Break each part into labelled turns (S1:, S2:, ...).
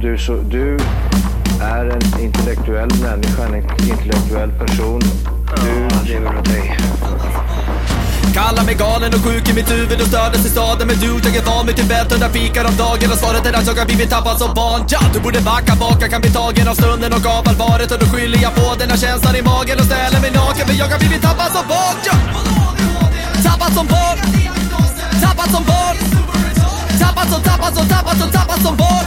S1: du, så, du är en intellektuell människa, en intellektuell person. Du lever av dig.
S2: Kallar mig galen och sjuk i mitt huvud och stördes i staden Men du, jag är van vid Tibet och där fikar om dagen Och svaret är att jag har blivit tappad som barn ja, Du borde backa bak, jag kan bli tagen av stunden och av allvaret Och då skyller jag på den här känslan i magen och ställer mig naken För jag har blivit tappad som barn ja. Tappad som barn Tappad som barn Tappad som, tappad som, tappad som, tappad som barn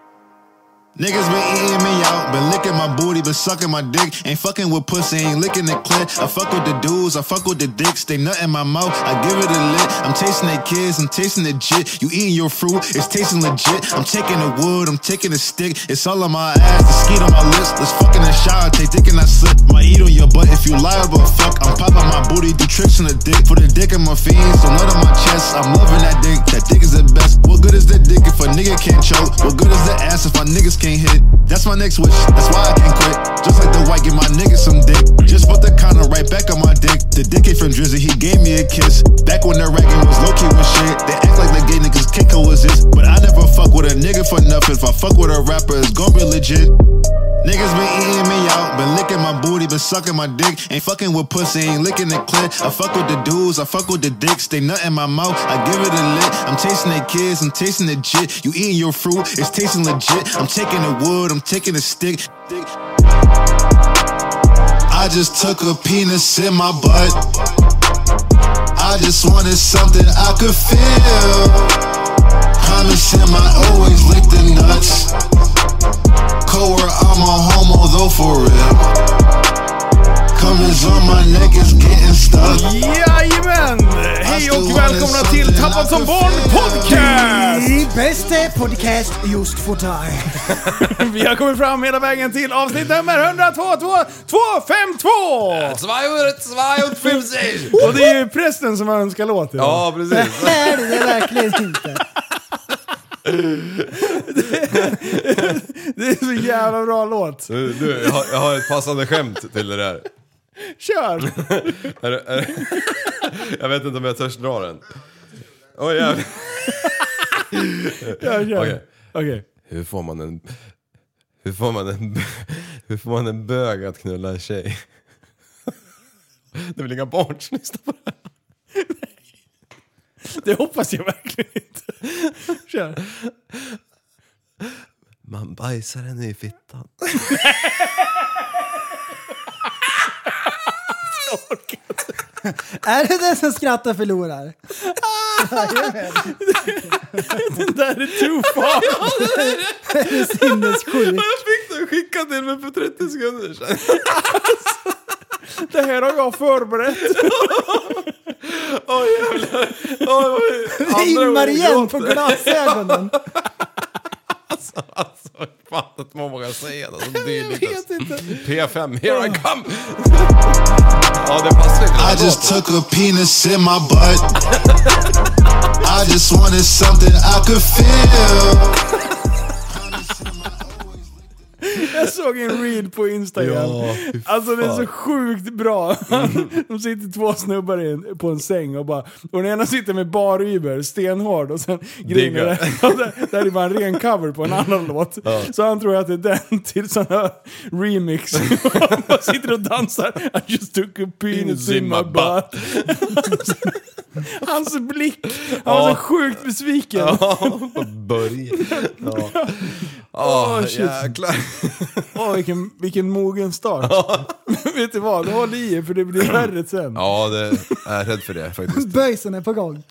S3: Niggas been eating me out, been licking my booty, been sucking my dick. Ain't fucking with pussy, ain't licking the clit. I fuck with the dudes, I fuck with the dicks. They nut in my mouth, I give it a lick. I'm tasting their kids, I'm tasting the jit. You eating your fruit, it's tasting legit. I'm taking the wood, I'm taking the stick. It's all on my ass, the skeet on my lips. Let's fuck in the shower, take dick and I slip. My eat on your butt if you lie about fuck. I'm popping my booty, do tricks on the dick. Put a dick in my fiends, so nut on my chest. I'm loving that dick, that dick is the best. What good is the dick if a nigga can't choke? What good is the ass if my niggas can't hit? That's my next wish, that's why I can't quit. Just like the white, give my niggas some dick. Just put the condom right back on my dick. The dick ain't from Drizzy, he gave me a kiss. Back when the ragging was low key with shit, they act like the gay niggas can't coexist. But I never fuck with a nigga for nothing. If I fuck with a rapper, it's gon' be legit. Niggas been eating me out, been licking my booty, been sucking my dick. Ain't fucking with pussy, ain't licking the clit. I fuck with the dudes, I fuck with the dicks. They nut in my mouth, I give it a lick. I'm tasting their kids, I'm tasting the jit. You eating your fruit, it's tasting legit. I'm taking the wood, I'm taking the stick. I just took a penis in my butt. I just wanted something I could feel. Promise him I always lick the nuts. Coer, I'm a homo though for real. Cummins on my neck is getting stuck.
S4: Jajamän! Hej och välkomna till Tappad som barn podcast!
S5: Die bästa podcast just för dig.
S4: Vi har kommit fram hela vägen till avsnitt nummer 102 252!
S2: 252!
S4: Och det är ju prästen som har önskat låt idag.
S2: Ja, precis.
S5: Nej, det är verkligen inte.
S4: Det är så jävla bra låt.
S6: Du, du, jag, har, jag har ett passande skämt till det där.
S4: Kör!
S6: Är, det- är, det- jag vet inte om jag törs dra den. Oj jävlar.
S4: Kör, kör. Okej.
S6: Okej. Hur får man en... Hur får man en... Hur får man en bög att knulla en tjej? Det är väl inga barn som lyssnar på det
S4: Det hoppas jag verkligen inte. Kör.
S6: Man bajsar henne i fittan.
S5: Är det den som skrattar förlorar?
S4: Det där är too far.
S5: Det är sinnessjukt.
S6: Jag fick den skickad till mig för 30 sekunder sedan.
S4: Det här har jag förberett.
S5: Det immar igen på glasögonen.
S6: Alltså, fan att man vågar säga något så dylikt.
S4: Jag vet inte.
S6: P5, here I come! ja, det passar inte.
S3: I just took a penis in my butt. I just wanted something I could feel.
S4: Jag såg en reel på Instagram.
S6: Ja, fy
S4: alltså det är så
S6: fan. Mm.
S4: sjukt bra. De sitter två snubbar i en, på en säng och bara... Och den ena sitter med bar Uber, stenhård och sen grejen är
S6: Digga.
S4: det- och där, där är bara en ren cover på en annan låt. Så han tror att det är den till sådana remix. Han bara sitter och dansar. I just took a penis in my butt. Hans blick. Han var så sjukt besviken.
S6: Börje. Ja.
S4: Åh,
S6: Åh,
S4: shit.
S6: jäklar.
S4: Åh, vilken, vilken mogen start. Vet du vad? Håll i er för det blir värre sen.
S6: Ja, det, jag är rädd för det faktiskt.
S5: Böjsen är på gång.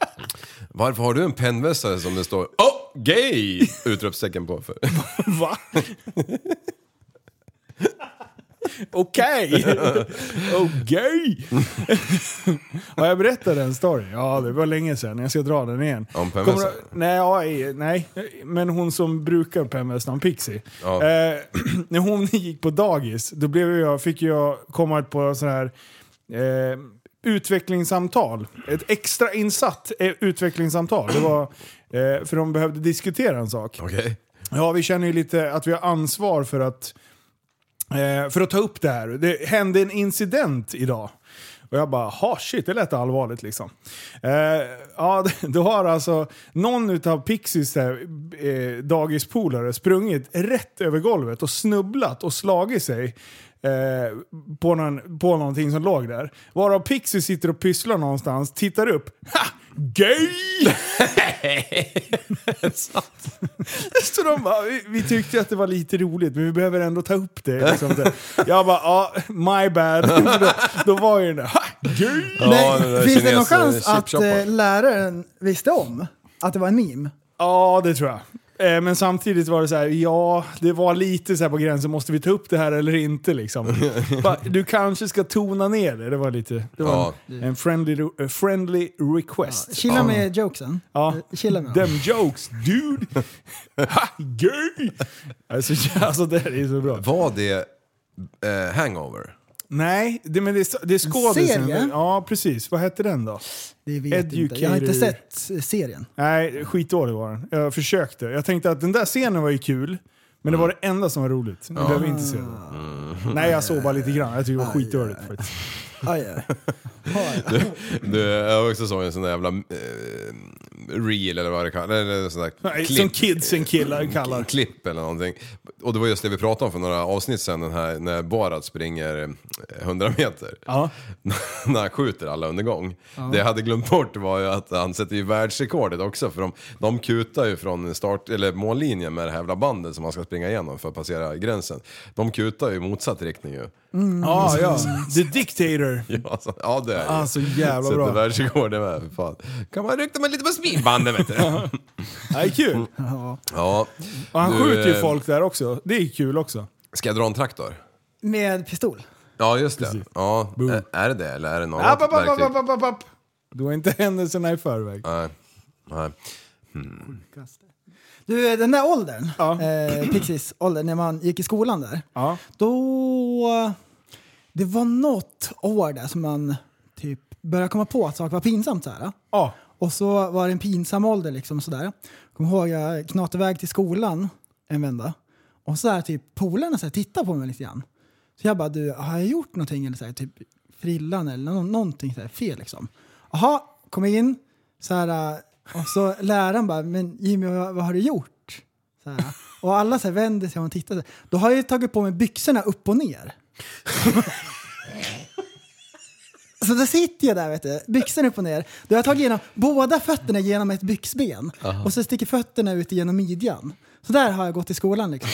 S6: Varför har du en pennvässare som det står oh, gay! Utropstecken på för.
S4: Va? Okej! Okej! Har jag berättat den story? Ja, det var länge sedan. Jag ska dra den igen.
S6: Om Pam
S4: Kommer
S6: Wessel?
S4: du- Nej, ja, i- nej, men hon som brukar Pam Wessel, hon Pixie.
S6: Ja.
S4: Eh, när hon gick på dagis, då blev jag, fick jag komma på sån här eh, utvecklingssamtal. Ett extra insatt eh, utvecklingssamtal. Det var, eh, för de behövde diskutera en sak.
S6: Okej.
S4: Ja, vi känner ju lite att vi har ansvar för att, eh, för att ta upp det här. Det hände en incident idag. Och jag bara, ha shit, det lät allvarligt liksom. Eh, ja, då har alltså någon utav Pixies där, eh, dagispolare sprungit rätt över golvet och snubblat och slagit sig eh, på, någon, på någonting som låg där. Varav Pixie sitter och pysslar någonstans, tittar upp. Ha! Gay! Så de bara, vi, vi tyckte att det var lite roligt men vi behöver ändå ta upp det. Liksom. Jag bara, ja, my bad. För då, då var ju den där, ha! Gay!
S6: Ja,
S5: Men, finns det någon
S6: kines-
S5: chans att
S6: chipshoppa.
S5: eh, läraren visste om att det var en meme?
S4: Ja, det tror jag. Eh, Men samtidigt var det så här, ja, det var lite så här på gränsen, måste vi ta upp det här eller inte liksom? Bara, du kanske ska tona ner det, det var lite... Det var
S6: Ja.
S4: en, en friendly, re- friendly request.
S5: Chilla med jokesen. Eh,
S4: Ja.
S5: Chilla med dem.
S4: Them jokes, dude! ha, gay! Alltså, ja, alltså det här är så bra.
S6: Var det eh, hangover?
S4: Nej, det, men det, är s- det är skådisen.
S5: serie?
S4: Ja, precis. Vad hette den då?
S5: Det vet jag inte. Jag har inte sett eh, serien.
S4: Nej, skitdålig var den. Jag försökte. Jag tänkte att den där scenen var ju kul, men det
S6: Mm.
S4: var det enda som var roligt. Jag behöver inte se den. Nej, jag såg bara lite grann. Jag tyckte det var skitdåligt faktiskt. Ah,
S5: Aj, aj.
S6: Du, jag har också såg en sån där jävla eh, reel eller vad det kallas. Eller en sån där
S4: Nej,
S6: klipp.
S4: Som kidsen killar kallar.
S6: klipp eller någonting. Och det var just det vi pratade om för några avsnitt sedan, den här, när Borat springer eh, 100 meter.
S4: Ja.
S6: när han skjuter alla under gång. Det jag hade glömt bort var ju att han sätter ju världsrekordet också, för de, de kutar ju från start, eller mållinjen med det här jävla bandet som man ska springa igenom för att passera gränsen. De kutar ju i motsatt riktning ju.
S4: Ja, ja. The Dictator.
S6: Ja, så, ja det är
S4: Ah,
S6: ju.
S4: så jävla
S6: Sätter
S4: bra.
S6: världsrekordet med, för fan. Kan man rykta mig lite på smilbandet vet du.
S4: Ja, Det är kul.
S6: ja.
S4: Och han
S6: Du,
S4: skjuter ju
S6: eh,
S4: folk där också. Det är kul också.
S6: Ska jag dra en traktor?
S5: Med pistol.
S6: Ja, just det. Ja. Ä- Är det det eller är det något
S4: App, app, app,
S6: verktyg?
S4: app, app, app, app. Då är inte händelserna i förväg.
S6: Nej. Nej.
S5: Du, eh, den där åldern,
S4: Ja.
S5: eh, Pixies ålder, när man gick i skolan där.
S4: Ja.
S5: Då... Det var något år där som man typ började komma på att saker var pinsamt så här.
S4: Ja.
S5: Och så var det en pinsam ålder liksom sådär. Kommer ihåg jag knatade iväg till skolan en vända. Och så här typ polarna så här, tittade på mig lite grann. Så jag bara du, har jag gjort någonting eller så här, typ frillan eller nå- någonting så här, fel liksom. Jaha, kom in. Så här, äh, och så läraren bara, men Jimmy vad, vad har du gjort? Så här, och alla så här, vänder sig om och tittar. så här. Då har jag ju tagit på mig byxorna upp och ner. Så då sitter jag där, vet du, byxorna upp och ner. Då har jag tagit igenom båda fötterna genom ett byxben och så sticker fötterna ut genom midjan. Så där har jag gått i skolan liksom.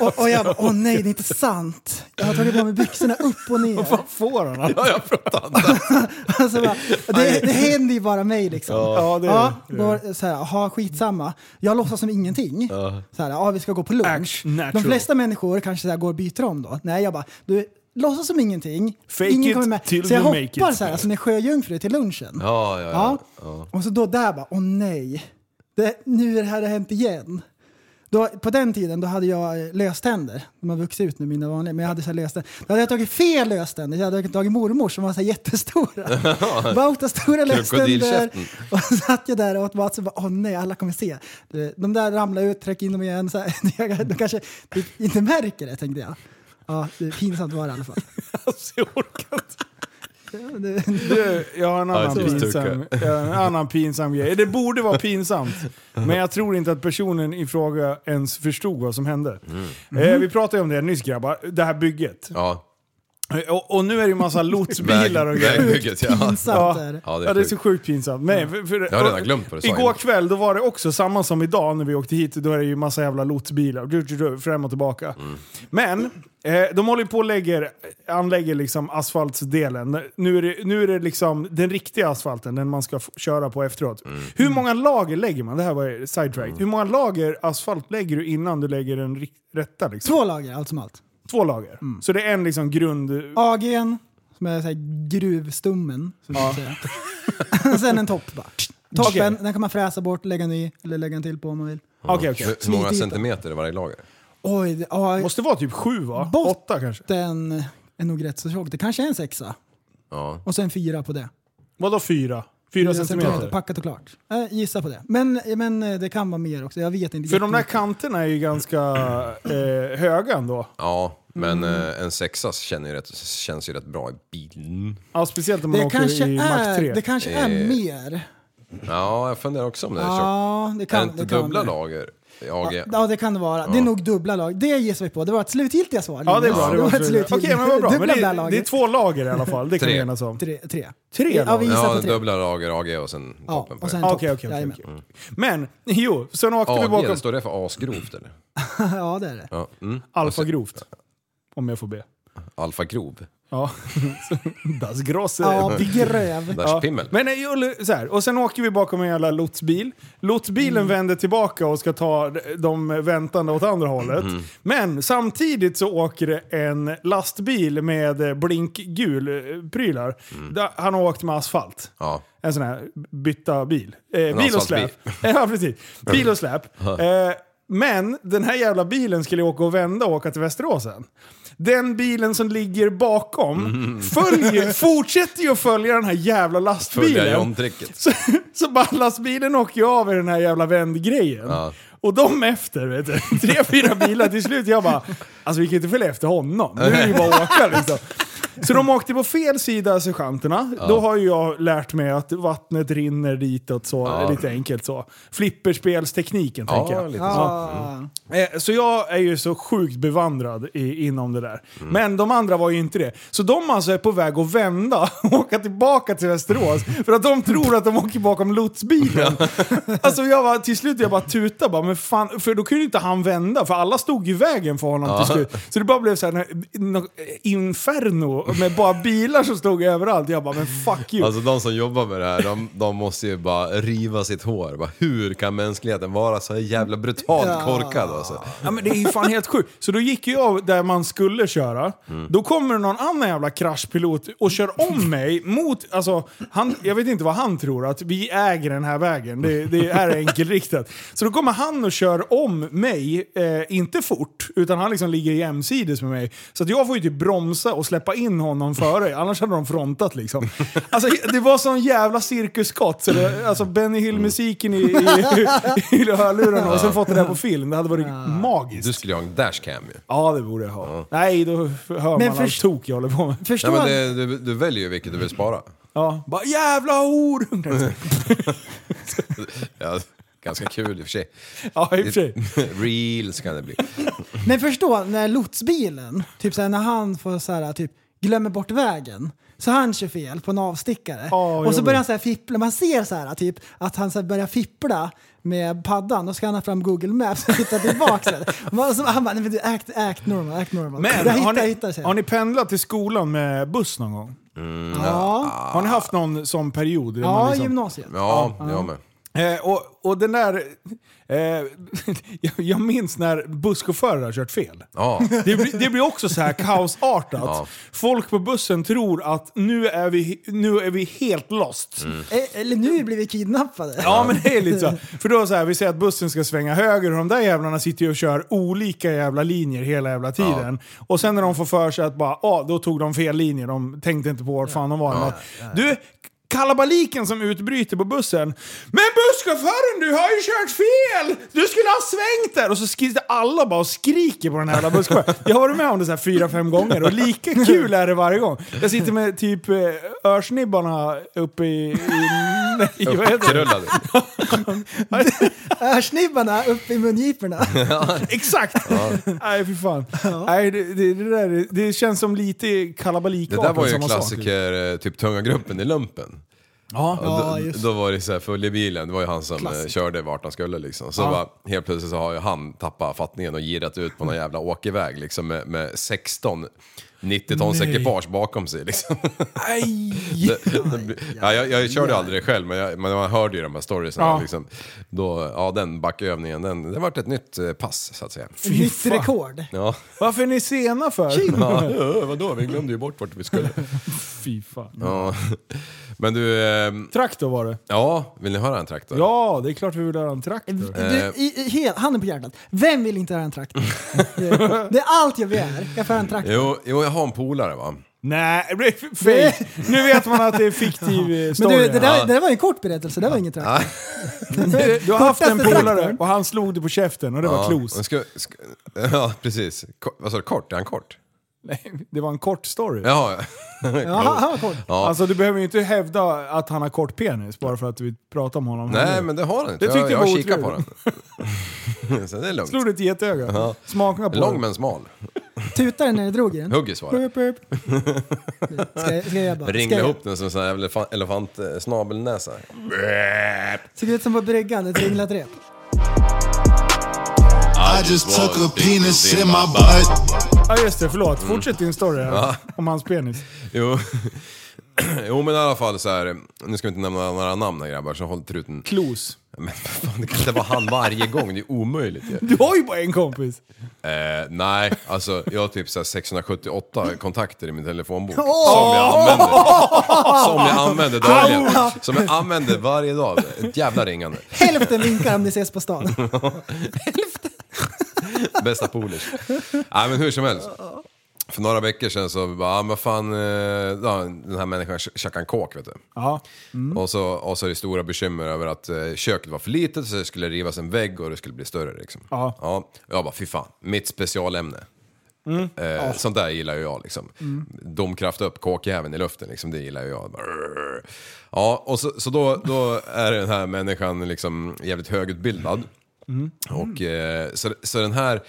S5: Och, och jag bara, åh nej, det är inte sant. Jag har tagit på mig byxorna upp och ner.
S4: Vad får han? allt?
S6: Ja, jag pratar inte.
S5: Alltså, bara, det, det händer ju bara mig liksom.
S4: Ja, det är
S5: Ja,
S4: det.
S5: då, var det så här, aha, skitsamma. Jag låtsas som ingenting. Så här, ja, vi ska gå på lunch.
S4: Action, natural.
S5: De flesta människor kanske så här, går och byter om då. Nej, jag bara, du låtsas som ingenting.
S4: Fake
S5: Ingen
S4: it
S5: kommer med.
S4: till
S5: Så jag
S4: you make
S5: hoppar
S4: it.
S5: så här, som en sjöjungfru till lunchen.
S6: Ja, ja,
S5: Ja.
S6: ja. ja.
S5: Och så då där bara, åh nej. Det, nu är det här det har hänt igen. Då, på den tiden då hade jag eh, löständer. De har vuxit ut nu, mina vanliga. Men jag hade så här löständer. Då hade jag tagit fel löständer. Jag hade tagit mormor som var så här jättestora. Bauta stora löständer.
S6: Krokodilkäften.
S5: Och så satt jag där och åt mat. Så bara, åh nej, alla kommer se. De där ramlar ut, tryck in dem igen. Så här, de kanske typ inte märker det, tänkte jag. Ja, det är pinsamt var det i alla fall.
S4: Alltså, jag orkar inte.
S5: Ja, det-
S4: Du, jag har en annan,
S6: det är
S4: pinsam, jag har en annan pinsam grej. Det borde vara pinsamt, men jag tror inte att personen i fråga ens förstod vad som hände.
S6: Mm.
S4: Eh, vi pratade ju om det nyss grabbar, det här bygget.
S6: ja.
S4: Eh, Och, och nu är det ju massa lotsbilar och grejer.
S6: Vägbygget, ja.
S5: Pinsamt är det.
S6: Ja, det är
S4: Ja, det är så
S6: sjukt.
S4: sjukt pinsamt. Nej, för, för,
S6: Jag har redan glömt vad du sa
S4: Igår
S6: innan.
S4: kväll, då var det också samma som idag när vi åkte hit. Då är det ju massa jävla lotsbilar. Du, du, du, fram och tillbaka.
S6: Mm.
S4: Men, eh, de håller ju på och lägger, anlägger liksom asfaltsdelen. Nu är, det, nu är det liksom den riktiga asfalten, den man ska f- köra på efteråt.
S6: Mm.
S4: Hur många lager lägger man? Det här var ju sidetrack. Hur många lager asfalt lägger du innan du lägger den rik- rätta? Liksom?
S5: Två lager, allt som allt.
S4: Två lager. Så det är en liksom grund...
S5: AGn, som är så här gruvstummen. Så att säga. Sen en topp bara. Toppen, den kan man fräsa bort, lägga ny eller lägga en till på om man vill.
S4: Okej, okej.
S6: Hur många
S5: Smidigt.
S6: centimeter i varje lager?
S5: Oj, det- ja,
S4: Måste vara typ sju va?
S5: Botten.
S4: Åtta kanske?
S5: den är nog rätt så tjock. Det kanske är en sexa.
S6: Ja.
S5: Och sen fyra på det.
S4: Vadå fyra? Fyra centimeter?
S5: Packat och klart. Eh, gissa på det. Men, men eh, det kan vara mer också. Jag vet inte.
S4: För de där
S5: jättemycket.
S4: kanterna är ju ganska eh, höga ändå.
S6: Ja, men
S5: Mm.
S6: eh, en sexa känner ju rätt, känns ju rätt bra i bilen.
S4: Ja, speciellt om man
S5: det
S4: åker
S5: kanske,
S4: i Mach 3.
S5: är, det kanske
S6: Eh,
S5: är mer.
S6: Ja, jag funderar också om det är tjockt.
S5: Ja, det
S6: Är det
S5: kan
S6: inte
S5: det kan
S6: dubbla
S5: vara.
S6: lager i AG?
S5: Ja, ja, det kan det vara. Det är nog dubbla lag. Det gissar vi på. Det var ett slutgiltiga svar.
S4: Ja, det är
S5: Linus.
S4: bra. Det var
S5: ett
S4: absolut-
S5: slutgiltigt-
S4: Okej, men vad bra. Men
S5: Dubbla
S4: det,
S5: där
S4: är, det är
S5: laget.
S4: två lager i alla fall. Det kan vi
S6: Tre.
S4: enas om.
S5: Tre. tre.
S4: Tre
S5: ja, vi
S4: lager.
S5: gissar
S6: Ja,
S5: på tre.
S6: dubbla lager, AG och sen
S5: Ja,
S6: toppen på
S5: och
S6: det.
S5: sen
S4: Okej,
S5: topp.
S4: okej, okej,
S5: Jajamän.
S4: okej. Men jo, sen åkte vi
S6: AG,
S4: bakom
S6: står det för asgrovt eller?
S5: Ja, det är det.
S6: Ja. Mm.
S4: alfagrovt. Om jag får be.
S6: Alfa grov.
S4: Ja. das Grosse.
S5: Ja, gröv.
S6: Dash
S4: Ja.
S6: pimmel.
S4: Men eh, Julle, så här, och sen åker vi bakom en jävla lotsbil. Lotsbilen vänder tillbaka och ska ta de väntande åt andra hållet. Men samtidigt så åker det en lastbil med eh, blinkgul eh, prylar. Där Han har åkt med asfalt.
S6: Ja.
S4: En sån här bytta bil. Eh, bil och
S6: asfaltbil.
S4: släp. ja, precis. Bil och släp. Eh, men den här jävla bilen skulle åka och vända och åka till Västerås sen. Den bilen som ligger bakom följer, fortsätter ju att följa den här jävla
S6: Följa
S4: lastbilen.
S6: John-tricket.
S4: Så, så bara lastbilen åker ju av i den här jävla vändgrejen.
S6: Ja.
S4: Och de efter, vet du. Tre, fyra bilar till slut. Jag bara, alltså vi kan ju inte följa efter honom. Nu är det ju bara att åka liksom. Så de åkte på fel sida sergeanterna. Då har ju jag lärt mig att vattnet rinner ditåt så,
S6: Ja.
S4: lite enkelt så. Flipperspelstekniken
S6: Ja,
S4: tänker jag.
S6: lite
S5: Ja.
S6: Mm.
S4: Eh, Så jag är ju så sjukt bevandrad i, inom det där. Men de andra var ju inte det. Så de alltså är på väg att vända och åka tillbaka till Västerås för att de tror att de åker bakom lotsbilen. Alltså jag var till slut jag bara tuta bara, men fan, för då kunde ju inte han vända för alla stod i vägen för honom till slut. Så det bara blev så här nå- nå- inferno med bara bilar som stod överallt. Jag bara, men fuck you.
S6: Alltså de som jobbar med det här, de, de måste ju bara riva sitt hår. Bara, hur kan mänskligheten vara så här jävla brutalt korkad alltså?
S4: Ja, men det är ju fan helt sjukt. Så då gick jag där man skulle köra. Då kommer någon annan jävla kraschpilot och kör om mig mot... Alltså, han, jag vet inte vad han tror, att vi äger den här vägen. Det, det är enkelriktat. Så då kommer han och kör om mig, eh, inte fort, utan han liksom ligger jämsides med mig. Så att jag får ju typ bromsa och släppa in honom före, annars hade de frontat liksom. Alltså, det var sån jävla cirkusskott. Så det, alltså Benny Hill-musiken i, i, i hörlurarna och sen fått det där på film. Det hade varit magiskt.
S6: Du skulle ju ha en dashcam ju.
S4: Ja, det borde jag ha. Nej, då f- hör
S5: Men
S4: man
S5: först-
S4: allt tok jag håller på med.
S6: Nej,
S5: Förstår
S6: men det, du, du väljer ju vilket du vill spara.
S4: Ja. Bara jävla horungar!
S6: Ja, ganska kul i och för sig.
S4: Ja, i och för sig.
S6: Reels kan det bli.
S5: Men förstå när lotsbilen, typ såhär, när han får så här, typ, glömmer bort vägen. Så han kör fel på en avstickare.
S4: Ja,
S5: och så
S4: jobbigt.
S5: börjar han så här fippla. Man ser så här, typ, att han så här börjar fippla med paddan. Då ska han ha fram Google Maps och titta tillbaka. så här. Man- så han bara, nej men du, act, act normal, act normal.
S4: Men
S5: jag hittar,
S4: har, ni,
S5: hittar, så här.
S4: har ni pendlat till skolan med buss någon gång?
S5: ja,
S4: Har ni haft någon sån period? där man
S5: Ah. ja
S4: liksom-
S5: gymnasiet.
S6: Ja, jag med.
S4: Eh, och, och den där... Eh, jag, jag minns när busschaufförer har kört fel.
S6: Ja.
S4: Det blir, det blir också så här kaosartat.
S6: Ja.
S4: Folk på bussen tror att nu är vi, nu är vi helt lost.
S6: Mm.
S5: E- Eller nu blir vi kidnappade.
S4: Ja, men det är lite så. För då så här, vi säger att bussen ska svänga höger och de där jävlarna sitter ju och kör olika jävla linjer hela jävla tiden. Och sen när de får för sig att bara, ah, då tog de fel linje, de tänkte inte på vart fan de var. Du, kalabaliken som utbryter på bussen. Men busschauffören, du har ju kört fel! Du skulle ha svängt där! Och så skriker alla bara och skriker på den här jävla busschauffören. Jag har varit med om det så här fyra, fem gånger och lika kul är det varje gång. Jag sitter med typ eh, örsnibbarna uppe i... i, i vad heter det?
S6: Upprullad.
S5: Örsnibbarna upp i mungiporna.
S4: Exakt! Nej, fy fan. Nej, det, det, det, där, det känns som lite
S6: Det
S4: kalabalikartat.
S6: där var ju en
S4: samma sak.
S6: klassiker, eh, typ tunga gruppen i lumpen.
S4: Ja.
S5: Ja,
S6: då,
S5: just.
S6: då var det så här full i bilen, det var ju han som eh, körde vart han skulle liksom. Så bara, helt plötsligt så har ju han tappat fattningen och girat ut på någon jävla åkerväg liksom med, med 16 90 tons ekipage bakom sig liksom.
S4: Aj!
S6: Det- det blir- ja, jag, jag körde aldrig det själv men, jag, men man hörde ju de här storiesna.
S4: Ja.
S6: Liksom. Då, ja, den backövningen, den, det vart ett nytt eh, pass så att säga.
S5: Nytt
S4: fan.
S5: rekord.
S6: Ja.
S4: Varför är ni sena för?
S6: Ja, vadå, vi glömde ju bort vart vi skulle.
S4: Fy fan.
S6: Ja. Men du, eh,
S4: Traktor var det.
S6: ja, vill ni höra en traktor?
S4: Ja, det är klart vi vill ha en traktor.
S6: Eh.
S5: Du, i, i, helt, handen på hjärtat, vem vill inte ha en traktor? det, det är allt jag begär, jag får en traktor.
S6: Jo, jo, jag har en polare va.
S4: Nej, det blir fake. Nu vet man att det är fiktiv eh,
S5: Men
S4: story.
S5: du, det där, det där var en kort berättelse, det där var inget
S6: Ja.
S5: trakt.
S4: Du har haft en
S5: Kortaste
S4: polare
S5: traktorn.
S4: och han slog dig på käften och det var
S6: men
S4: klos.
S6: Ska, ska, ja, precis. Ko- Vad sa du, kort? Är han kort?
S4: Nej, det var en kort story.
S6: Jaha,
S5: Ja, han- han var kort.
S6: ja.
S4: Alltså du behöver ju inte hävda att han har kort penis bara för att vi pratar om honom.
S6: Nej, men det har han inte.
S4: Mm. Det tyckte
S6: jag
S4: jag
S6: jag
S4: var
S6: kikar på den. Så det är lugnt.
S4: Slog du ett getöga?
S6: Ja.
S4: Smaka på Mm.
S6: Lång
S4: det.
S6: men smal.
S5: Tutade den när jag drog i den.
S6: Hugg i svaret.
S5: Burp, burp. Ska, jag- ska jag bara...
S6: Ringla
S5: ska jag-
S6: ihop den som en sån här elefa- elefantsnabelnäsa.
S5: Såg ut som på bryggan, ett ringlat rep.
S3: I just took a penis in my butt.
S4: Ja just det, förlåt. Fortsätt din story här, om hans penis.
S6: Jo. jo, men i alla fall så här. Nu ska vi inte nämna några namn här grabbar, så håll truten.
S4: Klos.
S6: Men vad fan, det kan inte vara han varje gång. Det är omöjligt ju.
S4: Du har ju bara en kompis.
S6: Eh, nej, alltså jag har typ så här 678 kontakter i min telefonbok.
S5: Åh!
S6: Som jag använder. Som jag använder dagligen. Som jag använder varje dag. Ett jävla ringande.
S5: Hälften vinkar om ni ses på
S6: Mm.
S5: stan.
S6: Bästa polers. Nej men hur som helst. För några veckor sedan så bara, ah, men fan, eh, ja, den här människan ch- tjackade en kåk vet du.
S4: Ja.
S6: Och, så, och så är det stora bekymmer över att eh, köket var för litet så det skulle rivas en vägg och det skulle bli större liksom.
S4: Ja.
S6: Ja, jag bara, fy fan, mitt specialämne. Eh, Sånt där gillar ju jag liksom. Domkraft upp kåkjäveln i luften liksom, det gillar ju jag. Bara, "Rrrr." Ja, och så, så då, då är den här människan liksom jävligt högutbildad. Och eh, så, så den här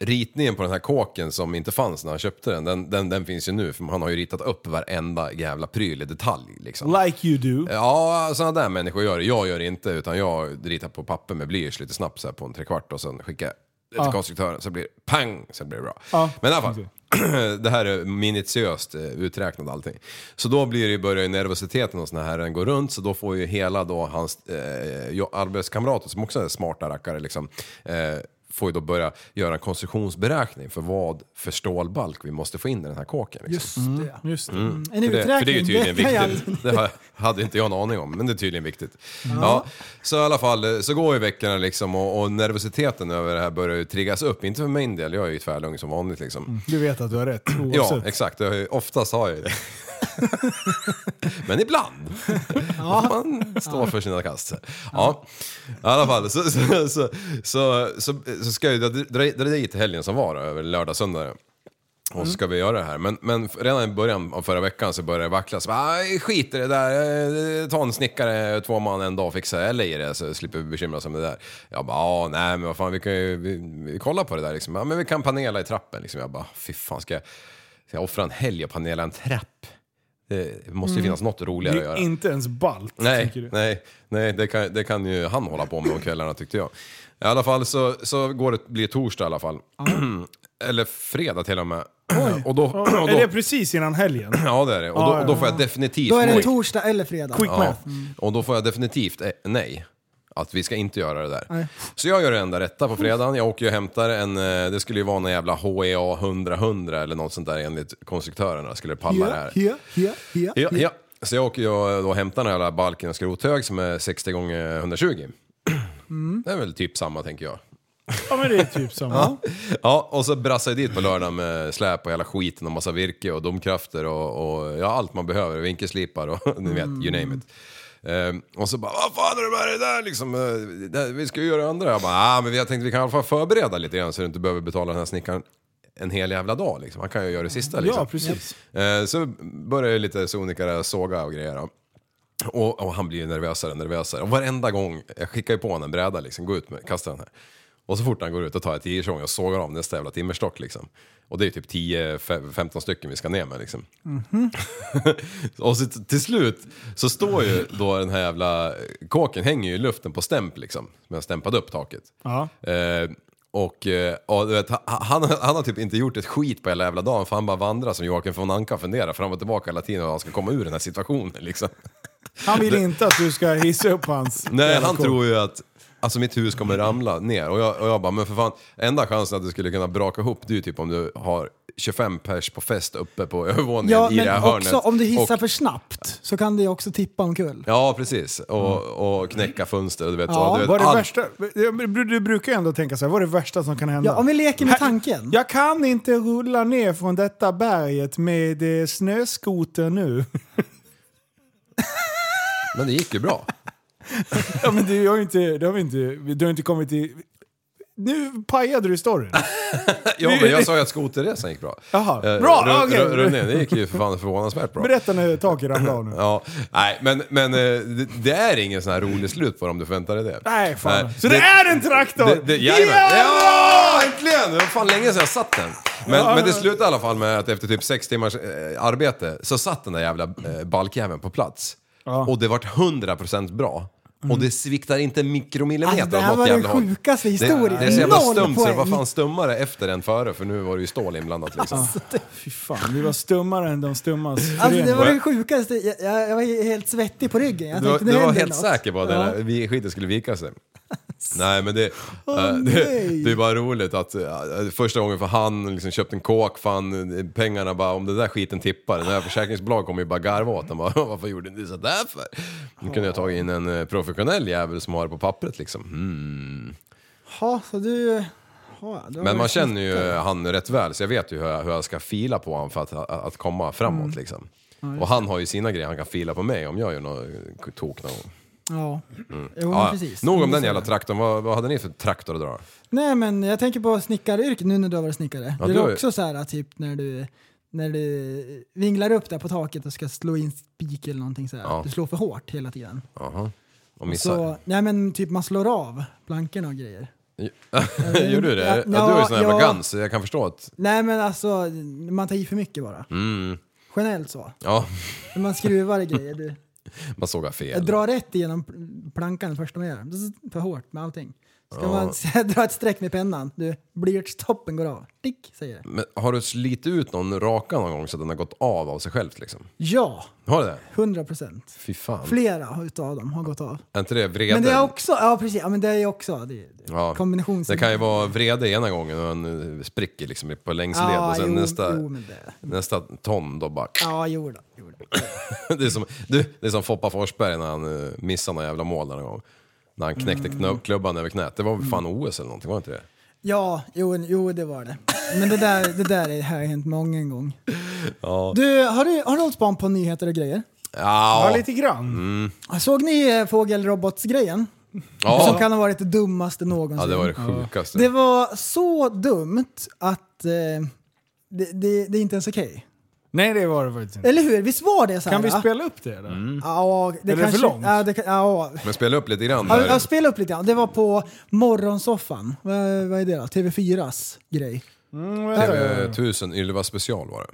S6: ritningen på den här kåken som inte fanns när han köpte den, den, den, den finns ju nu för han har ju ritat upp varenda jävla pryl i detalj liksom.
S4: Like you do.
S6: Ja, sådana där människor gör det. Jag gör det inte, utan jag ritar på papper med blyerts lite snabbt så här på en trekvart och sen skickar jag det till konstruktören så blir det pang, sen blir det bra.
S4: Ja.
S6: Men i alla fall, det här är minutiöst eh, uträknat allting. Så då blir det, ju- börjar ju nervositeten hos den här herren gå runt, så då får ju hela då hans eh, jo- arbetskamrater, som också är smarta rackare, liksom, eh, får ju då börja göra en konstruktionsberäkning för vad för stålbalk vi måste få in i den här kåken. Liksom.
S4: Mm, Just det.
S5: En
S6: För det, för det är ju
S5: uträkning,
S6: tydligen
S5: kan jag
S6: viktigt.
S5: aldrig-
S6: Det har- hade inte jag en aning om, men det är tydligen viktigt. Ja, så i alla fall, så går ju veckorna liksom och, och nervositeten över det här börjar ju triggas upp. Inte för min del, jag är ju tvärlugn som vanligt liksom.
S4: Du vet att du har rätt
S6: Ja,
S4: Mm, oavsett.
S6: exakt. Jag, har ju- oftast har jag ju det. Men ibland får man stå för sina kast. Ja. I alla fall så, så, så, så, så, så ska jag ju dra, dra, dra dit helgen som var då, över lördag, söndag. Och så ska vi göra det här. Men, men redan i början av förra veckan så började det vackla. Så bara, "Aj, skit i det där. Eh, Ta en snickare, två man en dag och fixa. Jag lejer det så slipper vi bekymra oss om det där. Jag bara, "Ja, nej men vad fan vi kan ju vi, vi kollar på det där liksom. Ja, men vi kan panela i trappen liksom. Jag bara, fy fan ska jag, ska jag offra en helg och panela en trapp? Det måste ju finnas något
S4: Det
S6: roligare att
S4: är
S6: göra.
S4: inte ens balt, tycker
S6: Nej,
S4: du.
S6: nej, nej det, kan, det kan ju han hålla på med om kvällarna tyckte jag. I alla fall så, så går det, blir det torsdag i alla fall. Eller fredag till och med. Och då, och
S4: Är
S6: då,
S4: det precis innan helgen?
S6: ja det är det. Och då, och då får jag definitivt...
S5: Då är det
S6: nej.
S5: torsdag eller fredag.
S4: Quick
S6: ja.
S4: math.
S6: Och då får jag definitivt eh, nej. Att vi ska inte göra det där. Så jag gör det enda rätta på fredagen. Jag åker och hämtar en, eh, det skulle ju vara en jävla E HEA 100-100 eller något sånt där enligt konstruktörerna skulle palla det här.
S5: Ja, ja, ja, ja.
S6: Ja,
S4: Mm.
S6: ja. Så jag åker jag då och hämtar den här jävla balken och skrothög som är 60 gånger 120.
S4: Mm.
S6: Det är väl typ samma tänker jag.
S4: Ja men det är typ samma.
S6: Ja, och så brassar jag dit på lördagen med släp och hela skiten och massa virke och domkrafter och, och ja, allt man behöver. Vinkelslipar och ni vet, you name it. Ehm, och så bara, vad fan är det med det där liksom? Eh, det- Vi ska ju göra det andra. Jag bara, ah, men jag tänkte vi kan i alla fall förbereda lite grann så du inte behöver betala den här snickaren en hel jävla dag liksom. Han kan ju göra det sista liksom.
S4: Ja, precis.
S6: Eh, Så börjar ju lite sonika såga och grejer. då. Och, och han blir ju nervösare och nervösare. Och varenda gång, jag skickar ju på honom en bräda liksom, gå ut med, kasta den här. Och så fort han går ut, då tar jag tioårsång och sågar av nästa jävla timmerstock liksom. Och det är typ 10-15 stycken vi ska ner med liksom. och så t- till slut så står ju då den här jävla kåken, hänger ju i luften på stämp liksom. Som jag stämpade upp taket.
S4: Ja.
S6: Eh, och eh, ja, du vet, ha- han, han har typ inte gjort ett skit på hela jävla dagen för han bara vandrar som Joakim von Anka funderar fram och tillbaka hela tiden hur han ska komma ur den här situationen liksom.
S4: Han vill inte att du ska hissa upp hans...
S6: Nej,
S4: jävla
S6: han
S4: koll.
S6: tror ju att alltså, mitt hus kommer ramla ner. Och jag, och jag bara, men för fan, enda chansen att du skulle kunna braka ihop det är ju typ om du har 25 pers på fest uppe på övervåningen
S5: Ja,
S6: i det här
S5: men
S6: hörnet.
S5: också om du hissar
S6: Och-
S5: för snabbt så kan det ju också tippa omkull.
S6: Ja, precis. Och, och knäcka fönster och du vet.
S5: Ja,
S6: så, du vet
S4: Vad är det
S6: allt.
S4: värsta? Du, du brukar ju ändå tänka så här, vad är det värsta som kan hända?
S5: Ja, om vi leker med tanken.
S4: Jag kan inte rulla ner från detta berget med eh, snöskoter nu.
S6: Men det gick ju bra.
S4: Ja, men det har ju inte, det har vi inte, du har inte kommit till... Nu pajade du storyn.
S6: Ja, men jag sa ju att skoterresan gick bra.
S4: Jaha.
S6: Eh,
S4: Bra,
S6: ru-
S4: okej.
S6: ru- rullningen, det gick ju för fan förvånansvärt bra.
S4: Berätta när taket ramlade av nu.
S6: Ja, nej, men, men eh, det, det är ingen sån här rolig slut på det om du förväntar dig det.
S4: Nej, fan.
S6: Nej,
S4: Så det, är en traktor!
S6: Det, det, jajamän. ja! Äntligen! Det var fan länge sedan jag satt den. Men, men det slutade i alla fall med att efter typ sex timmars eh, arbete så satt den där jävla eh, balkjäveln på plats. Och det vart 100% bra. Och det sviktar inte mikromillimeter
S5: Alltså, det
S6: åt
S5: här
S6: något
S5: var den
S6: jävla håll.
S5: sjukaste
S6: Det,
S5: historien.
S6: det är så jävla
S5: Noll
S6: stumt så det var
S5: poäng.
S6: fan stummare efter än före för nu var det ju stål inblandat liksom.
S4: Fy fan, vi var stummare än de stummas
S5: Alltså det
S4: förening.
S5: var det sjukaste, jag, jag, jag var helt svettig på ryggen. Jag
S6: Du, var-
S5: tänkte, nu
S6: du var
S5: händer
S6: helt
S5: något.
S6: säker på att den
S5: Ja.
S6: här vi- skiten skulle vika sig. Nej men det, eh, det,
S5: nej.
S6: det är bara roligt att eh, första gången för han liksom köpte en kåk, fan eh, pengarna bara om den där skiten tippar, den här försäkringsbolag kommer ju bara garva åt den bara, varför gjorde ni sådär för? Nu kunde jag tagit in en eh, professionell jävel som har det på pappret liksom. Mm.
S5: Ja, så du... Ja, du har
S6: Men man
S5: varit-
S6: känner ju eh, han rätt väl så jag vet ju hur jag, hur jag ska fila på honom för att, att komma framåt
S5: Mm.
S6: liksom. Och han har ju sina grejer han kan fila på mig om jag gör något eh, tok någon gång.
S5: Ja, jo,
S6: Mm. Ja,
S5: men precis.
S6: Nog om den jävla traktorn, vad, vad hade ni för traktor att dra?
S5: Nej men jag tänker på snickaryrket nu när du har varit snickare.
S6: Ja,
S5: det
S6: du har
S5: är
S6: ju-
S5: också så här typ när du, när du vinglar upp där på taket och ska slå in spik eller någonting så här.
S6: Ja.
S5: Du slår för hårt hela tiden.
S6: Jaha, och missar?
S5: Så, nej men typ man slår av plankorna och grejer.
S6: Gör du det? Ja,
S5: eh, Ja,
S6: du är ju sån jävla
S5: ja.
S6: guns, så jag kan förstå att...
S5: Nej men alltså, man tar i för mycket bara.
S6: Mm,
S5: Generellt så.
S6: ja,
S5: När man skruvar i grejer. Du,
S6: man sågar fel.
S5: jag drar rätt igenom plankan först man gör. Bzz, För hårt med allting. Ska
S6: Ja.
S5: man dra ett streck med pennan, du, blyertstoppen går av. Tick, säger det.
S6: Men har du slitit ut någon raka någon gång så att den har gått av av sig själv liksom?
S5: Ja,
S6: Har du det?
S5: 100 procent.
S6: Fy fan.
S5: Flera utav dem har gått av.
S6: är inte det vrede?
S5: Men det är också, ja precis, ja, men det är också det, det,
S6: Ja.
S5: kombinations...
S6: Det kan ju vara vrede ena gången och en eh, spricker liksom på längs led
S5: Ja,
S6: och sen
S5: jo,
S6: nästa,
S5: jo, men det.
S6: nästa ton då bara...
S5: Ja, jo då. Jo då.
S6: Det är som, du, det är som Foppa Forsberg när han eh, missade någon jävla mål någon gång. När han knäckte
S5: Mm.
S6: knubb, klubban över knät. Det var väl fan OS eller någonting, var det inte det?
S5: Ja, jo, jo det var det. Men det där, det där är- har hänt många en gång. Du, har du, har du hållit span på nyheter och grejer?
S6: Ja,
S4: Ja, lite grann.
S6: Mm.
S5: Såg ni eh, fågelrobotsgrejen? Som
S6: ja.
S5: kan ha varit det dummaste någonsin.
S6: ja det var det sjukaste.
S5: Det var så dumt att eh, det, det, det är inte ens okej.
S4: Nej, det var det faktiskt inte.
S5: Eller hur? Visst var det så här?
S4: Kan vi
S5: va?
S4: spela upp det eller?
S6: Mm.
S5: Ja, det
S4: Är det
S5: kanske,
S4: för långt?
S5: Ja, det, kan- ja,
S6: Men spela upp lite grann
S5: Ja, alltså,
S6: där.
S5: jag spelade upp lite grann. Det var på Morgonsoffan. Vad, vad är det då? TV4s grej.
S6: TV 1000 Ylva special var det.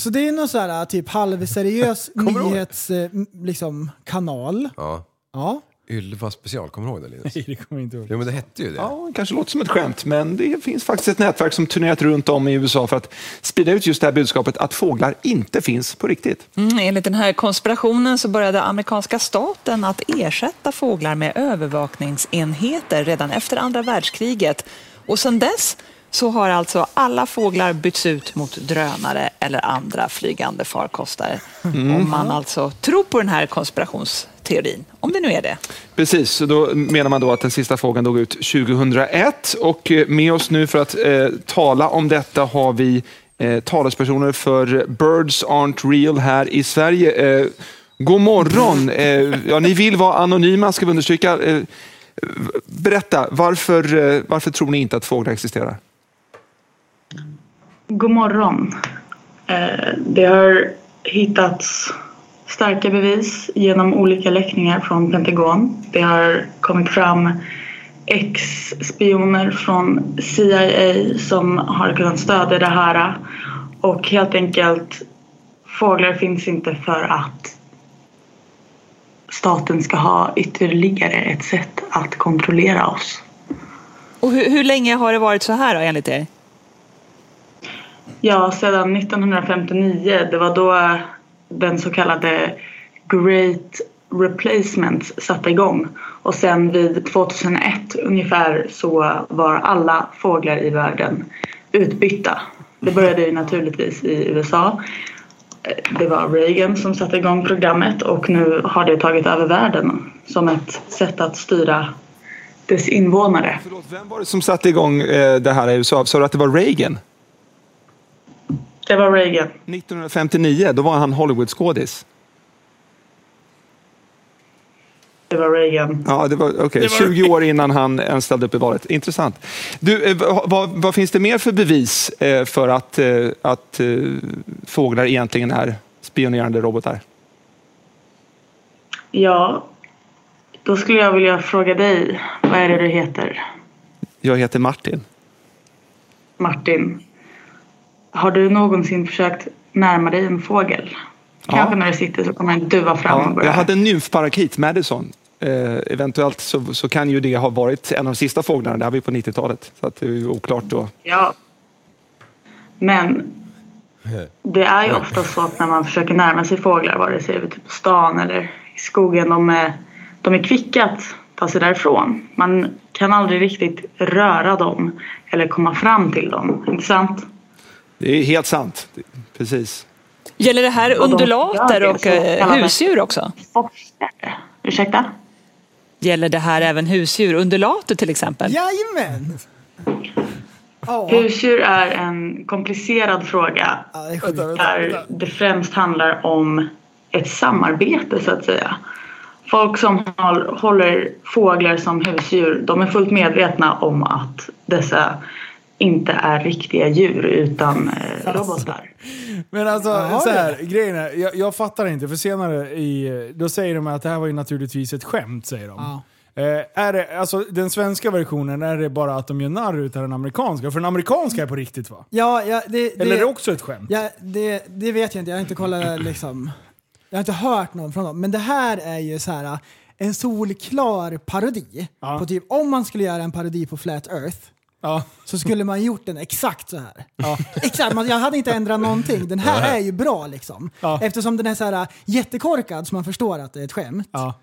S5: Så det är någon så här typ halvseriös
S6: Kommer du ihåg det?
S5: nyhetskanal. Liksom, kanal.
S6: Ja.
S5: ja.
S6: Ylva special, kommer du ihåg det Linus?
S4: Nej, det kommer jag inte ihåg.
S6: Jo men det hette ju det.
S7: Ja, det kanske låter som ett skämt, men det finns faktiskt ett nätverk som turnerat runt om i USA för att sprida ut just det här budskapet att fåglar inte finns på riktigt.
S8: Mm, enligt den här konspirationen så började amerikanska staten att ersätta fåglar med övervakningsenheter redan efter andra världskriget. Och sedan dess så har alltså alla fåglar bytts ut mot drönare eller andra flygande farkoster. Om man alltså tror på den här konspirationsteorin, om det nu är det.
S7: Precis, så då menar man då att den sista fågeln dog ut 2001 och eh, med oss nu för att eh, tala om detta har vi eh, talespersoner för Birds Aren't Real här i Sverige. Eh, god morgon! Eh, ja, ni vill vara anonyma ska vi understryka. Eh, v- berätta, varför, eh, varför tror ni inte att fåglar existerar?
S9: God morgon. Eh, Det har hittats starka bevis genom olika läckningar från Pentagon. Det har kommit fram ex-spioner från CIA som har kunnat stödja det här. Och helt enkelt, fåglar finns inte för att staten ska ha ytterligare ett sätt att kontrollera oss.
S8: Och hur, hur länge har det varit så här då, enligt er?
S9: Ja, sedan 1959. Det var då den så kallade Great Replacements satte igång. Och sen vid 2001 ungefär så var alla fåglar i världen utbytta. Det började ju naturligtvis i USA. Eh, Det var Reagan som satte igång programmet och nu har det tagit över världen som ett sätt att styra dess invånare.
S7: Förlåt, vem var det som satte igång eh, det här i USA? Sa du att det var Reagan?
S9: Det var Reagan.
S7: 1959, då var han Hollywoodskådis.
S9: Det var Reagan.
S7: Ja, det var, okay. 20 år innan han ens ställde upp i valet. Intressant. Du, eh, vad, vad, vad finns det mer för bevis eh, för att, eh, att eh, fåglar egentligen är spionerande robotar?
S9: Ja, då skulle jag vilja fråga dig. Vad är det du heter?
S7: Jag heter Martin.
S9: Martin. Har du någonsin försökt närma dig en fågel?
S7: Ja.
S9: Kanske när du sitter så kommer en duva fram och
S7: Ja,
S9: börjar.
S7: jag hade en nymfparakit, Madison. Eh, eventuellt så, så kan ju det ha varit en av de sista fåglarna. Det här var ju på 90-talet. Så att det är ju oklart då.
S9: Ja. Men det är ju ofta så att när man försöker närma sig fåglar, vare sig det är typ på stan eller i skogen, de är, de är kvicka att ta sig därifrån. Man kan aldrig riktigt röra dem eller komma fram till dem, inte sant?
S7: Det är helt sant. Precis.
S8: Gäller det här
S9: de
S8: undulater
S9: gör det,
S8: och
S9: så
S8: eh,
S9: kallade-
S8: husdjur också?
S9: Forskare. Ursäkta?
S8: Gäller det här även husdjur? Undulater till exempel?
S5: Jajamän! Ja,
S9: Husdjur är en komplicerad fråga
S5: ja, det är sjukt.
S9: där det främst handlar om ett samarbete så att säga. Folk som håll- håller fåglar som husdjur, de är fullt medvetna om att dessa inte är riktiga djur utan eh, robotar.
S4: Men alltså,
S5: Jaha,
S4: så här, grejen är, jag, jag fattar inte, för senare i, då säger de att det här var ju naturligtvis ett skämt, säger de.
S5: Ja.
S4: Eh, är det, alltså, den svenska versionen, är det bara att de gör narr utav den amerikanska? För den amerikanska är på riktigt va?
S5: Ja, ja, det, det,
S4: Eller är det också ett skämt?
S5: ja, det, det vet jag inte. Jag har inte kollat liksom. Jag har inte hört någon från dem. Men det här är ju så här eh, en solklar parodi.
S4: Ja.
S5: På typ, om man skulle göra en parodi på Flat Earth
S4: Ja.
S5: så skulle man gjort den exakt så här. Exakt, man, jag hade inte ändrat någonting. Den här är ju bra liksom.
S4: Ja.
S5: Eftersom den är så här äh, jättekorkad så man förstår att det är ett skämt.
S4: Ja.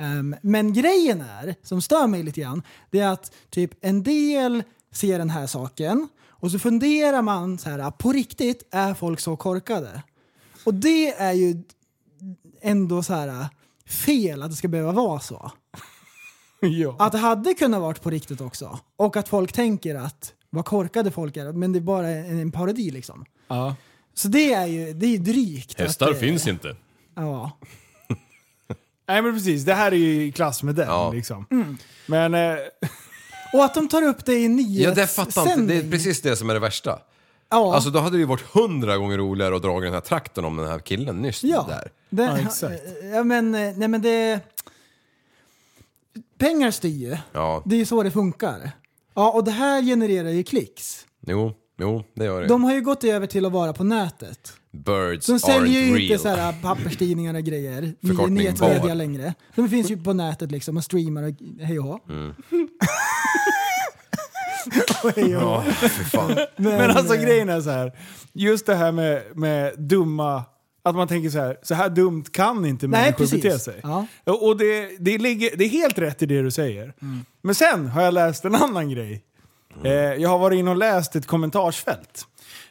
S5: Ehm, men grejen är, som stör mig lite grann, det är att typ en del ser den här saken och så funderar man så här, äh, på riktigt, är folk så korkade? Och det är ju ändå så här äh, fel att det ska behöva vara så.
S4: ja.
S5: Att det hade kunnat varit på riktigt också. Och att folk tänker att vad korkade folk är, men det är bara en, en parodi liksom.
S4: ja.
S5: Så det är ju det är ju drygt.
S10: Hästar
S5: att det,
S10: finns inte.
S5: Ja.
S4: Nej men precis, det här är ju i klass med den
S6: Ja.
S4: liksom. Men, eh,
S5: Och att de tar upp det i
S6: Ja,
S5: nyhetssändning.
S6: det fattar jag inte. Det är precis det som är det värsta.
S5: Ja.
S6: Alltså då hade det ju varit hundra gånger roligare att dra den här trakten om den här killen nyss där.
S5: Det,
S4: Ja, exakt.
S5: Ja, men, eh, nej, men det... Pengar styr ju.
S6: Ja,
S5: Det är ju så det funkar. Ja, och det här genererar ju klicks.
S6: jo, jo, det gör det.
S5: De har ju gått över till att vara på nätet.
S6: Birds
S5: De säljer
S6: aren't
S5: ju
S6: real.
S5: inte så här äh, papperstidningar och grejer, ny-
S6: Förkortning
S5: nyhetsmedia
S6: VAR.
S5: längre. De finns ju på nätet liksom och streamar och hej och hå.
S6: Mm.
S5: Och hej och hå.
S6: Ja, fy fan.
S5: eh,
S4: men alltså grejen är så här. just det här med, med dumma, att man tänker så här, så här dumt kan inte
S5: Nej,
S4: människor
S5: precis.
S4: bete sig.
S5: Ja.
S4: Och det, det, ligger, det är helt rätt i det du säger.
S5: Mm.
S4: Men sen har jag läst en annan grej. Eh, jag har varit inne och läst ett kommentarsfält.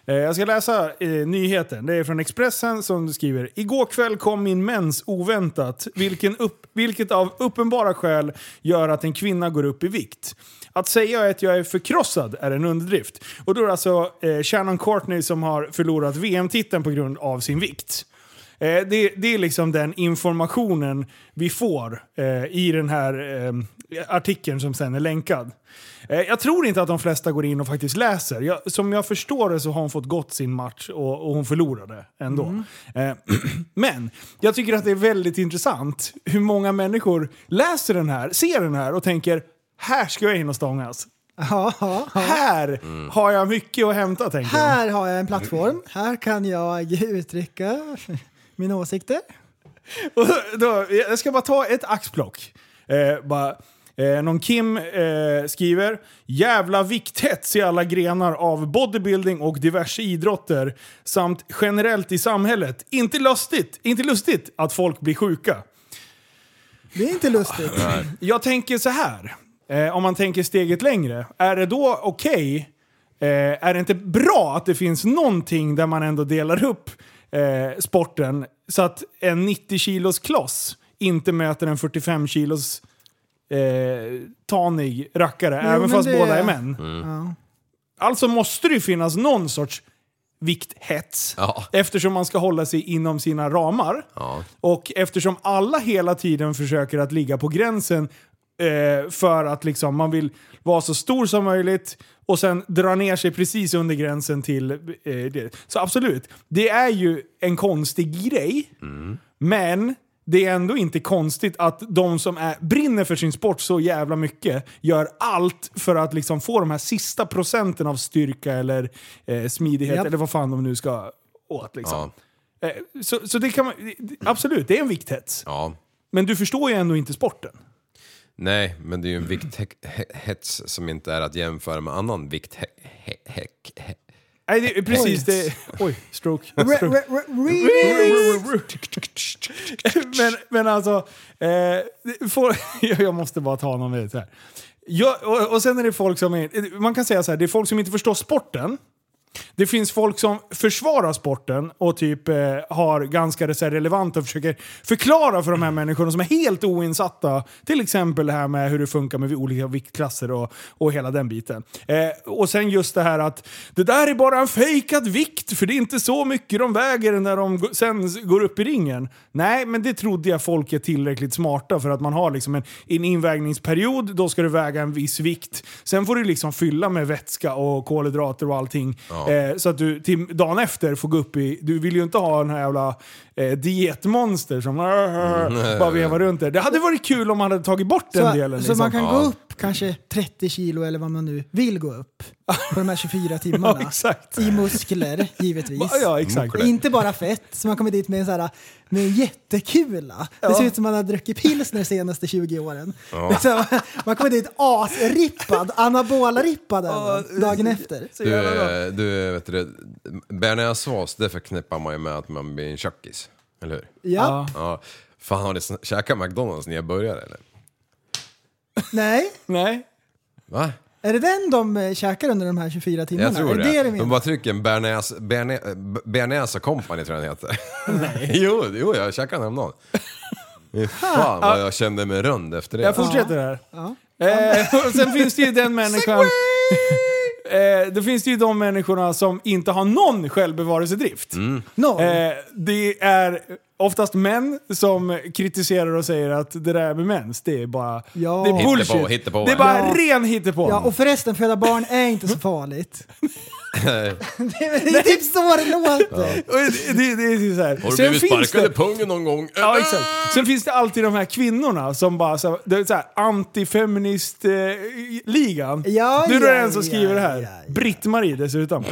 S4: Eh, jag ska läsa eh, nyheten. Det är från Expressen som skriver “Igår kväll kom min mens oväntat, vilken upp, vilket av uppenbara skäl gör att en kvinna går upp i vikt. Att säga att jag är förkrossad är en underdrift. Och då är det alltså eh, Shannon Courtney som har förlorat VM-titeln på grund av sin vikt. Eh, det, det är liksom den informationen vi får eh, i den här eh, artikeln som sen är länkad. Eh, jag tror inte att de flesta går in och faktiskt läser. Jag, som jag förstår det så har hon fått gått sin match och, och hon förlorade ändå. Eh, men jag tycker att det är väldigt intressant hur många människor läser den här, ser den här och tänker här ska jag in och stångas.
S5: Ja, ja, ja.
S4: Här har jag mycket att hämta tänker de.
S5: Här har jag en plattform. Här kan jag uttrycka mina åsikter.
S4: Och då, jag ska bara ta ett axplock. Eh, bara, eh, någon Kim eh, skriver “Jävla vikthets i alla grenar av bodybuilding och diverse idrotter samt generellt i samhället. Inte lustigt, inte lustigt att folk blir sjuka.”
S5: Det är inte lustigt.
S4: Jag tänker så här. Eh, om man tänker steget längre. Är det då okej Eh, är det inte bra att det finns någonting där man ändå delar upp eh, sporten så att en 90 kilos kloss inte möter en 45 kilos eh, tanig rackare,
S5: Jo,
S4: även
S5: men
S4: fast
S5: det- Mm.
S4: båda är män?
S5: Ja.
S4: Alltså måste det ju finnas någon sorts vikthets.
S6: Ja.
S4: Eftersom man ska hålla sig inom sina ramar.
S6: Ja.
S4: Och eftersom alla hela tiden försöker att ligga på gränsen eh, för att liksom, man vill vara så stor som möjligt och sen dra ner sig precis under gränsen till eh, det. Så absolut, det är ju en konstig grej. Men det är ändå inte konstigt att de som är, brinner för sin sport så jävla mycket gör allt för att liksom få de här sista procenten av styrka eller eh, smidighet
S5: Japp.
S4: eller vad fan de nu ska åt. Liksom.
S6: Ja.
S4: Eh, så, så det kan man, absolut, det är en vikthets.
S6: ja.
S4: Men du förstår ju ändå inte sporten.
S6: Nej, men det är ju en vikthets som inte är att jämföra med annan vikt...
S4: Nej, det, är precis det... Oj, stroke.
S5: Re-
S4: stroke.
S5: re- re- re-
S4: men, men alltså, eh, det får, jag jag måste bara ta någon minut här. Jag, och, och sen är det folk som är, man kan säga så här, det är folk som inte förstår sporten. Det finns folk som försvarar sporten och typ eh, har ganska så här relevant och försöker förklara för de här människorna som är helt oinsatta. Till exempel det här med hur det funkar med olika viktklasser och, och hela den biten. Eh, och sen just det här att det där är bara en fejkad vikt för det är inte så mycket de väger när de g- sen s- går upp i ringen. Nej, men det trodde jag folk är tillräckligt smarta för att man har liksom en, en invägningsperiod, då ska du väga en viss vikt. Sen får du liksom fylla med vätska och kolhydrater och allting. Eh, så att du till dagen efter får gå upp i... Du vill ju inte ha den här jävla eh, dietmonster som bara vevar runt där. Det hade varit kul om man hade tagit bort den delen.
S5: Så, så
S4: liksom.
S5: man kan
S6: Ja.
S5: gå upp kanske 30 kilo eller vad man nu vill gå upp på de här 24
S4: ja,
S5: timmarna.
S4: exakt.
S5: I muskler, givetvis.
S4: Ja, exakt.
S5: Och inte bara fett, så man kommer dit med en, så här, med en jättekula. Det ser ut som man har druckit pilsner de senaste 20 åren. Så man kommer dit asrippad, anabola-rippad även, dagen efter.
S6: Du, eh, du, vet du, bearnaisesås, det förknippar man ju med att man blir en tjockis. Eller hur?
S5: Ja,
S6: Ja. Fan, har ni sn- käkat McDonalds när jag började eller?
S5: nej.
S4: Nej.
S6: Va?
S5: Är det den de eh, käkar under de här 24 timmarna?
S6: Jag tror
S5: är
S6: det.
S5: det.
S6: De
S5: menar?
S6: bara trycker en bearnaise, bearnaise, bearnaise company tror jag den heter. Nej. jo, jo, jag käkade den häromdagen. Fy Fan vad jag kände mig rund efter det.
S4: Jag fortsätter här. Eh, och sen finns det ju den människan... eh, det finns det ju de människorna som inte har någon självbevarelsedrift.
S5: Noll.
S4: Eh, det är oftast män som kritiserar och säger att det där med mens, det är bara
S5: Ja.
S4: det är
S5: Hittepå,
S4: bullshit.
S6: hittepå.
S4: det är bara
S5: Ja.
S4: ren hittepå.
S5: Ja, och förresten, föda barn är inte så farligt. det är det är typ så det låter.
S4: Och det, det, det är så här.
S6: Har du
S4: Sen
S6: blivit
S4: finns
S6: sparkad i
S4: det-
S6: pungen någon gång?
S5: Ah.
S4: Ja, exakt. Sen finns det alltid de här kvinnorna som bara, så, det är så här antifeminist-ligan.
S5: Ja,
S4: du är
S5: ja,
S4: den som
S5: ja,
S4: skriver det här.
S5: ja, ja.
S4: Britt-Marie dessutom.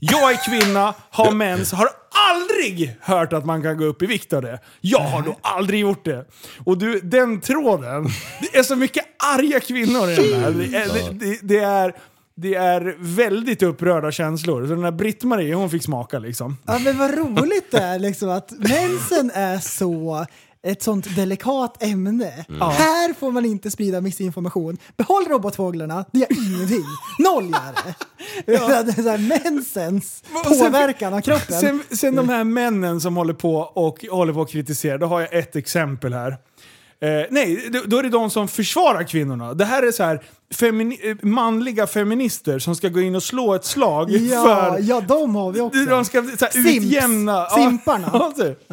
S4: Jag är kvinna, har mens, har aldrig hört att man kan gå upp i vikt av det. Jag har då aldrig gjort det. Och du, den tråden. Det är så mycket arga kvinnor i den här. Det är, det, det, det är, det är väldigt upprörda känslor. Så den här Britt-Marie, hon fick smaka liksom.
S5: Ja, men vad roligt det är liksom att mensen är så ett sånt delikat ämne.
S4: Mm.
S5: Här får man inte sprida missinformation. Behåll robotfåglarna, det gör ingenting. Noll gör det. Det är så här, mensens
S4: Och sen-
S5: påverkan av kroppen.
S4: Sen, sen
S5: Mm.
S4: de här männen som håller på och håller på och kritiserar, då har jag ett exempel här. Eh, nej, då- då är det de som försvarar kvinnorna. Det här är så här femini- eh, manliga feminister som ska gå in och slå ett slag
S5: ja,
S4: för...
S5: ja, de har vi också.
S4: De ska så här,
S5: Simps.
S4: utjämna...
S5: Simparna.
S4: Ja, typ.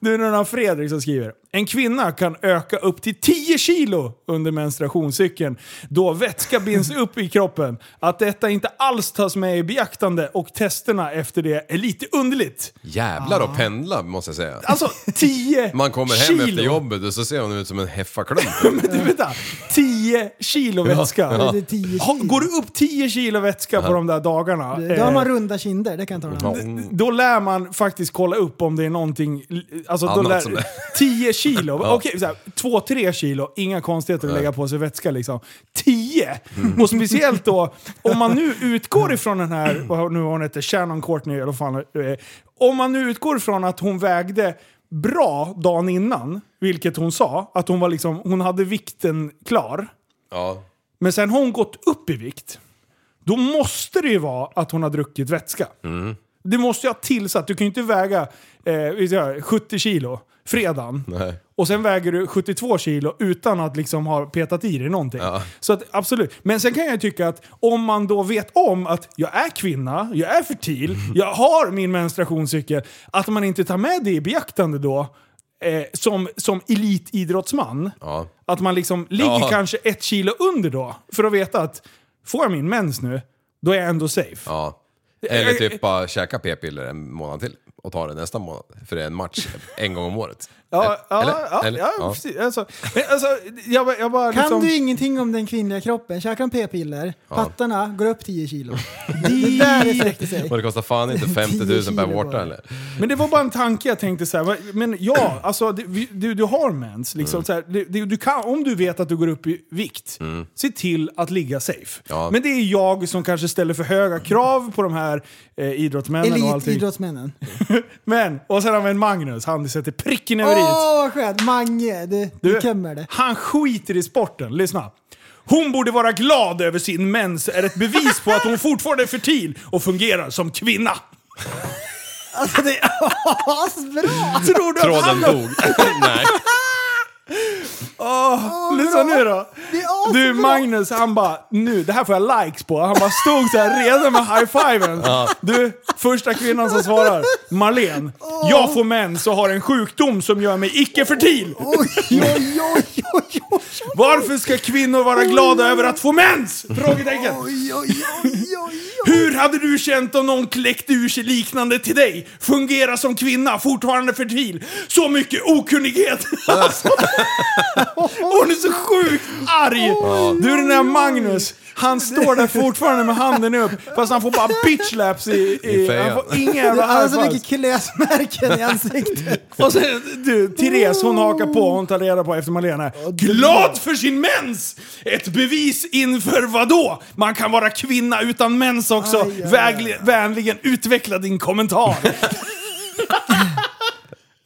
S4: Det är någon av Fredrik som skriver. En kvinna kan öka upp till 10 kilo under menstruationscykeln då vätska binds upp i kroppen. Att detta inte alls tas med i beaktande och testerna efter det är lite underligt.
S6: Jävlar och pendla måste jag säga.
S4: Alltså 10
S6: Man kommer hem
S4: kilo.
S6: efter jobbet och så ser hon ut som en heffaklump.
S4: Men du, vänta, 10 kilo vätska.
S5: Det är 10 kilo.
S4: Ha- Går du upp 10 kilo vätska på de där dagarna,
S5: Då har
S4: eh,
S5: man runda kinder, det kan jag ta
S6: Ja. mm,
S5: med.
S4: Mm. då lär man faktiskt kolla upp om det är någonting... Alltså, då
S6: Annat
S4: lär,
S6: som är-
S4: 10 kilo. Okej, så här, 2-3 kilo, inga konstigheter att lägga på sig vätska liksom. 10! Och speciellt då, om man nu utgår ifrån den här, vad nu hon heter, Shannon Courtney eller vad fan, eh, Om man nu utgår ifrån att hon vägde bra dagen innan, vilket hon sa, att hon var liksom, hon hade vikten klar.
S6: Ja.
S4: Men sen har hon gått upp i vikt. Då måste det ju vara att hon har druckit vätska. Det måste jag ha tillsatt. Du kan ju inte väga eh, vi säger 70 kilo fredagen.
S6: Nej.
S4: Och sen väger du 72 kilo utan att liksom ha petat i dig någonting. Så att, absolut. Men sen kan jag ju tycka att om man då vet om att jag är kvinna, jag är fertil, jag har min menstruationscykel. Att man inte tar med det i beaktande då eh, som, som elitidrottsman.
S6: Ja.
S4: Att man liksom ligger
S6: Ja.
S4: kanske ett kilo under då. För att veta att får jag min mens nu, då är jag ändå safe.
S6: Ja. Eller typ bara käka p-piller en månad till och ta det nästa månad. För det är en match en gång om året.
S4: Ja, ja,
S6: Eller?
S4: ja,
S6: Eller?
S4: ja,
S6: Ja.
S4: precis. Alltså, men alltså, jag, bara- jag bara
S5: Kan
S4: liksom...
S5: du ingenting om den kvinnliga kroppen, käkar de p-piller, pattarna går upp 10 kilo. det där det sträckte sig.
S6: Och det kostar fan inte 50 000 per
S5: kilo
S6: vårta
S5: bara.
S6: eller?
S4: Men det var bara en tanke jag tänkte så här. va- Men ja, alltså, det- vi- du, du har mens. Liksom,
S6: Mm.
S4: så här, det- det- du kan, om du vet att du går upp i vikt, se till att ligga safe.
S6: Mm. Ja.
S4: Men det är jag som kanske ställer för höga krav på de här eh, idrottsmännen och allting.
S5: Elitidrottsmännen.
S4: Men, och sen har vi en Magnus, han sätter pricken över
S5: Åh,
S4: i.
S5: vad skönt! Mange, du, du kommer det.
S4: Han skiter i sporten, lyssna. Hon borde vara glad över sin mens är ett bevis på att hon fortfarande är fertil och fungerar som kvinna.
S5: Alltså det är asbra!
S4: Tror du att
S6: Tråden
S4: han...
S6: dog. Nej.
S4: Lyssna nu då.
S5: Det är
S4: Du
S5: asbra.
S4: Magnus, han bara nu, det här får jag likes på. Han bara stod så här redan med high-fiven. Du, första kvinnan som svarar, Marlene. Jag får mens och har en sjukdom som gör mig icke-fertil.
S5: Oj, oj, oj, oj, oj,
S4: Varför ska kvinnor vara glada över att få mens? Frågetecken.
S5: oj, oj, oj, oj.
S4: Hur hade du känt om någon kläckte ur sig liknande till dig? Fungera som kvinna, fortfarande fertil. Så mycket okunnighet! Alltså. Hon är så sjukt arg! Du den där Magnus, han står där fortfarande med handen upp, fast han får bara bitchlaps i... i,
S6: I fejan.
S4: han får inga jävla
S5: Han har Alltså, så
S4: high-fives.
S5: mycket klösmärken i ansiktet.
S4: Och sen, du, Therese hon hakar på, hon tar reda på efter Malena. Glad för sin mens! Ett bevis inför vadå? Man kan vara kvinna utan mens också.
S5: Aj, aj, aj.
S4: Vägli- vänligen utveckla din kommentar.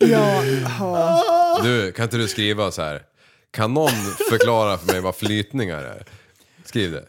S5: Ja, ja.
S6: Du, kan inte du skriva så här? Kan någon förklara för mig vad flytningar är? Skriv det.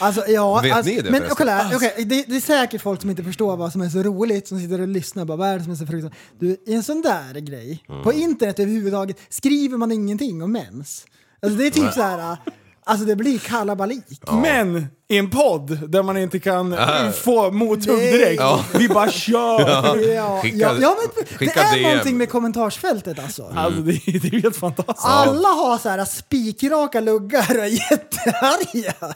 S5: Alltså, ja
S6: Vet
S5: alltså,
S6: ni det
S5: men,
S6: förresten?
S5: kolla, här, okej, det, det är säkert folk som inte förstår vad som är så roligt som sitter och lyssnar och bara vad är det som är så fruktansvärt? Du, i en sån där grej, på internet överhuvudtaget skriver man ingenting om mens. Alltså det är typ så här, alltså det blir kalabalik.
S4: Men i en podd där man inte kan få mothugg
S5: Äh. Nej.
S4: direkt. Vi bara kör!
S5: Ja,
S6: Skicka-
S5: ja, ja, men, det
S6: skicka
S5: är
S6: DM.
S5: någonting med kommentarsfältet alltså.
S4: Alltså det, är- det är helt fantastiskt.
S5: Alla har så här spikraka luggar och är jättearga.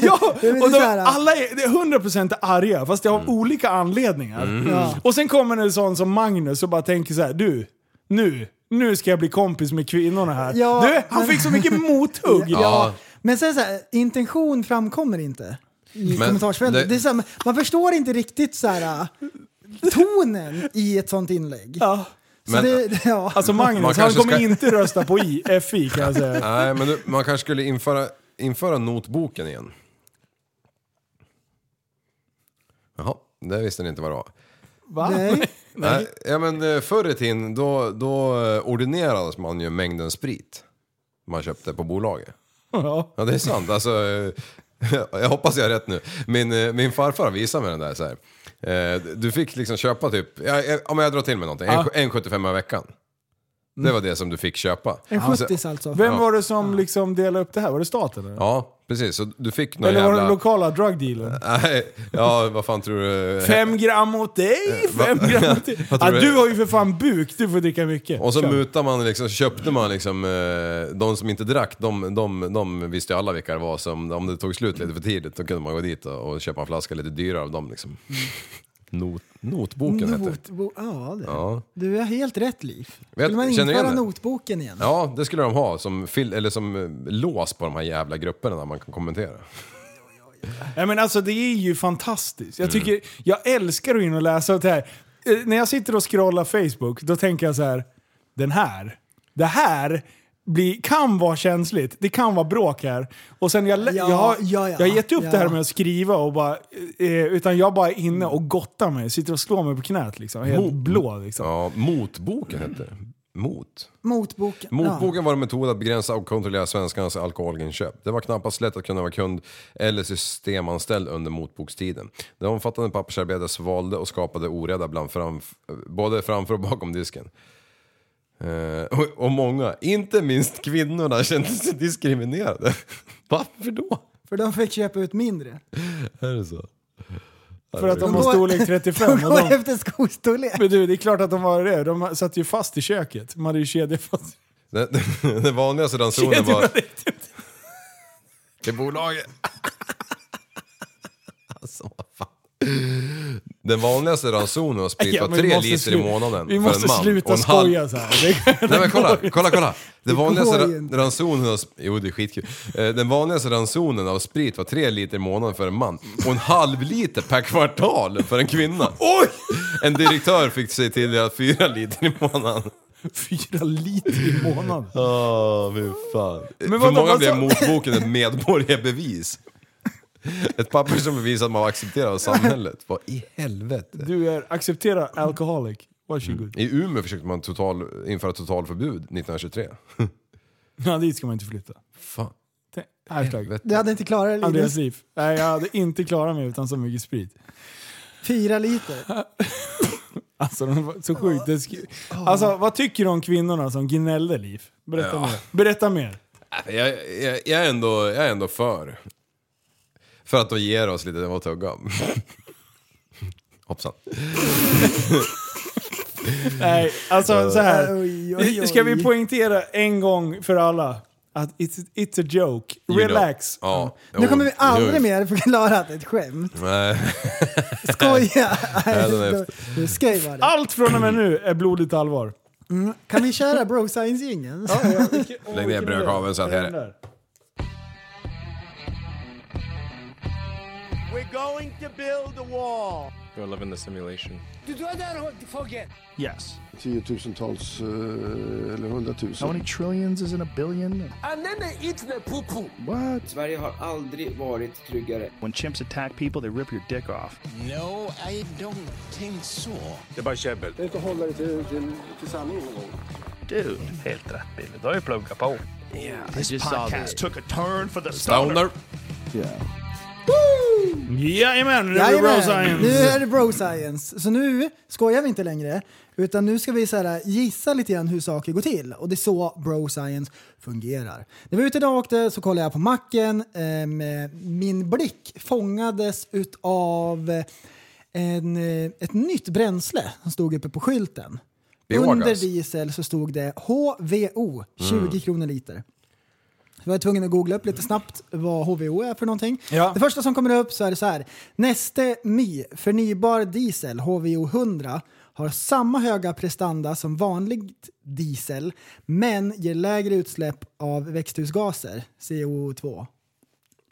S4: Ja,
S5: Det är lite
S4: och
S5: så
S4: de,
S5: här-
S4: alla är, det är 100% arga, fast det har
S6: Mm.
S4: olika anledningar. Och sen kommer en sån som Magnus och bara tänker så här: du, nu, nu ska jag bli kompis med kvinnorna här.
S5: Ja,
S4: du, han
S5: men-
S4: fick så mycket mothugg!
S5: Ja. Men sen så här, intention framkommer inte i
S6: Men
S5: kommentarsfältet.
S6: det-
S5: Det är så här, man förstår inte riktigt så här, tonen i ett sånt inlägg.
S4: Ja.
S5: Så
S6: Men-
S5: det, ja.
S4: Alltså
S6: Man
S4: Magnus, han
S6: kanske
S4: kommer
S6: ska-
S4: inte rösta på I, FI kan jag säga.
S6: Nej, men du, man kanske skulle införa, införa notboken igen. Jaha, det visste ni inte vad det var.
S4: Va?
S5: Nej.
S6: Nej. Ja, men eh, förr i tiden då, då eh, ordinerades man ju mängden sprit man köpte på bolaget.
S4: Ja.
S6: Ja, det är sant. Alltså, eh, jag hoppas jag har rätt nu. Min, eh, min farfar visade mig den där så här. Eh, Du fick liksom köpa typ, ja, eh, om jag drar till med någonting, en, en 75 i veckan. Det var det som du fick köpa.
S5: En
S6: Alltså,
S5: 70 alltså.
S4: Vem var det som liksom delade upp det här? Var det staten? Eller,
S6: Ja, precis. Så du fick någon
S4: eller var det den
S6: jävla...
S4: lokala drugdealern?
S6: Nej, ja vad fan tror du?
S4: Fem gram åt dig, fem gram åt dig.
S6: Eh, Vad
S4: Ja,
S6: tror du?
S4: du har ju för fan buk, du får dricka mycket.
S6: Och så
S4: Kör.
S6: mutar man liksom, köpte man liksom, eh, de som inte drack, de, de, de visste ju alla vilka det var som, om det tog slut lite för tidigt, då kunde man gå dit och, och köpa en flaska lite dyrare av dem liksom. Not, notboken heter det.
S5: Notbo- ja, det.
S6: Ja.
S5: Du har helt rätt liv. Skulle man
S6: känner igen
S5: införa
S6: det?
S5: notboken igen?
S6: ja, det skulle de ha som, fil, eller som eh, lås på de här jävla grupperna där man kan kommentera.
S4: Ja, men alltså, det är ju fantastiskt. Jag, tycker, jag älskar att gå in och läsa det här. Eh, när jag sitter och scrollar Facebook, då tänker jag så här. Den här. Det här blir, kan vara känsligt. Det kan vara bråk här. Och sen jag, lä-
S5: Ja,
S4: jag, har-
S5: ja, ja.
S4: jag har gett upp
S5: Ja.
S4: det här med att skriva och bara... Eh, utan jag bara är inne och gottar mig. Sitter och slår mig på knät liksom. Helt blå liksom.
S6: Ja, motboken heter det. Mot?
S5: Motboken.
S6: Motboken var en metod att begränsa och kontrollera svenskarnas alkoholinköp. Det var knappast lätt att kunna vara kund eller systemanställd under motbokstiden. Det omfattande pappersarbetet svalde och skapade oreda bland framf- både framför och bakom disken. Eh, och, och många, inte minst kvinnorna, kände sig diskriminerade. Varför då?
S5: Ja, för de fick köpa ut mindre.
S6: Är det så?
S4: För att
S5: De
S4: de var
S5: går-
S4: storlek 35.
S5: De
S4: Och
S5: går
S4: de,
S5: efter skostorlek.
S4: men du, det är klart att de var det. De satt ju fast i köket. De hade ju kedja fast.
S6: Den, den vanligaste ransonen var... Till bolaget. Alltså, vad fan. Den vanligaste ransonen av sprit
S4: Ja,
S6: var
S4: men vi
S6: tre
S4: måste
S6: liter i
S4: slu-
S6: månaden
S4: Vi
S6: för
S4: måste
S6: en man.
S4: sluta
S6: och en halv-
S4: skoja så här. Det-
S6: Nej men kolla, kolla, kolla. Den vanligaste
S5: går
S6: ra-
S5: inte.
S6: ransonen av... sp- Jo, det är skitkul. Eh, Den vanligaste ransonen av sprit var tre liter i månaden för en man och en halv liter per kvartal för en kvinna. Oj! En direktör fick sig till fyra liter i månaden.
S4: Fyra liter i månaden.
S6: Åh, fy fan.
S4: Men
S6: För
S4: vadå,
S6: många
S4: vad
S6: blev
S4: sa-
S6: motboken ett medborgarbevis. Ett papper som bevisar att man var accepterad av samhället. Vad i helvete? Mm.
S4: Du är acceptera alcoholic. Varsågod.
S6: I Umeå försökte man total, införa totalförbud 1923.
S4: Ja, dit ska man inte flytta.
S6: Fan.
S4: Tänk- Hashtag.
S5: Du hade inte klarat det Linus.
S4: Andreas liv. Nej, jag hade inte klarat mig utan så mycket sprit.
S5: Fyra liter.
S4: Alltså, de var så sjukt. Det sk-
S6: Ah.
S4: Alltså, vad tycker du om kvinnorna som gnällde, Liv? Berätta mer. Berätta mer.
S6: Äh, Jag, jag, jag, är ändå, jag är ändå för. För att de ger oss lite att tugga. Hoppsan.
S4: Nej, alltså så här.
S5: Oj, oj, oj.
S4: Ska vi poängtera en gång för alla att it's, it's a joke.
S6: You know.
S4: Relax.
S6: Ja.
S5: Nu kommer
S6: Jo,
S5: vi aldrig
S6: jo.
S5: mer förklara att det är ett skämt.
S6: Nej.
S5: Skoja!
S6: Nej,
S5: Nej,
S6: den är
S5: då- då ska ju vara det.
S4: Allt från och med nu är blodigt allvar.
S5: Kan vi köra bro science-jingeln?
S6: Lägg ner brödkaveln så att här är.
S10: tiotusentals eh, eller hundratusen. How many trillions is in a billion? And then they eat the poo-poo. What? Sverige har aldrig varit tryggare. When chimps attack people they rip your dick off. No, I don't think so. Det är bara käbbel. Du får hålla dig till, till, till sanningen Dude, helt rätt Billy. Du har ju pluggat på. Yeah, this podcast took a turn for the
S6: Downer.
S4: Jajamän, nu är det bra
S5: Jajamän, nu
S4: science.
S5: är det bro science. Så nu skojar vi inte längre, utan nu ska vi så här, äh, gissa lite grann hur saker går till. Och det är så bro science fungerar. När vi var ute idag och åkte så kollade jag på macken. Ehm, min blick fångades utav eh, en, eh, ett nytt bränsle som stod uppe på skylten.
S6: Biogas.
S5: Under diesel så stod det HVO, 20 kronor liter. Så var jag tvungen att googla upp lite snabbt vad HVO är för någonting.
S4: Ja.
S5: Det första som kommer upp så är det så här. Neste Mi förnybar diesel HVO 100 har samma höga prestanda som vanlig diesel men ger lägre utsläpp av växthusgaser, CO2.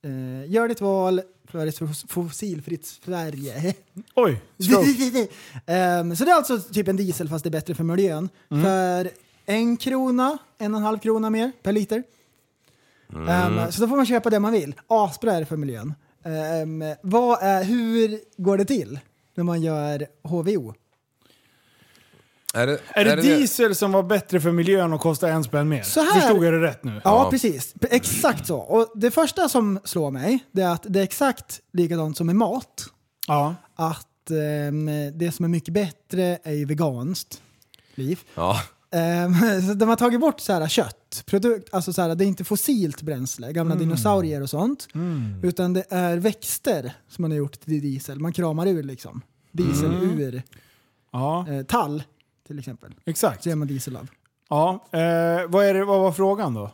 S5: Eh, gör ditt val för ett fos- fossilfritt Sverige.
S4: Oj, stroke.
S5: Ehm, så det är alltså typ en diesel fast det är bättre för miljön. För en krona, en och en halv krona mer per liter. Ehm, så då får man köpa det man vill. Asbra är det för miljön. Ehm, vad är, hur går det till när man gör HVO?
S6: Är det,
S4: Är det diesel som var bättre för miljön och kostade en spänn mer?
S5: Så här-
S4: Förstod jag det rätt nu?
S5: Ja, precis. P- Exakt så. Och det första som slår mig det är att det är exakt likadant som med mat.
S4: Ja.
S5: Att ehm, det som är mycket bättre är ju veganskt. Liv.
S6: Ja.
S5: Ehm, så de har tagit bort så här, kött, produkt, alltså så här, det är inte fossilt bränsle, gamla
S4: Mm.
S5: dinosaurier och sånt. Utan det är växter som man har gjort till diesel. Man kramar ur liksom. Diesel ur
S4: Mm. ja,
S5: eh, tall till exempel.
S4: exakt.
S5: Så gör man diesel av.
S4: Ja. Eh, vad, är det, vad var frågan då?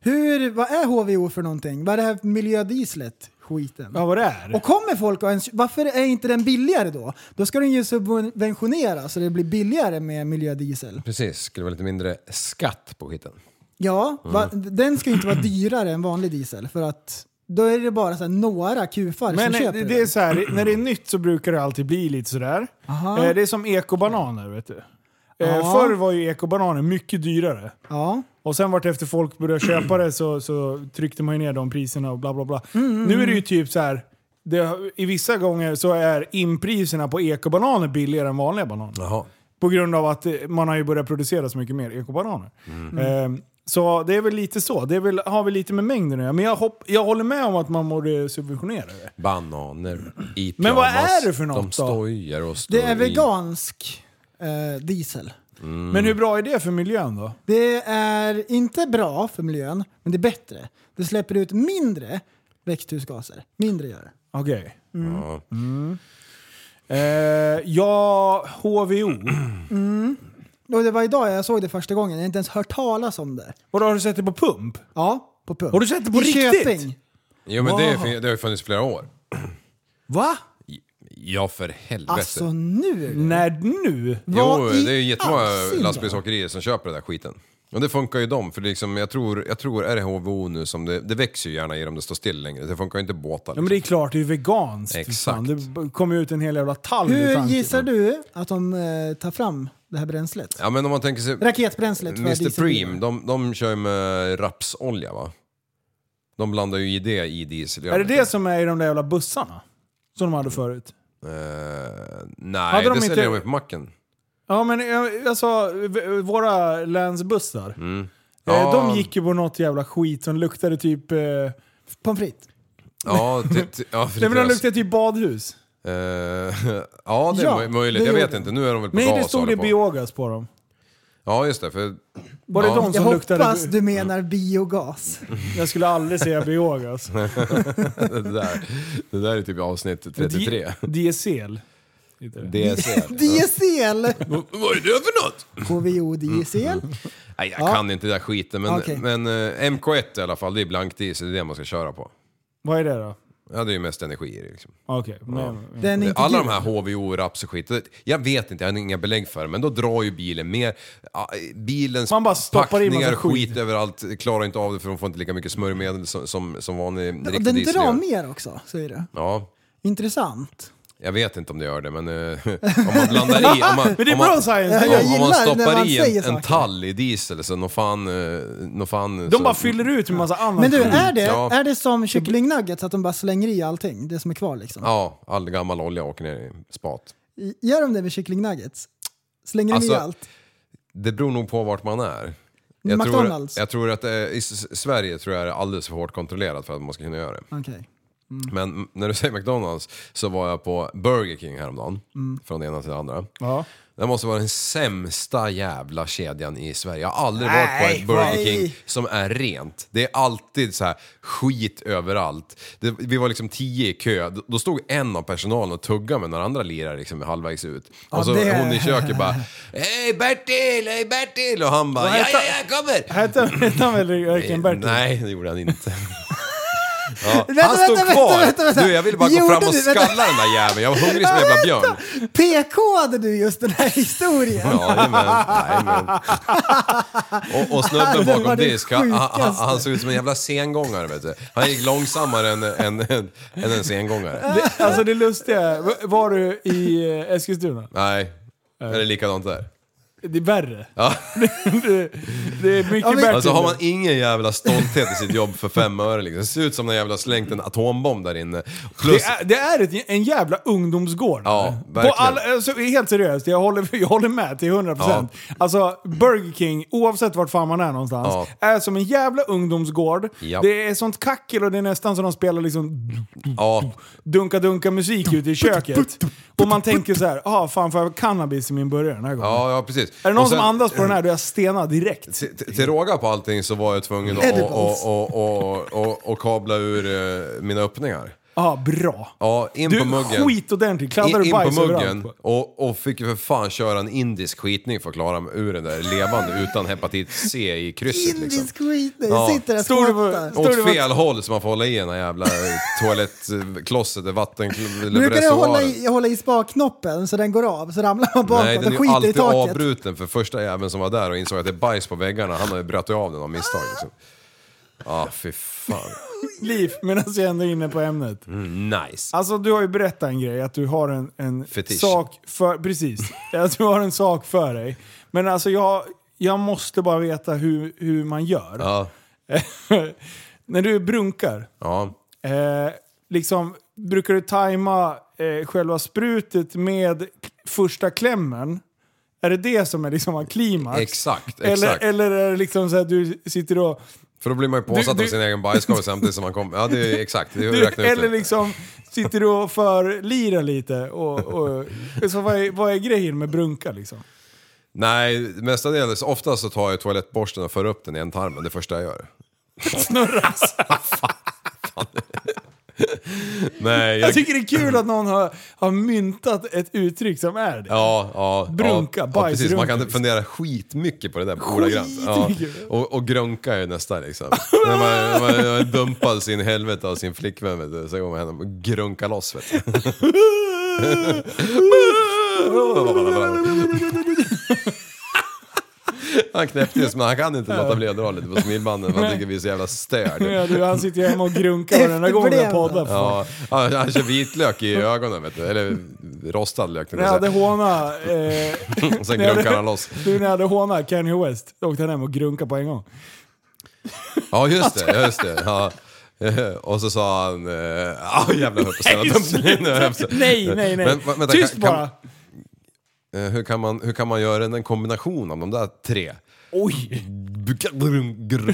S5: Hur, vad är HVO för någonting? Vad är det här miljödieslet? Skiten.
S4: Ja, vad det är?
S5: Och kommer folk och ens, varför är inte den billigare då? Då ska den ju subventionera så det blir billigare med miljödiesel.
S6: Precis, skulle vara lite mindre skatt på skiten.
S5: Ja, va, den ska ju inte vara dyrare än vanlig diesel för att då är det bara så här några kufar
S4: Men
S5: som
S4: eh,
S5: köper
S4: det, det är så här, när det är nytt så brukar det alltid bli lite sådär.
S5: Aha.
S4: Eh, det är som ekobananer, vet du.
S5: Ja.
S4: Eh, förr var ju ekobananer mycket dyrare.
S5: Ja,
S4: Och sen vart efter folk började köpa det så, så tryckte man ju ner de priserna och bla bla bla.
S5: Mm,
S4: Nu är det ju typ så här. Det, I vissa gånger så är inpriserna på ekobananer billigare än vanliga bananer.
S6: Jaha.
S4: På grund av att eh, man har ju börjat producera så mycket mer ekobananer.
S11: Mm.
S4: Eh, så det är väl lite så. Det är väl, har vi lite med mängden att göra. Men jag, hopp, jag håller med om att man borde subventionera det.
S6: Bananer i
S4: Men vad
S6: pyjamas,
S4: är det för något
S6: De
S4: då?
S6: stojar och står
S4: Det är
S6: i-
S5: Vegansk eh, diesel.
S6: Mm.
S4: Men hur bra är det för miljön då?
S5: Det är inte bra för miljön, men det är bättre. Det släpper ut mindre växthusgaser. Mindre gör det.
S4: Okej.
S5: Mm.
S6: Ja.
S4: Eh, ja, HVO.
S5: Mm. Och det var idag jag såg det första gången. Jag har inte ens hört talas om det.
S4: Och har du sett det på pump?
S5: Ja, på pump.
S4: Har du sett det på
S5: I
S4: riktigt?
S5: Köping.
S6: Jo men det, är,
S5: Wow.
S6: fin- det har ju funnits flera år.
S4: Va?
S6: Ja för helvete.
S5: Alltså nu?
S4: När nu?
S6: Jo, det är jättemånga
S4: allsida?
S6: lastbilsåkerier som köper den där skiten. Och det funkar ju dem, för liksom, jag, tror, jag tror är det HVO nu som det, det växer ju gärna i om det står still längre. Det funkar ju inte i båtar. liksom.
S4: Ja, men det är klart, det är ju veganskt. för
S6: Exakt.
S4: fan. Det b- kommer ju ut en hel jävla tall i
S5: Hur
S4: tanken.
S5: gissar du att de eh, tar fram det här bränslet?
S6: Ja men om man tänker sig...
S5: Raketbränslet för
S6: Mr
S5: dieselbilar.
S6: Preem, de, de kör ju med rapsolja va? De blandar ju i det i diesel. gör
S4: Är det
S6: de
S4: det som är i de där jävla bussarna? Som de hade förut?
S6: inte? Eh, nej,
S4: Hade de
S6: det
S4: inte-
S6: säljer de ju på macken.
S4: Ja men eh, alltså, v- våra länsbussar.
S6: Mm.
S4: Eh,
S6: Ja.
S4: de gick ju på något jävla skit som luktade typ... Eh,
S5: Pommes frites?
S6: Ja, det, det- ja,
S4: Nej men de
S6: fritös.
S4: luktade typ badhus.
S6: Eh, ja, det är
S4: Ja,
S6: möj- möjligt.
S4: det
S6: Jag vet
S4: gjorde
S6: inte, nu är de väl på
S4: Nej
S6: gas
S4: det
S6: och
S4: stod
S6: håller
S4: det
S6: på.
S4: biogas på dem.
S6: Ja, just det. För,
S4: Var det
S6: ja.
S4: de
S5: Jag
S4: som luktade...
S5: hoppas du menar biogas.
S4: Jag skulle aldrig säga biogas.
S6: det, där, det där är typ avsnitt 33.
S4: Diesel.
S6: DSL.
S5: Diesel!
S6: Vad är det för något?
S5: KVO diesel.
S4: Mm.
S6: Nej, jag
S5: Ja.
S6: kan inte den där skiten. Men,
S5: Okej.
S6: men eh, MK1 i alla fall, det är blankdiesel. Det är det man ska köra på.
S4: Vad är det då?
S6: Ja, det är ju mest energi i det, liksom.
S4: Okej. nej,
S6: Ja.
S4: men-
S5: Den är inte
S6: Alla de
S5: gul.
S6: här HVO, raps och skit. det- Jag vet inte, jag har inga belägg för det. Men då drar ju bilen mer. ja, Bilens
S4: Man bara stoppar in massa
S6: packningar,
S4: skit.
S6: skit överallt. Klarar inte av det för de får inte lika mycket smörjmedel som, som, som vanlig
S5: Och
S6: riktig
S5: den
S6: diesel
S5: drar
S6: gör.
S5: mer också, säger du.
S6: Ja.
S5: Intressant.
S6: Jag vet inte om det gör det, men eh, om man blandar i... Om man,
S4: Men det är
S6: om man,
S4: bra science.
S6: om-
S4: Ja, jag
S6: Om man
S4: gillar när
S6: stoppar
S4: man
S6: i
S4: säger
S6: en, en
S4: saker.
S6: tall i diesel så nå fan... eh, nå fan
S4: De bara fyller ut med massa annat
S5: Men du,
S4: skit.
S5: är det,
S6: Ja.
S5: är det som kycklingnuggets att de bara slänger i allting? Det som är kvar liksom?
S6: Ja, all gammal olja åker ner i spat.
S5: I- Gör de det med kycklingnuggets? Slänger de i
S6: Alltså,
S5: allt?
S6: Det beror nog på vart man är.
S5: McDonald's?
S6: Tror, jag tror att eh, i S- Sverige tror jag det är alldeles för hårt kontrollerat för att man ska kunna göra det.
S5: Okej.
S6: Men m- när du säger McDonalds så var jag på Burger King häromdagen.
S5: Mm.
S6: Från det ena till det andra.
S4: Ja.
S6: Det måste vara den sämsta jävla kedjan i Sverige. Jag har aldrig varit på
S4: Nej,
S6: ett Burger
S4: nej.
S6: King som är rent. Det är alltid så här skit överallt. Det, vi var liksom tio i kö. Då- Då stod en av personalen och tuggade med några andra lirare liksom halvvägs ut.
S11: Ja,
S6: och så
S11: det-
S6: hon i köket bara Hej Bertil, hej Bertil! Och han bara
S4: Vad
S6: Ja,
S4: heter-
S6: ja, jag kommer!
S4: Hette hette han väl Öken Bertil?
S6: Eh, Nej, det gjorde han inte. Ja,
S5: Vänta,
S6: han stod
S5: vänta,
S6: kvar!
S5: vänta, vänta, vänta.
S6: Du, jag ville bara gå
S5: Gjorde
S6: fram och
S5: du? Vänta.
S6: skalla den där jäveln. Jag var hungrig som en jävla björn.
S5: PK-ade du just den här historien?
S6: Ja, jajamän. Jajamän. Och, och snubben
S5: Det var
S6: bakom
S5: det
S6: disk, han, han, han,
S5: sjukaste.
S6: han såg ut som en jävla sengångare vet du. Han gick långsammare än, än, än, än en sengångare.
S4: Det, alltså det lustiga är, v- var du i eh, Eskilstuna?
S6: Nej, det är likadant där.
S4: Det är värre.
S6: Ja.
S4: Det, det är mycket värre.
S6: Alltså har man ingen jävla stolthet i sitt jobb för fem öre liksom. Det ser ut som när jävla slängt en atombomb där inne. Plus,
S4: det är, det är ett, en jävla ungdomsgård.
S6: ja
S4: På
S6: verkligen.
S4: alla, alltså, helt seriöst, jag håller, jag håller med till 100%. Alltså Burger King, oavsett vart fan man är någonstans, är som en jävla ungdomsgård.
S6: Ja.
S4: Det är sånt kackel och det är nästan som de spelar liksom
S6: Ja,
S4: dunka-dunka-musik ute i köket. Och man tänker så här, ah fan får jag cannabis i min burgare den här gången?
S6: ja, ja precis.
S4: Är det någon
S6: Och sen-
S4: som andas på den här, då är jag stenar direkt.
S6: Till- till- Till råga på allting så var jag tvungen att
S4: Edibles.
S6: och, och, och, och, och kabla ur eh, mina öppningar.
S4: Ja, ah, bra.
S6: Ja, in
S4: Du,
S6: på muggen.
S4: skit ordentligt. Kladdar
S6: In-
S4: du
S6: in på
S4: bajs
S6: muggen
S4: överallt på?
S6: och, och fick ju för fan köra en indisk skitning för att klara mig ur den där levande utan hepatit C i krysset liksom.
S5: Indisk skit,
S6: Ja.
S5: ja. sitter där och
S4: Stod du på-
S5: skrattar.
S6: Åt fel håll så man får hålla i den här jävla eh,
S5: Brukar
S6: toalettklosset,
S5: du hålla
S6: vattenreservoaren.
S5: i, hålla i spakknoppen så den går av, så ramlar man bakåt
S6: Nej, den är
S5: och skiter
S6: ju
S5: i
S6: alltid
S5: taket?
S6: avbruten för första jäveln som var där och insåg att det är bajs på väggarna. Han har ju bröt av den av misstag liksom. Ja, fy fan.
S4: Liv, medan jag ändå är inne på ämnet.
S6: Mm, nice.
S4: Alltså du har ju berättat en grej, att du har en, en
S6: Fetisch.
S4: sak för... Precis. Att du har en sak för dig. Men alltså jag, jag måste bara veta hur, hur man gör. Eh,
S6: Ja.
S4: När du brunkar,
S6: Ja.
S4: eh, liksom, brukar du tajma eh, själva sprutet med k- första klämmen Är det det som är liksom klimax?
S6: Exakt,
S4: Eller,
S6: exakt.
S4: eller är det liksom så att du sitter och...
S6: För då blir man ju påsatt av sin egen bajskorv samtidigt som man kommer... Ja, det är exakt. Det
S4: Du,
S6: räknar ut
S4: eller
S6: det.
S4: liksom sitter du och förlirar lite? Och, och, så vad, är, vad är grejen med brunka liksom?
S6: Nej, mestadels, ofta så tar jag toalettborsten och för upp den i en tarmen, det första jag gör.
S4: Snurras.
S6: Nej,
S4: Jag tycker det är kul att någon har, har myntat ett uttryck som är det.
S6: Ja, ja.
S4: Brunka,
S6: ja, ja,
S4: bajsrunka,
S6: precis. Man kan
S4: liksom.
S6: fundera skitmycket på det där ordagrant. Ja.
S4: Skitmycket.
S6: Och, och grönka är nästa liksom. När man, man, man dumpar sin helvete av sin flickvän vet du, så går man hem och grönkar loss vet du. Han knäppte just men han kan inte låta bli att dra lite på smilbanden för han tycker vi är så jävla störd.
S4: Ja, du, han sitter ju hemma och grunkar varenda gång jag poddar. för fan.
S6: Ja, han, han kör vitlök i ögonen vet du, eller rostad lök. tänkte
S4: När jag
S6: jag
S4: hade
S6: säga.
S4: håna... Eh,
S6: Och sen
S4: när jag
S6: grunkar
S4: hade-
S6: han loss.
S4: Du, när jag hade håna Kanye West, då åkte han hem och grunkade på en gång.
S6: Ja, just det. Just det. Ja. Eh, Och så sa han... eh, Ja, jävlar, jag höll på att ställa
S4: Nej,
S6: dumpen. Jag höll på att-
S4: Nej, nej, nej.
S6: Men, va- vänta,
S4: Tyst
S6: kan- kan-
S4: bara.
S6: eh, Hur kan, man, hur kan man göra en en kombination av de där tre?
S4: Oj! Gubbrunka.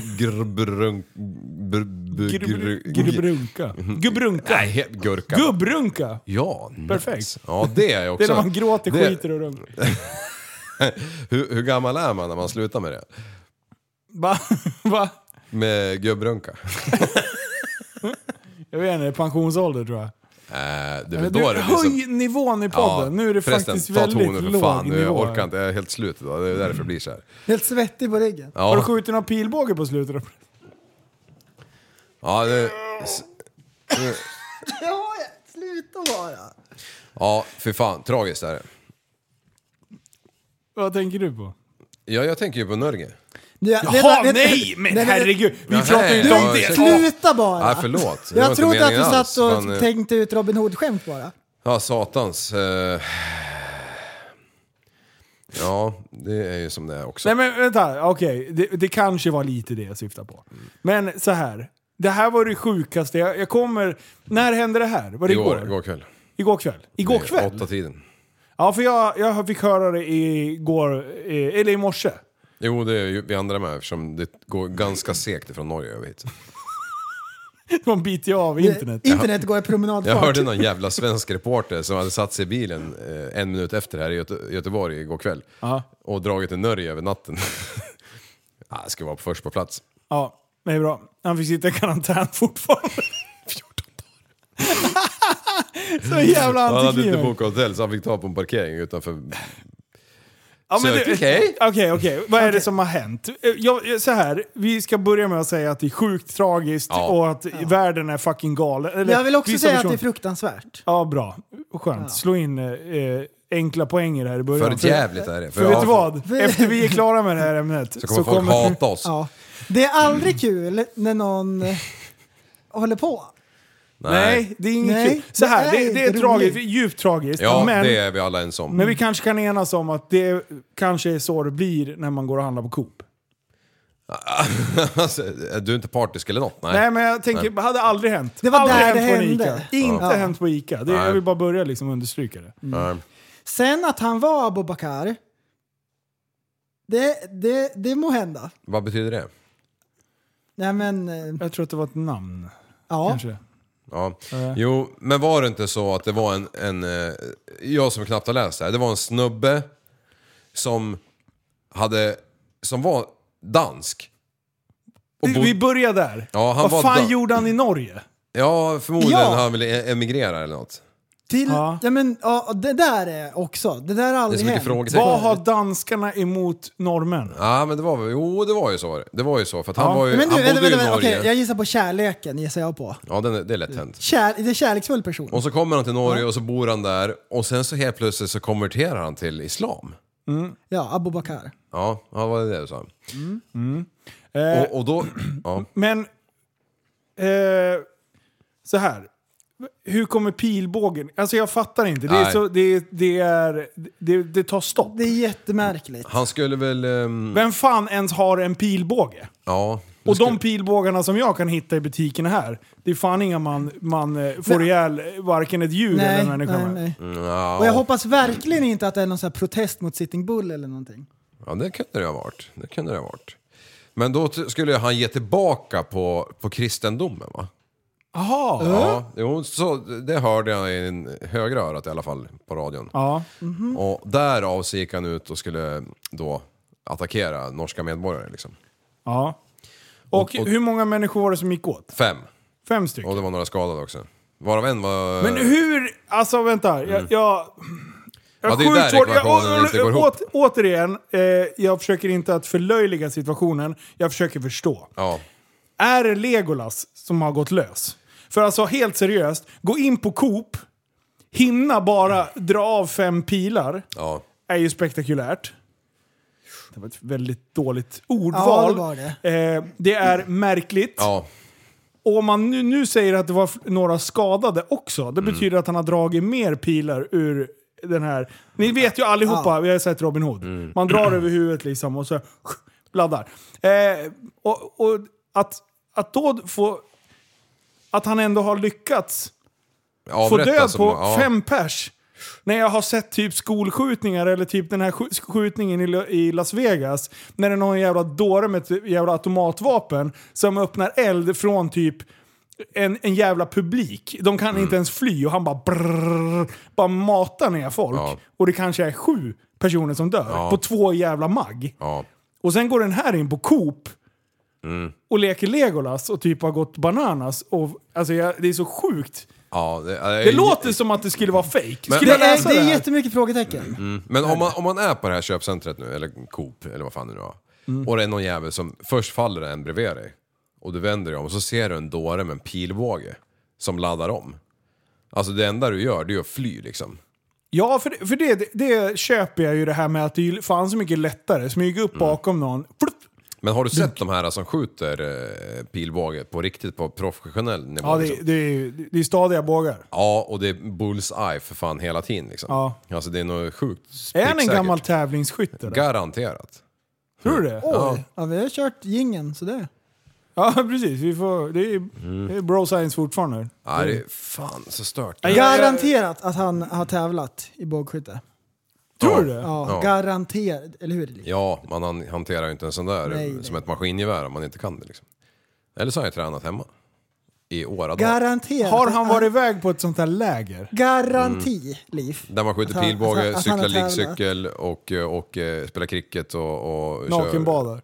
S4: Gubbrunka.
S6: Mm. Nej, helt gurka.
S4: Gubbrunka.
S6: Ja, nice.
S4: Perfekt.
S6: Ja, det är jag
S4: Det är
S6: också.
S4: när man gråter,
S6: Det-
S4: skiter och runkar.
S6: hur, hur gammal är man när man slutar med det?
S4: Va? Va?
S6: Med gubbrunka? Äh,
S4: Jag vet inte, pensionsålder tror jag.
S6: Eh, det är väl
S4: Du,
S6: då det blir så...
S4: höj nivån i podden. nu är det
S6: förresten,
S4: faktiskt
S6: ta tonen
S4: väldigt
S6: för
S4: låg
S6: fan. Nu,
S4: nivå.
S6: jag orkar inte, jag är helt slut idag. Det är därför det blir så här.
S5: Helt svettig på ryggen.
S6: Ja.
S4: Har du skjutit några pilbåge på slutet?
S6: Ja, det, s- eh,
S5: Ja, sluta bara.
S6: ja, för fan. Tragiskt är det.
S4: Vad tänker du på?
S6: Ja, jag tänker ju på Norge.
S5: Ja,
S4: Jaha, nej! Men herregud, vi pratar ju inte om
S6: ja,
S4: det!
S6: ursäkta.
S5: Sluta bara!
S6: Nej, förlåt. Det var
S5: Jag
S6: inte
S5: trodde att du
S6: meningen
S5: satt
S6: alls,
S5: och
S6: men, eh,
S5: tänkte ut Robin Hood-skämt bara.
S6: Ja, satans. eh, Ja, det är ju som det är också.
S4: Nej men vänta, okej. Det, det kanske var lite det jag syftade på. Men så här. Det här var det sjukaste jag, jag kommer... När hände det här? Var det igår?
S6: igår, igår kväll.
S4: Igår kväll? Igår
S6: Eh,
S4: kväll?
S6: Åtta tiden.
S4: Ja, för jag, jag fick höra det igår, eh, eller i morse.
S6: Jo, det är ju vi andra med eftersom det går ganska segt ifrån Norge över hit.
S4: De biter ju av internet.
S5: Internet går i promenadfart.
S6: Jag hörde någon jävla svensk reporter som hade satt sig i bilen eh, en minut efter här i Göte- Göteborg igår kväll.
S4: Ja.
S6: Och dragit till Norge över natten. ah, jag ska vara först på plats.
S4: Ja, det är bra. Han fick sitta i karantän fortfarande. 14 dagar. så jävla
S6: Han hade inte
S4: antiklimax.
S6: bokat hotell så han fick ta på en parkering utanför...
S4: Ja, men
S6: Så,
S4: det-
S6: okej.
S4: Okej, okej. Vad är det som har hänt? Eh, Jag, jag- så här, vi ska börja med att säga att det är sjukt tragiskt
S6: Ja.
S4: och att världen är fucking galen. Eller,
S5: Jag vill också
S4: vissa
S5: säga att det
S4: personer-
S5: är fruktansvärt.
S4: Ja, bra. Skönt. Slå in eh, eh, enkla poänger här i början.
S6: För jävligt är det.
S4: För, för vet du
S6: ja,
S4: vad? Efter vi är klara med det här ämnet
S6: Så kommer folk hata oss.
S5: Ja. Det är
S6: Mm.
S5: aldrig kul när någon eh, håller på.
S4: Nej, det är inget
S5: Nej,
S4: kul. Så
S5: det
S4: här,
S5: är
S4: det, det är
S5: inte
S4: tragiskt,
S5: roligt.
S4: djupt tragiskt.
S6: Ja,
S4: men,
S6: det är vi alla ens om.
S4: men vi kanske kan enas om att det kanske är så det blir när man går och handlar på Coop.
S6: Alltså, du är inte partisk eller något? Nej.
S4: Nej, men jag tänker, det hade aldrig hänt.
S5: Det var
S4: aldrig
S5: där
S4: hänt
S5: det
S4: på en
S5: hände.
S4: Ica. Inte
S5: Ja.
S4: hänt på Ica. Det,
S6: Nej.
S4: jag vill bara börja liksom understryka det.
S6: Nej.
S5: Sen att han var Abubakar, det, det, det må hända.
S6: Vad betyder det?
S5: Nej men, eh,
S4: Jag tror att det var ett namn,
S5: ja.
S4: kanske.
S6: Ja. Jo, men var det inte så att det var en, en... eh, Jag som knappt har läst det här. Det var en snubbe som hade... Som var dansk. Och
S4: Vi-
S6: bod-
S4: Vi börjar där.
S6: Ja, han
S4: Vad
S6: var
S4: fan
S6: dan-
S4: gjorde han i Norge?
S6: Ja, förmodligen
S5: Ja.
S6: han ville e- emigrera eller något.
S5: Till,
S4: Ja.
S5: ja. men, ja, det där är också, det där har
S6: Det är så
S5: aldrig
S6: mycket
S5: hänt.
S6: frågetecken.
S4: Vad har danskarna emot norrmän?
S6: Ja, men det var väl... Jo, det var ju så. var det. Det var ju så, för att han
S4: Ja.
S6: var ju...
S5: Men du,
S6: han
S5: vänta, vänta,
S6: bodde ju i
S5: vänta,
S6: Norge.
S5: okej, jag gissar på kärleken, gissar jag på.
S6: Ja, den, är- det är lätt hänt.
S5: Kär, det är kärleksfull person.
S6: Och så kommer han till Norge och så bor han där och sen så helt plötsligt så konverterar han till islam.
S5: Ja, Abubakar.
S6: Ja, ja vad är det du sa? Och, och då... Ja.
S4: Men... Eh, så här. Hur kommer pilbågen... Alltså jag fattar inte. Det, är
S6: Nej.
S4: så, det, det, är, det, det tar stopp.
S5: Det är jättemärkligt.
S6: Han skulle väl... ehm,
S4: Vem fan ens har en pilbåge?
S6: ja.
S4: Och de pilbågarna som jag kan hitta i butikerna här, det är fan inga man, man eh, får ihjäl varken ett djur
S5: Nej,
S4: eller en människa
S5: nej,
S4: med.
S5: nej.
S6: Nja.
S5: Och jag hoppas verkligen inte att det är någon sån här protest mot Sitting Bull eller någonting.
S6: Ja, det kunde det ha varit. Det kunde det ha varit. Men då t- skulle ju han ge tillbaka på, på kristendomen va?
S4: Aha.
S6: Ja, jo, så det hörde jag i en högra örat i alla fall på radion.
S4: Ja.
S6: Och därav så gick han ut och skulle då attackera norska medborgare liksom.
S4: ja. Och,
S6: Och- och-
S4: hur många människor var det som gick åt?
S6: Fem.
S4: Fem stycken.
S6: Och det var några skadade också. Varav en var...
S4: Men hur, alltså vänta. Jag, jag, jag
S6: Mm. Ja, det är där
S4: skjuter-
S6: ekvationen
S4: jag-
S6: inte går ihop.
S4: åt- Återigen, eh, jag försöker inte att förlöjliga situationen, jag försöker förstå.
S6: Ja.
S4: Är det Legolas som har gått lös? För alltså helt seriöst, gå in på Coop, hinna bara dra av fem pilar,
S6: Ja.
S4: är ju spektakulärt. Det var ett väldigt dåligt
S5: Ja, det
S4: ordval.
S5: var det.
S4: Eh, det är märkligt.
S6: Ja.
S4: Och om man nu, nu säger att det var f- några skadade också, det betyder att han har dragit mer pilar ur den här... Ni vet ju allihopa, vi har sett Robin Hood. Man drar över huvudet liksom och så laddar. Eh, och och att, att då få... Att han ändå har lyckats få
S6: Avrättad
S4: död
S6: som-
S4: på
S6: ja.
S4: fem pers. När jag har sett typ skolskjutningar eller typ den här sk- skjutningen i, Lo- i Las Vegas. När det är någon jävla dåre med ett jävla automatvapen som öppnar eld från typ en, en jävla publik. De kan
S6: Mm.
S4: inte ens fly och han bara brrrr, bara matar ner folk.
S6: Ja.
S4: Och det kanske är sju personer som dör
S6: Ja.
S4: på två jävla magg.
S6: Ja.
S4: Och sen går den här in på Coop
S6: Mm.
S4: och leker Legolas och typ har gått bananas. Och, alltså jag, det är så sjukt.
S6: Ja, det,
S4: Det låter som att det skulle vara fake.
S6: Men-
S4: Skulle jag
S5: det,
S4: läsa
S5: är,
S4: det
S5: det är
S4: här?
S5: jättemycket frågetecken.
S6: Mm. Men om man, om man är på det här köpcentret nu, eller Coop, eller vad fan det nu var.
S4: Mm.
S6: Och det är någon jävel som, först faller en bredvid dig. Och du vänder dig om och så ser du en dåre med en pilbåge. Som laddar om. Alltså det enda du gör, det är att fly liksom.
S4: Ja, för, för det, det köper jag ju det här med att det är ju fan så mycket lättare. Smyga
S6: Mm.
S4: upp bakom någon. Flupp.
S6: Men har du sett de här som skjuter eh, pilbåge på riktigt, på professionell nivå?
S4: Ja, det,
S6: liksom?
S4: det, är, ju- det är stadiga bågar.
S6: ja, och det är bullseye för fan hela tiden liksom.
S4: Ja.
S6: Alltså det är nog sjukt
S4: Är han en
S6: pricksäkert.
S4: gammal tävlingsskytt? eller?
S6: Garanterat.
S4: Tror du det?
S6: Ja.
S5: Ja, vi har kört gingen sådär.
S4: Ja, precis. Vi får, det, är,
S6: Mm.
S4: det är bro science fortfarande.
S6: Ja, det
S4: Mm.
S6: är fan så stört.
S4: Ja, jag-
S5: Garanterat att han har tävlat i bågskytte.
S4: Tror du det?
S5: Ja,
S6: Ja.
S5: garanterat. Eller hur? Erik?
S6: Ja, man han- hanterar ju inte en sån där
S5: Nej,
S6: eh,
S5: nej.
S6: som ett maskingevär om man inte kan det liksom. Eller så har jag tränat hemma. I åratal.
S5: Garanterat.
S4: Har han varit iväg på ett sånt här läger?
S5: Garanti,
S6: Mm.
S5: Liv.
S6: Där man
S4: Alltså,
S6: skjuter
S5: Att han- att han-
S6: pilbåge,
S5: att han
S6: cyklar
S5: har tävlat.
S6: liggcykel och, eh, och eh, spelar cricket och... och kör-
S4: Nakenbadar?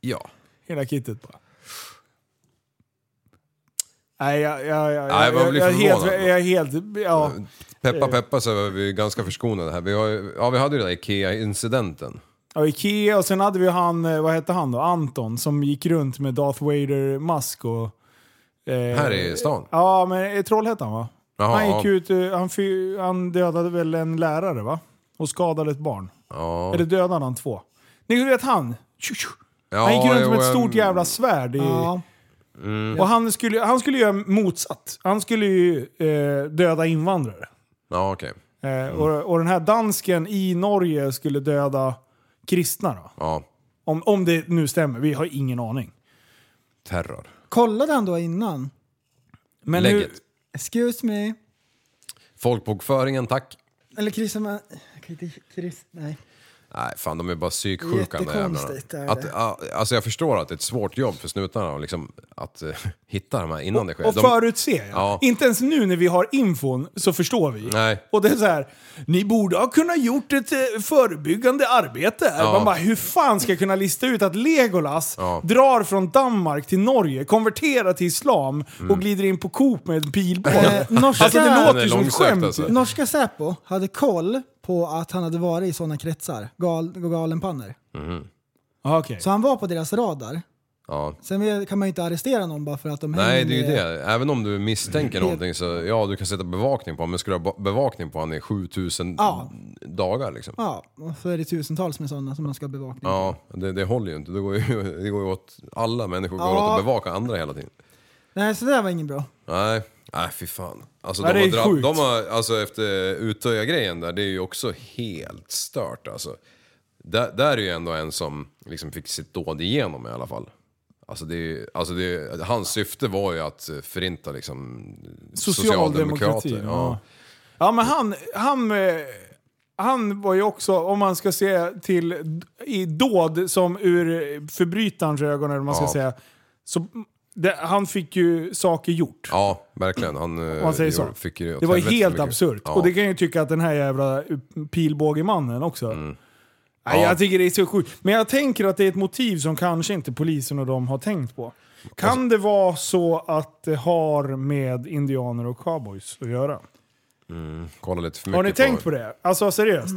S6: Ja.
S4: Hela kittet bara. Nej, jag, jag, jag,
S6: Nej, vad
S4: jag, jag,
S6: blir
S4: jag, är helt...
S6: förvånad.
S4: Jag är helt ja. Eh.
S6: Peppa peppa så är vi ganska förskonade här. Vi, har, ju- ja, vi hade ju den där IKEA-incidenten.
S4: Ja, Ikea och sen hade vi han, eh, vad hette han då? Anton som gick runt med Darth Vader-mask och... eh,
S6: Här i stan.
S4: Ja, men i Trollhättan va?
S6: Jaha,
S4: han gick
S6: ja.
S4: ut, eh, han, fy, han dödade väl en lärare va? Och skadade ett barn.
S6: Ja.
S4: Eller dödade han två? Ni vet han? Tju, tju.
S6: Ja,
S4: han gick runt
S6: jo,
S4: med ett
S6: jag-
S4: stort jävla svärd. I,
S5: Ja.
S4: Och han skulle, han skulle göra motsatt. Han skulle ju eh, döda invandrare.
S6: Ja, okej.
S4: Eh, och, och den här dansken i Norge skulle döda kristna då.
S6: Ja.
S4: Om, om det nu stämmer, vi har ingen aning.
S6: Terror.
S5: Kollade han då innan?
S4: Men
S6: Lägget.
S4: hur,
S5: Excuse me.
S6: Folkbokföringen, tack.
S5: Eller kristna... Krist, nej.
S6: Nej, fan de är bara psyksjuka de där
S5: Jättekonstigt
S6: jävlarna. Att,
S5: är det.
S6: ja, alltså jag förstår att det är ett svårt jobb för snutarna att liksom, att eh, hitta de här innan det sker.
S4: och
S6: de,
S4: förutse, ja.
S6: Ja.
S4: Inte ens nu när vi har infon så förstår vi.
S6: Nej.
S4: Och det är så här, ni borde ha kunnat gjort ett eh, förebyggande arbete. här.
S6: Ja.
S4: Man bara, hur fan ska jag kunna lista ut att Legolas
S6: Ja.
S4: drar från Danmark till Norge, konverterar till islam
S6: Mm.
S4: och glider in på Coop med en pilbåge?
S5: Eh, norska-
S4: alltså det
S5: Den
S4: låter
S6: är
S4: ju som ett
S6: långsökt,
S4: skämt.
S6: alltså.
S4: ju.
S5: Norska Säpo hade koll på att han hade varit i sådana kretsar, gal, galenpannor.
S4: Ja, okej.
S5: Så han var på deras radar.
S6: ja.
S5: Sen vet- kan man ju inte arrestera någon bara för att de
S6: Nej,
S5: hänger
S6: det är ju
S5: med-
S6: det. Även om du misstänker någonting så, ja du kan sätta bevakning på honom, men ska du ha ba- bevakning på honom i 7000
S5: Ja.
S6: dagar liksom?
S5: Ja, och så är det tusentals med sådana som man ska bevaka.
S6: Ja, det, det håller ju inte. Det går ju, det går ju åt, alla människor går
S5: Ja.
S6: åt att bevaka andra hela tiden.
S5: Nej, så det där var ingen bra.
S6: Nej, nej fy fan. Alltså,
S4: Nej,
S6: de,
S4: det
S6: har
S4: är sjukt.
S6: drabb, de har, alltså efter Utöja-grejen där, det är ju också helt stört alltså. Där, där är ju ändå en som liksom fick sitt dåd igenom i alla fall. Alltså det, alltså det, hans syfte var ju att eh, förinta liksom
S4: Socialdemokratin,
S6: socialdemokrater.
S4: ja. Ja, men han, han, eh, han var ju också, om man ska se till d- i dåd som ur förbrytarens ögon, eller vad man ska
S6: Ja.
S4: säga, så det, han fick ju saker gjort.
S6: Ja, verkligen. Han eh,
S4: Om man säger
S6: gjorde-
S4: så.
S6: fick ju åt
S4: det var ju
S6: helvete
S4: helt
S6: mycket.
S4: absurt.
S6: Ja.
S4: Och det kan jag ju tycka att den här jävla pilbågemannen också. Nej,
S6: Mm. Ja.
S4: Jag tycker det är så sjukt. Men jag tänker att det är ett motiv som kanske inte polisen och de har tänkt på. Kan
S6: Alltså-
S4: det vara så att eh, det har med indianer och cowboys att göra?
S6: Mm, kolla lite för mycket
S4: Har ni tänkt på det? Alltså seriöst?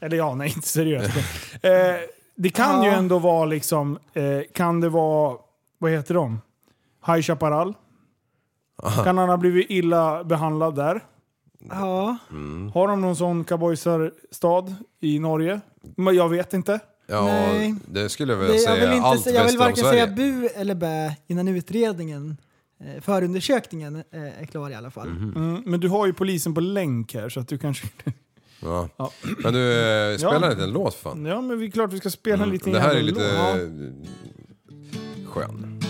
S4: Eller ja, nej inte seriöst. eh, det kan ju
S5: Ja.
S4: ändå vara liksom, eh, kan det vara, vad heter de? High Chaparral? Kan han ha blivit illa behandlad där?
S5: Ja.
S4: Har de någon sån cowboysarstad i Norge? Men jag vet inte.
S6: Ja,
S5: Nej.
S6: det skulle jag
S5: Det,
S6: väl
S5: jag,
S6: säga.
S5: vill inte,
S6: allt
S5: säga- jag vill
S6: väster om
S5: varken säga
S6: Sverige.
S5: bu eller bä innan utredningen, eh, förundersökningen, eh, är klar i alla fall.
S6: Mhm.
S4: Mm, men du har ju polisen på länk här så att du kanske...
S6: Ja.
S4: Ja.
S6: Men du, eh, spela
S4: Ja.
S6: en liten låt fan.
S4: Ja men vi är klart vi ska spela en liten
S6: Mm. Det här är
S4: jävla
S6: lite
S4: låt.
S6: eh, skön.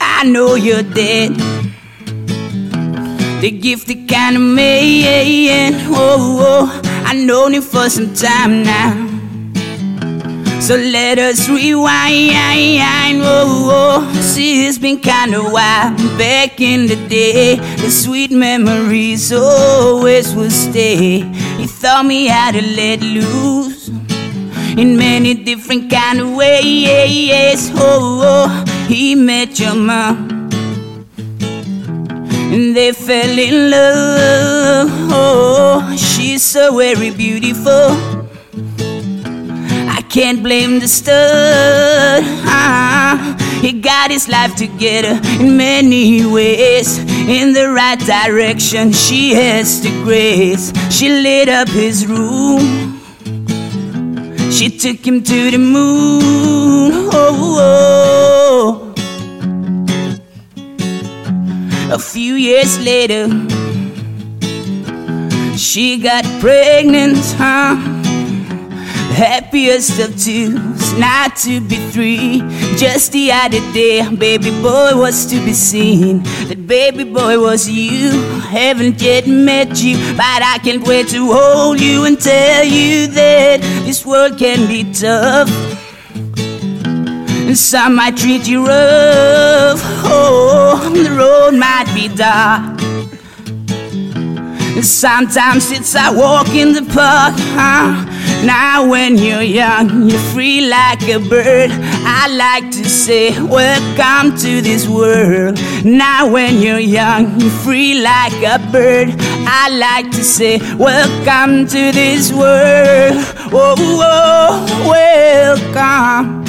S11: I know you're dead. The gift that kind of man. Oh, oh, I known it for some time now. So let us rewind. Oh, oh, see, it's been kind of wild. Back in the day, the sweet memories always will stay. You taught me how to let loose in many different kind of ways. Oh, oh, he met your mom, and they fell in love. Oh, she's so very beautiful. I can't blame the stud. Ah, he got his life together in many ways. In the right direction, she has the grace. She lit up his room. She took him to the moon. Oh, oh. A few years later, she got pregnant, huh? Happiest of twos, not to be three. Just the other day, baby boy was to be seen. That baby boy was you. Haven't yet met you, but I can't wait to hold you and tell you that this world can be tough. And some might treat you rough. Oh, the road might be dark. And Sometimes it's a walk in the park, huh? Now when you're young, you're free like a bird. I like to say, welcome to this world. Now when you're young, you're free like a bird. I like to say, welcome to this world. Oh, oh welcome.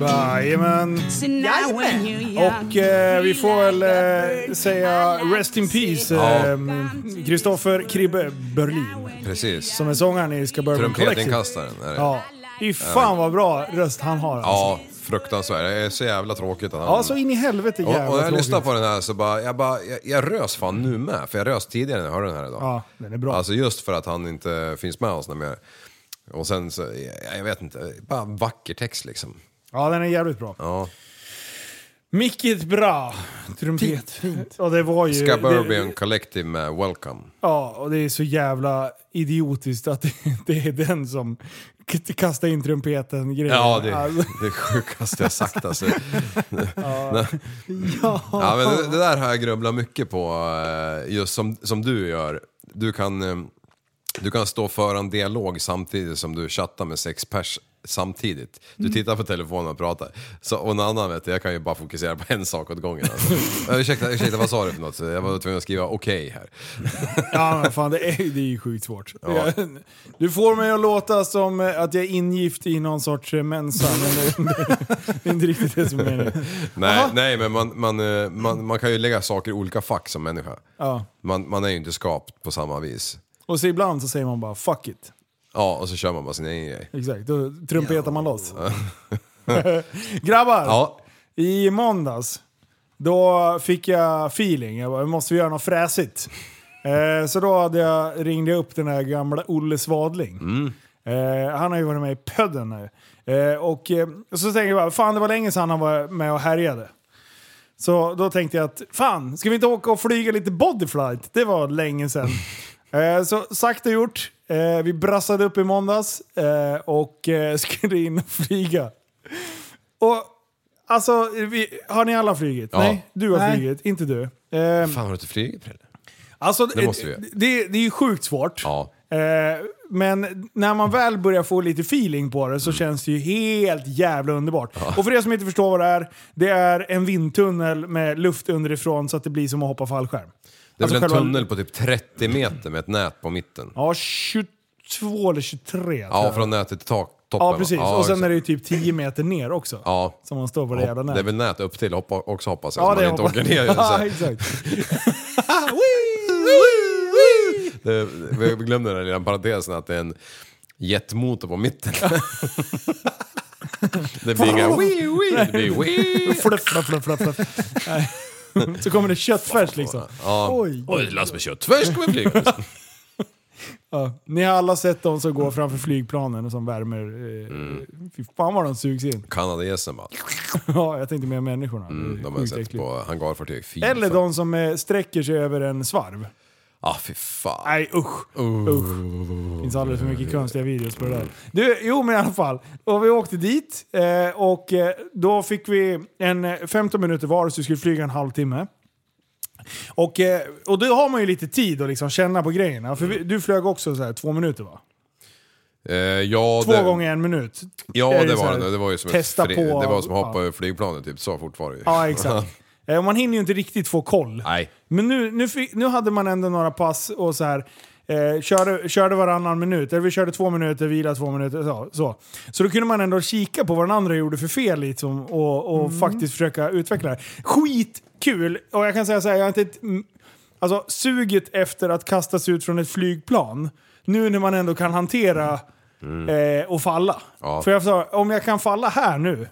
S4: Jajamän. Och eh, vi får väl eh, säga Rest in Peace,
S6: Ja.
S4: eh, Kristoffer Kribbe Berlin.
S6: Precis.
S4: Som är sångaren i Ska Bourbon Collective.
S6: Trumpetinkastaren. är det.
S4: Ja. Fy fan vad bra röst han har. alltså.
S6: Ja, fruktansvärt. Det är så jävla tråkigt. att han-
S4: Ja, så in i helvete
S6: och, och
S4: jävla
S6: när jag lyssnade
S4: tråkigt.
S6: på den här så bara, jag bara, jag, jag rös fan nu med. För jag rös tidigare när jag hörde den här idag.
S4: Ja, den är bra.
S6: Alltså just för att han inte finns med oss när mer. Och sen så, jag, jag vet inte, bara vacker text liksom.
S4: Ja, den är jävligt bra.
S6: Ja.
S4: Mickigt bra. Trumpet. Fint. Och det var ju...
S6: Scaburbian
S4: det-
S6: Collective med Welcome.
S4: Ja, och det är så jävla idiotiskt att det, det är den som k- kastar in trumpeten grejen.
S6: Ja, det är
S4: Alltså,
S6: det sjukaste jag sagt alltså. ja. Ja, men det, det där har jag grubblat mycket på, eh, just som, som du gör. Du kan, eh, du kan stå för en dialog samtidigt som du chattar med sex pers samtidigt.
S4: Mm.
S6: Du tittar på telefonen och pratar. Så, och en annan vet du, jag kan ju bara fokusera på en sak åt gången. Alltså. Ja, ursäkta, ursäkta, vad sa du för något? Jag var tvungen att skriva okej här.
S4: ja, men fan det är, det är ju sjukt svårt. Du får mig att låta som eh, att jag är ingift i någon sorts eh, mensa, men det, det är inte riktigt det som är meningen.
S6: Nej, nej men man, man, eh, man, man kan ju lägga saker i olika fack som människa.
S4: Ja.
S6: Man, man är ju inte skapt på samma vis.
S4: Och så ibland så säger man bara fuck it.
S6: Ja, och så kör man bara sin egen grej.
S4: Exakt, då trumpetar man loss. Grabbar!
S6: Ja,
S4: i måndags, då fick jag feeling. Jag bara, måste vi göra något fräsigt? Eh, så då hade jag, ringde jag upp den här gamla Olle Svadling. Eh, han har ju varit med i Pödden nu. Eh, och eh, så tänkte jag bara, fan det var länge sedan han var med och härjade. Så då tänkte jag att, fan, ska vi inte åka och flyga lite bodyflight? Det var länge sedan. eh, så sagt och gjort. Eh, vi brassade upp i måndags eh, och eh, skulle in och flyga. Och alltså, vi, har ni alla flugit?
S6: Ja.
S4: Nej, du har
S6: Nej.
S4: flugit, inte du. Eh,
S6: Fan, har du inte flugit Prille?
S4: Alltså,
S6: Det måste vi göra.
S4: det, det, är ju sjukt svårt. Eh, men när man väl börjar få lite feeling på det så
S6: Mm.
S4: känns det ju helt jävla underbart. Och för er som inte förstår vad det är, det är en vindtunnel med luft underifrån så att det blir som att hoppa fallskärm.
S6: Det är
S4: Alltså
S6: väl en
S4: själva-
S6: tunnel på typ 30 meter med ett nät på mitten?
S4: Ja, 22 eller 23 tror
S6: Ja,
S4: jag.
S6: från nätet till tak, toppen.
S4: ja
S6: va?
S4: precis. och sen
S6: exakt.
S4: är det ju typ 10 meter ner också.
S6: Ja.
S4: Som man står på det
S6: Hopp-
S4: jävla
S6: Det är
S4: nätet.
S6: väl nät upp till hoppa, också hoppas jag,
S4: Ja,
S6: så man inte
S4: hoppas-
S6: åker ner.
S4: ja,
S6: Ja,
S4: exakt.
S6: det, vi glömde den där lilla parentesen att det är en jetmotor på mitten. det blir inga... Det blir wii.
S4: Fluff, fluff, fluff, fluff, fluff. Nej. Så kommer det köttfärs liksom.
S6: Ja.
S4: Oj.
S6: Oj, last med köttfärs kommer flyga.
S4: Ja. Ni har alla sett de som går framför flygplanen och som värmer. Eh,
S6: Mm.
S4: Fy fan vad de sugs in.
S6: Kanadagässen bara.
S4: ja, jag tänkte mer människorna.
S6: Mm, de har jag sett på hangarfartyg. Fy
S4: Eller
S6: fan.
S4: de som eh, sträcker sig över en svarv.
S6: Ah, fy fan.
S4: Nej usch. usch. finns alldeles för mycket konstiga videos på det där. Du, jo men i alla fall. Och vi åkte dit eh, och eh, då fick vi en eh, 15 minuter var så vi skulle flyga en halvtimme. Och, eh, och då har man ju lite tid att liksom känna på grejerna. För vi, du flög också så här två minuter va?
S6: Eh, ja,
S4: Två
S6: det,
S4: gånger en minut.
S6: Ja,
S4: Är
S6: det,
S4: så
S6: var
S4: här,
S6: det. Det var ju som,
S4: testa
S6: ett, fri-
S4: på,
S6: det var som att hoppa
S4: ja.
S6: ur flygplanet, typ. Så fort var det ju.
S4: Ja, exakt. Eh, Man hinner ju inte riktigt få koll.
S6: Nej.
S4: Men nu, nu, fi- nu hade man ändå några pass och så här. Eh, körde, körde varannan minut, eller vi körde två minuter, vila två minuter. Så, så. så då kunde man ändå kika på vad den andra gjorde för fel liksom, och, och faktiskt försöka utveckla det. Skitkul! Och jag kan säga så här, jag har inte ett, mm, alltså, suget efter att kastas ut från ett flygplan, nu när man ändå kan hantera eh, och falla.
S6: Ja.
S4: För jag sa, om jag kan falla här nu,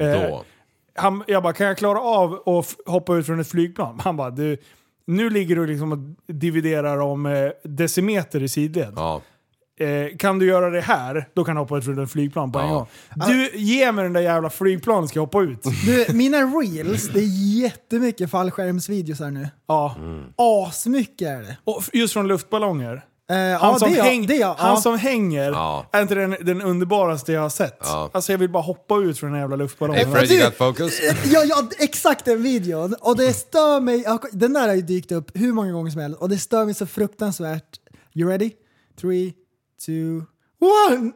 S4: eh,
S6: Då.
S4: han, jag bara, kan jag klara av att f- hoppa ut från ett flygplan? Han bara, du, nu ligger du liksom och dividerar om eh, decimeter i sidled.
S6: Ja.
S4: Eh, kan du göra det här, då kan du hoppa ut från ett flygplan på en
S5: Ja.
S4: gång. Du, ge mig den där jävla flygplanen ska jag hoppa ut.
S5: Du, mina reels, det är jättemycket fallskärmsvideos här nu. Eh,
S4: Ja.
S5: Mm. Asmycket är det.
S4: Och f- just från luftballonger.
S5: Eh,
S4: han
S5: ja,
S4: som,
S5: det är jag-
S4: häng,
S5: det är jag,
S4: han
S5: ja.
S4: som hänger
S6: Ja.
S4: är inte den, den underbaraste jag har sett. Alltså jag vill bara hoppa ut från den jävla luftballongen.
S6: Afraid you got focus?
S5: Ja, ja, exakt den videon. Och det stör mig. Den där har ju dykt upp hur många gånger som helst och det stör mig så fruktansvärt. You ready? Three, two, one!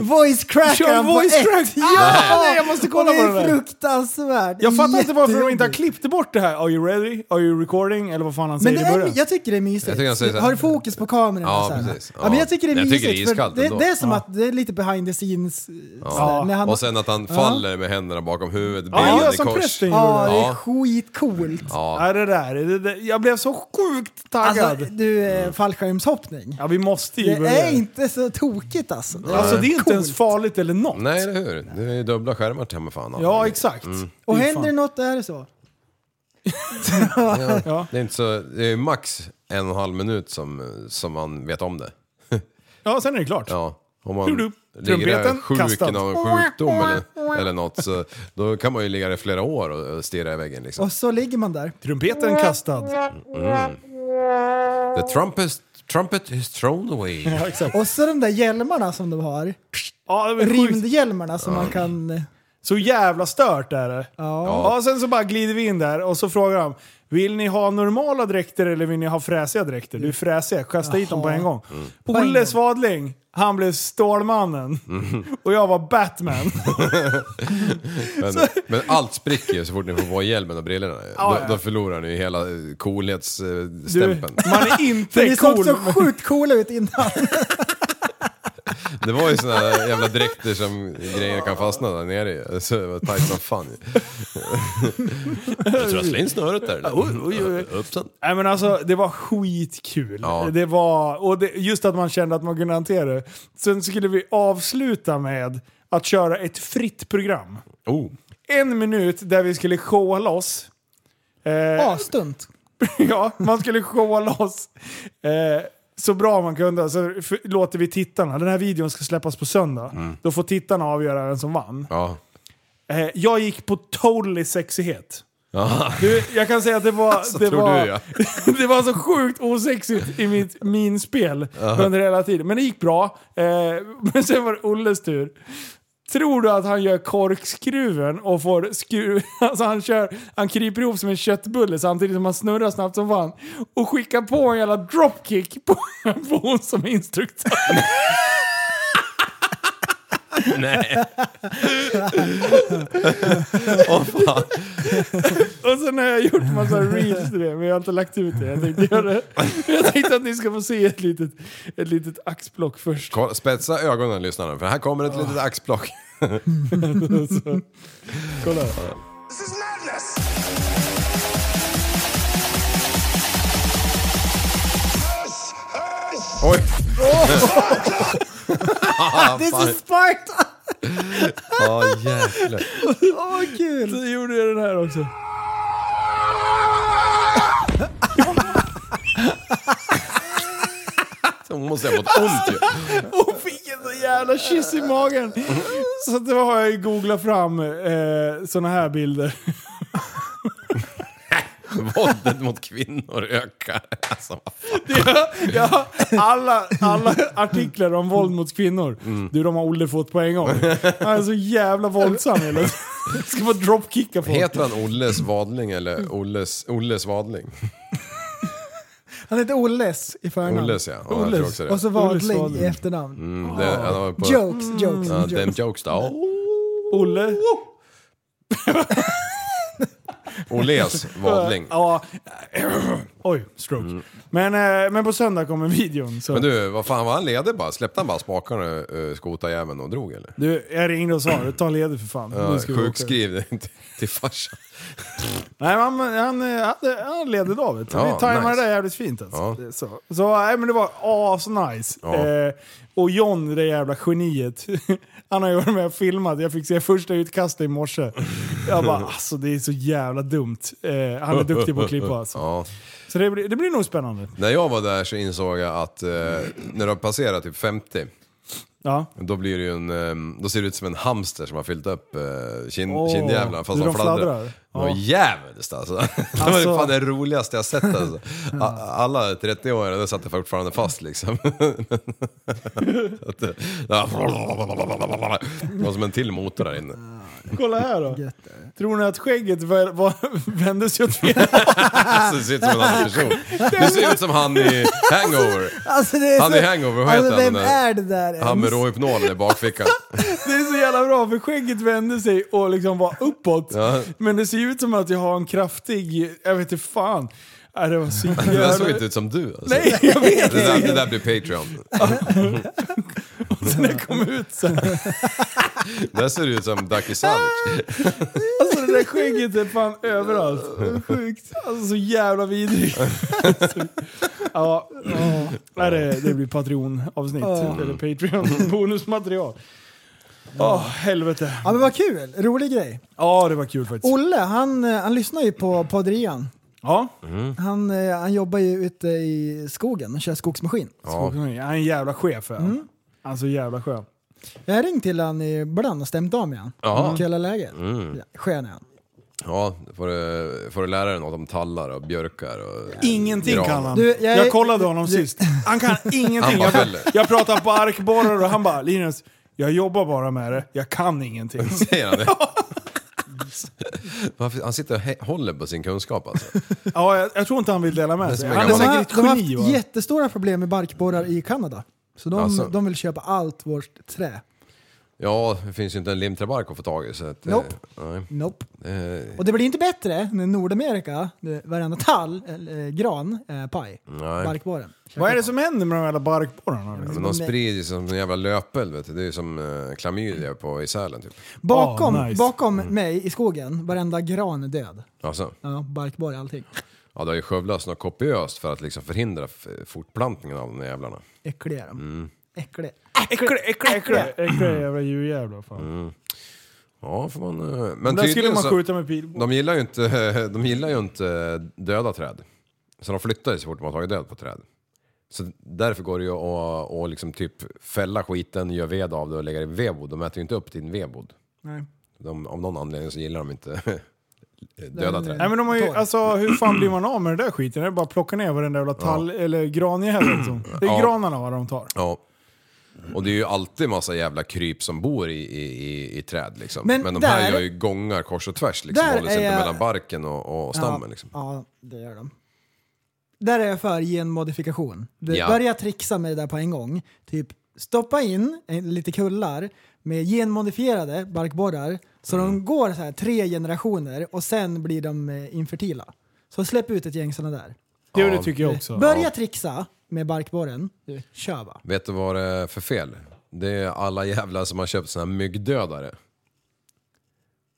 S5: voice crack
S4: Kör
S5: är han på
S4: voice
S5: ett.
S4: crack.
S5: Ja!
S4: Nej, jag måste kolla
S5: och det
S4: på den
S5: är
S4: där.
S5: fruktansvärt.
S4: Jag fattar inte varför de inte har
S5: Jättejobbigt.
S4: klippte bort det här. Are you ready? Are you recording? Eller vad fan han
S5: Men
S4: säger
S5: det
S4: i början.
S5: är, jag tycker det är mysigt.
S6: Jag tycker han säger så här-
S5: har du fokus på kameran?
S6: Ja,
S5: och så här.
S6: precis.
S5: Ja.
S6: Ja.
S5: men jag tycker det är
S6: Jag
S5: mysigt.
S6: tycker det är
S5: för
S6: iskallt
S5: det,
S6: ändå.
S5: det är som
S6: Ja.
S5: att det är lite behind the scenes.
S6: Ja.
S5: sådär, när han-
S6: Och sen att han
S5: Ja.
S6: faller med händerna bakom huvudet,
S4: Ja,
S6: benen
S4: gör
S6: i
S4: som
S6: kors.
S4: prästen
S5: Ja,
S4: gjorde.
S5: det är
S6: Ja.
S5: skitcoolt.
S6: Ja.
S4: Ja, det där. Det, det, jag blev så sjukt taggad.
S5: Alltså, du, eh, fallskärmshoppning.
S4: ja, vi måste ju
S5: Det
S4: börja.
S5: är inte så tokigt alltså. Det är
S4: Alltså det är inte
S5: coolt.
S4: ens farligt eller något.
S6: Nej, eller hur? Det Mm. är ju dubbla skärmar till hemma fan.
S4: Ja, exakt.
S5: Och
S4: Fy
S5: händer
S4: fan.
S5: det något är det så.
S6: Ja.
S4: Ja.
S6: Det är inte så... Det är max en och en halv minut som, som man vet om det.
S4: Ja, sen är det klart.
S6: Ja. Om
S4: Hur
S6: man
S4: du?
S6: ligger där
S4: Trumpeten
S6: sjuk
S4: kastad.
S6: i någon sjukdom eller, eller något, så då kan man ju ligga där i flera år och och stirra i väggen liksom.
S5: Och så ligger man där.
S4: Trumpeten kastad.
S6: Mm. The trumpet, trumpet is thrown away.
S4: Ja, exakt.
S5: Och så de där hjälmarna som de har.
S4: Ja, det var sjukt.
S5: Rymdhjälmarna som man kan... eh,
S4: Så jävla stört är det.
S5: Ja.
S4: Ja. sen så bara glider vi in där och så frågar han Vill ni ha normala dräkter eller vill ni ha fräsiga dräkter? Du är fräsiga, kasta hit dem på en gång. Olle Svadling, han blev Stålmannen. Och jag var Batman.
S6: Men, men allt spricker ju så fort ni får på hjälmen och brillorna.
S4: Ja,
S6: då,
S4: ja.
S6: då förlorar ni ju hela eh,
S4: Du,
S6: coolhetsstämpeln.
S4: man är
S5: För
S4: inte
S5: ni såg
S4: cool.
S5: så sjukt coola ut innan.
S6: Det var ju såna här jävla dräkter som grejer kan fastna där nere i. Så det var tajt som fan ju. Du trasslar in snöret där. eller?
S4: Oj, oj, oj.
S6: Upp sen.
S4: Nej men alltså det var skitkul.
S6: Ja.
S4: Det var, och det, just att man kände att man kunde hantera det. Sen skulle vi avsluta med att köra ett fritt program.
S6: Oh.
S4: en minut där vi skulle showa loss. Eh,
S5: Asdumt.
S4: ja, man skulle showa loss eh, så bra man kunde. Så f- låter vi tittarna, den här videon ska släppas på söndag. Då får tittarna avgöra vem som vann.
S6: Ja.
S4: Eh, jag gick på totally sexighet.
S6: Ja.
S4: Du, jag kan säga att det var,
S6: Alltså,
S4: det
S6: tror
S4: var,
S6: du, ja.
S4: det var så sjukt osexigt i mitt minspel
S6: Ja.
S4: under hela tiden. Men det gick bra. Eh, men sen var det Olles tur. Tror du att han gör korkskruven och får skruv... Alltså han kör... Han kryper ihop som en köttbulle samtidigt som han snurrar snabbt som fan. Och skickar på en jävla dropkick på, på hon som är instruktör.
S6: Nej. Åh fan.
S4: Och sen har jag gjort massa reels till det, men jag har inte lagt ut det. Jag tänkte göra det. Jag tänkte att ni ska få se ett litet, ett litet axplock först.
S6: Kolla, Spetsa ögonen lyssnarna för här kommer ett litet axplock.
S4: Så, kolla.
S6: Oj! Ah,
S5: This
S6: Fan.
S5: is Sparta!
S6: Ja jäklar.
S5: Åh, vad kul!
S4: Så gjorde jag den här också.
S6: Hon måste ha fått ont ju.
S4: Hon fick en så jävla kyss i magen. Så att då har jag ju googlat fram eh, såna här bilder.
S6: Våldet mot kvinnor ökar. Alltså, vad fan.
S4: Ja, ja, alla, alla artiklar om våld mot kvinnor, du de har Olle fått på en gång. Han är så jävla våldsam hela tiden. Ska bara dropkicka folk.
S6: Heter han Olles Vadling eller Olles, Olles Vadling?
S5: Han heter Olles i förnamn.
S6: Olles ja. ja jag tror också det.
S5: Och så
S4: Olles
S5: Wadling
S4: Wadling.
S5: i efternamn.
S6: Mm, det, han var på,
S5: Jokes, jokes,
S6: Ja, dem
S5: jokes.
S6: jokes då.
S4: Olle.
S6: Olles Vadling.
S4: Ja. Oj, stroke. Men, eh, men på söndag kommer videon. Så.
S6: Mm. Men du, vad fan var han ledig bara? Släppte han bara spakarna uh, skotarjäveln och drog eller?
S4: Du, jag ringde och sa det. Ta ledigt för fan.
S6: Ja,
S4: Nu ska vi åka.
S6: sjukskriv dig till, till farsan.
S4: Nej, men han, han, eh, hade- han ledde av det.
S6: Ja,
S4: vi tajmade
S6: nice.
S4: det där jävligt fint alltså.
S6: Ja.
S4: Så, så nej, men det var asnice.
S6: Ja.
S4: Eh, och John, det jävla geniet. Han har ju varit med och filmat. Jag fick se första utkastet i morse. Jag bara, alltså det är så jävla dumt. Eh, han är duktig på att klippa alltså.
S6: Ja.
S4: Så det blir, det blir nog spännande.
S6: När jag var där så insåg jag att eh, när du har passerat typ 50
S4: Ja.
S6: då, blir det ju en, eh, då ser det ut som en hamster som har fyllt upp eh, kin,
S4: Åh,
S6: kindjävlarna fast
S4: du,
S6: de
S4: de
S6: fladdrar.
S4: fladdrar?
S6: Det var
S4: Ja.
S6: jävligt alltså. Det var ju
S4: Alltså-
S6: fan det roligaste jag sett alltså. A- Alla 30 år där satt jag fortfarande fast liksom. Så att, eh, Det var som en till motor där inne.
S4: Kolla här då. Tror ni att skägget var, var, vände sig åt fel
S6: Alltså, det ser ut som en annan person. Det ser ut som han i Hangover.
S5: Alltså, det är
S6: Han
S5: så-
S6: i Hangover, vad heter
S5: alltså,
S6: han?
S5: Vem
S6: den där?
S5: är det där
S6: Han med
S5: ens?
S6: råhypnolen i bakfickan.
S4: Det är så jävla bra för skägget vände sig och liksom var uppåt.
S6: Ja.
S4: Men det ser ju ut som att jag har en kraftig, jag vet inte fan. Nej, det var så
S6: Det där såg
S4: jävla...
S6: inte ut som du alltså.
S4: Nej, jag
S6: Det
S4: vet
S6: där, det
S4: inte.
S6: där blir Patreon.
S4: Sen det kom ut så här.
S6: Det där ser det ut som Ducky Savage.
S4: Alltså det där skägget är fan överallt. Det är Sjukt. Alltså så jävla vidrigt. Alltså, Ja, ja. Nej, det, det blir Patreon-avsnitt. Eller Patreon-bonusmaterial. Åh, helvete.
S5: Ja men vad kul, rolig grej.
S4: Ja, det var kul faktiskt.
S5: Olle han, eh, han lyssnar ju på Podrian.
S4: Ja.
S5: Han, eh, han jobbar ju ute i skogen och kör skogsmaskin.
S6: Ja.
S4: Han är en jävla chef. är han. Alltså jävla skön.
S5: Jag har ringt till han ibland och stämt av med han.
S6: Ja. Mm.
S5: Om hela läget. Ja, Skön är han.
S6: Ja, får du, får du lära dig något om tallar och björkar och...
S4: Ingenting
S6: gran.
S4: kan han.
S5: Du,
S4: jag,
S5: jag-
S4: kollade honom sist. Han kan
S6: Han
S4: ingenting.
S6: bara
S4: Jag,
S6: fäller.
S4: jag pratade på arkborrar och han bara Linus, jag jobbar bara med det. Jag kan ingenting.
S6: Säger han det? Varför- Han sitter och hä- håller på sin kunskap alltså.
S4: Ja, jag, jag tror inte han vill dela med sig.
S6: som en
S4: Han är
S5: De
S6: gammal-
S5: har,
S4: säkert
S5: de har
S4: ett geni.
S5: haft
S4: va?
S5: jättestora problem med barkborrar i Kanada. Så de,
S6: Alltså.
S5: de vill köpa allt vårt trä.
S6: Ja, det finns ju inte en limträbark att få tag i så att... eh,
S5: Nope.
S6: Nej.
S5: Nope.
S6: Eh,
S5: Och det blir inte bättre när Nordamerika, det- varenda tall, eller eh, gran, är paj.
S6: Nej.
S5: Barkborren.
S4: Vad är det som händer med de jävla barkborrarna?
S6: Ja,
S4: liksom?
S6: men de sprider sig som en jävla löpeld vet du. Det är ju som eh, klamydia på i Sälen typ.
S5: Bakom,
S4: Ah, nice.
S5: bakom mig i skogen, varenda gran är död.
S6: Alltså,
S5: Ja, barkborre, allting.
S6: ja, det har ju skövlats något kopiöst för att liksom förhindra f- fortplantningen av de där jävlarna.
S5: Äckliga är de. Äckliga.
S4: Mm. Äckliga, äckliga, äckliga. Äckliga jävla djurjävlar. Fan.
S6: Ja, får man... eh, Mm. Men
S4: Där skulle
S6: tydligen
S4: man
S6: så-
S4: skjuta med pil.
S6: De gillar ju inte, de gillar ju inte döda träd. Så de flyttar ju så fort de har tagit död på träd. Så därför går det ju att, att liksom typ fälla skiten, göra ved av det och lägga det i vedbod. De äter ju inte upp din vedbod.
S4: Nej.
S6: De, av någon anledning så gillar de inte döda träd.
S4: Nej, men de har ju, alltså, hur fan blir man av med den där skiten? Det är bara att plocka ner varenda jävla tall eller granjävel. Liksom. Det är
S6: Ja.
S4: granarna vad de tar.
S6: Ja. Och det är ju alltid massa jävla kryp som bor i, i, i, i träd liksom. Men,
S5: Men
S6: de här
S5: där-
S6: gör ju gångar kors och tvärs liksom.
S5: Där
S6: Håller sig
S5: är
S6: inte
S5: jag-
S6: mellan barken och, och stammen liksom.
S5: Ja, det gör de. Där är jag för genmodifikation. Du
S6: Ja.
S5: Börja trixa med det där på en gång. Typ stoppa in eh, lite kullar med genmodifierade barkborrar så
S6: Mm.
S5: de går så här tre generationer och sen blir de eh, infertila. Så släpp ut ett gäng sådana där.
S6: Jo, det Ja. tycker jag också.
S5: Börja
S6: Ja.
S5: trixa med barkborren. Du, Kör bara.
S6: Vet du vad det är för fel? Det är alla jävlar som har köpt såna här myggdödare.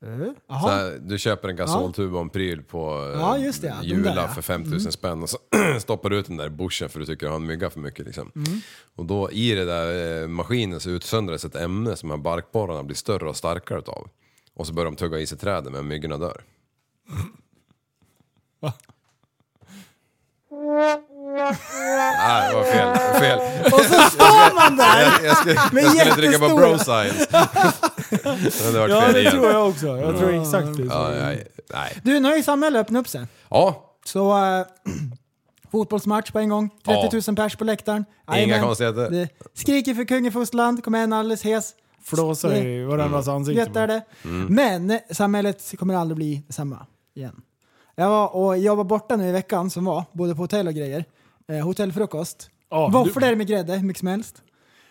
S5: Eh,
S6: Så
S5: Jaha.
S6: här, du köper en gasoltub och en pryl på eh,
S5: Ja, just det, ja. De
S6: Jula
S5: där, ja.
S6: för 5000
S5: Mm.
S6: spänn och så stoppar du ut den där i bushen för du tycker att han myggar för mycket. Liksom.
S5: Mm.
S6: Och då i det där eh, maskinen så utsöndras ett ämne som de här barkborrarna blir större och starkare utav. Och så börjar de tugga i sig träden men myggorna dör. Nej, det var fel. fel.
S5: Och så står man där
S6: Jag, jag skulle,
S5: med
S6: jag skulle dricka på
S5: jättestora-
S6: Brosine. Men det hade varit
S4: Ja,
S6: fel
S4: det
S6: igen.
S4: tror jag också. Jag tror exakt det.
S6: Ja, nej, nej.
S5: Du, nu har ju samhället öppnat upp sig.
S6: Ja,
S5: Så eh, fotbollsmatch på en gång, 30 000 pers på läktaren.
S6: Inga konstigheter.
S5: Det skriker för kung i fosterland, kommer en alldeles hes.
S4: Flåsar i
S5: Det-
S4: varandras ansikte.
S5: Göttar det.
S4: Mm.
S5: Men samhället kommer aldrig bli detsamma igen. Jag var, och jag var borta nu i veckan som var, både på hotell och grejer. Eh, hotellfrukost. Våfflor med grädde, hur mycket som helst.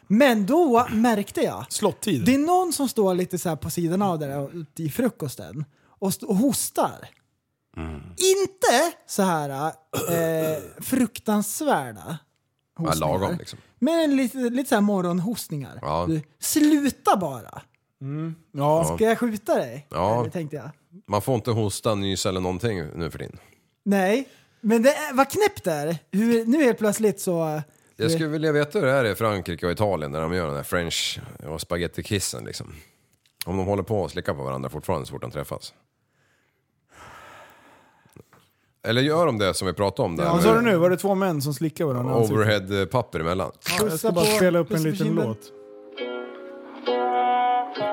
S5: Men då märkte jag.
S4: Slottid.
S5: Det är någon som står lite så här på sidan av där ute i frukosten och, st- och hostar.
S6: Mm.
S5: Inte så här eh, fruktansvärda
S6: ja
S5: hostningar.
S6: lagom liksom.
S5: Men lite, lite så här morgonhostningar.
S6: Ja.
S5: Du, sluta bara!
S6: Ja.
S5: Ska jag skjuta dig?
S6: Ja.
S5: Eller, tänkte jag.
S6: Man får inte hosta, nysa eller någonting nu för din.
S5: Nej, men det är, vad knäppt det är. Hur, nu helt plötsligt så... eh,
S6: Jag
S5: du-
S6: skulle vilja veta hur det är i Frankrike och Italien när de gör den här french och spagettikissen liksom. Om de håller på och slickar på varandra fortfarande så fort de träffas. Eller gör de det som vi pratade om där?
S4: Vad sa du nu? Var det två män som slickar varandra i ansiktet?
S6: Overhead-papper emellan.
S4: Ja, jag ska bara spela upp en liten låt.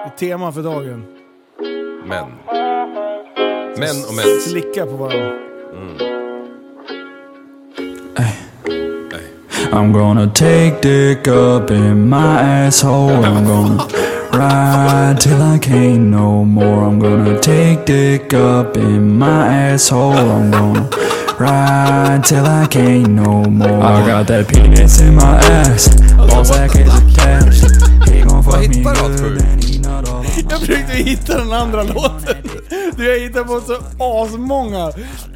S4: Ett Tema för dagen.
S6: Män. Män och män.
S4: Slicka på varandra.
S12: I'm gonna take dick up in my asshole. I'm gonna ride till I can't no more. I'm gonna take dick up in my asshole. I'm gonna ride till I can't no more. I got that penis in my ass. Ballsack is attached. He gon' fuck me good and he not all on
S4: Jag försökte hitta den andra låten. Du, jag hittade på så asmånga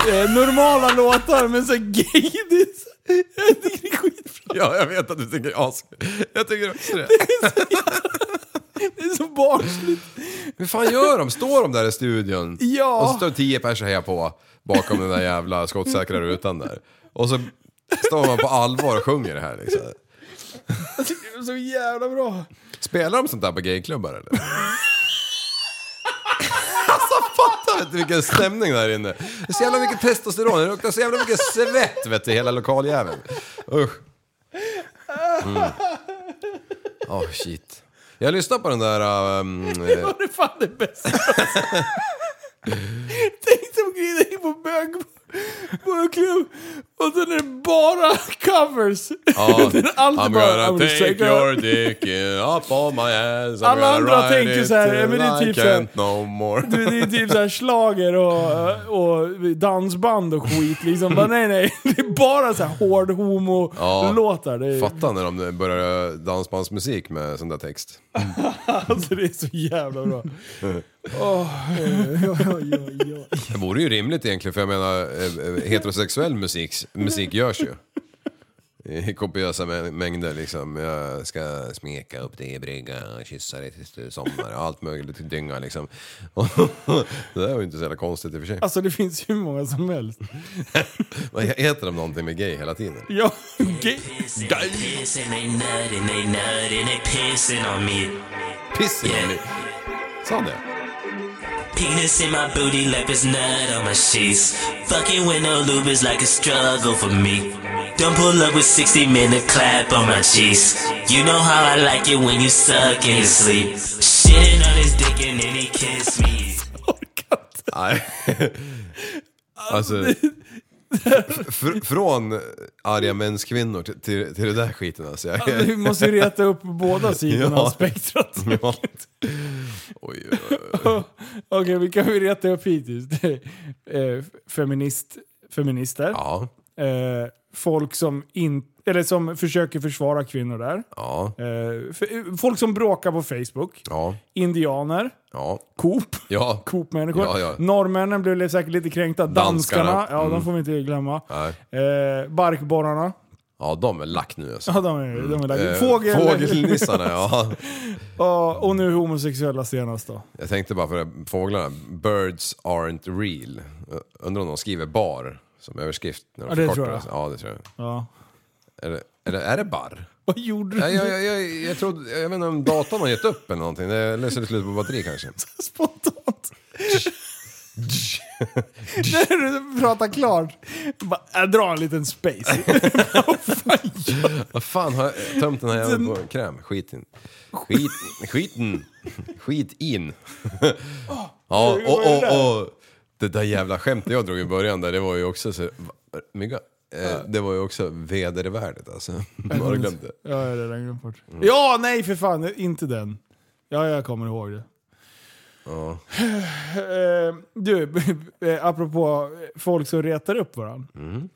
S4: eh, normala låtar, men så gaydis.
S6: Ja, jag vet att du tycker as... Jag tycker också det.
S4: Det är så barnsligt.
S6: Hur fan gör de? Står de där i studion?
S4: Ja.
S6: Och så står tio pers och hejar på bakom den där jävla skottsäkra rutan där. Och så står man på allvar och sjunger det här liksom.
S4: Jag tycker det är så jävla bra.
S6: Spelar de sånt där på gayklubbar eller? alltså fattar inte vilken stämning där inne. Det är så jävla mycket testosteron, det luktar så jävla mycket svett vet du, i hela lokaljäveln. Usch. Mm. Åh shit. Jag lyssnade på den där... ehm,
S4: Det
S6: eh,
S4: var det fan det bästa alltså. Tänk som glider in på bög på en klubb och sen är det bara covers.
S6: Ja,
S4: Det är
S6: I'm
S4: alltid bara,
S6: gonna
S4: "I'm gonna
S6: take
S4: shake
S6: your
S4: up."
S6: dick up on my ass I'm
S4: Alla
S6: gonna
S4: andra
S6: ride
S4: tänker
S6: it
S4: så här,
S6: till
S4: ja, men det är
S6: I
S4: typ så här-
S6: can't no more.
S4: Du, det är typ såhär schlager och, och dansband och skit liksom. Bara, nej nej, det är bara så här hård homo-låtar. Det, är-
S6: Fatta när de börjar dansbandsmusik med sån där text.
S4: alltså, det är så jävla bra. Åh.
S6: Det vore ju rimligt egentligen för jag menar eh, eh, heterosexuell musik, musik görs ju. I kopiösa mä- mängder liksom. Jag ska smeka upp dig i brygga, kyssa dig tills du somnar, allt möjligt dynga liksom. det där var ju inte så jävla konstigt i och för sig.
S4: Alltså det finns hur många som helst.
S6: Vad Heter de någonting med gay hela tiden?
S4: Ja,
S13: Pissing, they nutting, they nutting, they pissing on me.
S6: Pissing on me? Sa han det?
S13: Penis in my booty like it's nut on my sheets. Fucking with no lube is like a struggle for me. Don't pull up with 60 minute clap on my cheeks. You know how I like it when you suck in your sleep. Shitting on his dick and then he kiss me.
S6: Nej. Alltså, fr från arga mäns kvinnor till, till, till det där skiten alltså. Jag-
S4: Ja, Du måste ju reta upp båda sidorna av
S6: Ja.
S4: spektrat.
S6: Ja.
S4: Okej, vi kan vi reta upp hittills. Det är, eh, Feminist, feminister. Eh, folk som, in, eller som försöker försvara kvinnor där. Eh, f- folk som bråkar på Facebook.
S6: Ja.
S4: Indianer.
S6: Ja.
S4: Coop.
S6: Ja.
S4: Coop-människor.
S6: Ja, ja.
S4: Norrmännen blev säkert lite kränkta. Danskarna,
S6: Danskarna.
S4: ja, de
S6: Mm.
S4: får vi inte glömma.
S6: Nej.
S4: Eh, barkborrarna.
S6: Ja, de är lack nu alltså.
S4: Ja, de är- de är lack.
S6: Eh,
S4: Fågel-
S6: Fågelnissarna, ja.
S4: Ja, och nu homosexuella senast då.
S6: Jag tänkte bara för det, fåglarna, birds aren't real. Jag Undrar om de skriver bar som överskrift när de
S4: Ja, det
S6: förkortar
S4: tror jag.
S6: det. Ja, det tror jag.
S4: Ja.
S6: Är det, är det, är det barr?
S4: Vad gjorde du?
S6: Nej, jag, jag, jag, jag, trodde, jag vet inte om datorn har gett upp eller någonting. Det löser slut på batteri kanske.
S4: När du pratar klart, bara, jag drar en liten space.
S6: Vad fan har jag tömt den här jäveln på kräm? Skit in. Skit, skiten. Skit in. Ja,
S4: Ah, vad
S6: och,
S4: är det
S6: och, och det där jävla skämtet jag drog i början där, det var ju också så... va- Mygga? Eh, det var ju också vedervärdigt alltså. Har du glömt det?
S4: Ja, jag har redan glömt bort. Ja, nej för fan, inte den. Ja, jag kommer ihåg det.
S6: Ja.
S4: Eh, du, eh, apropå folk som retar upp varandra.
S6: Mm.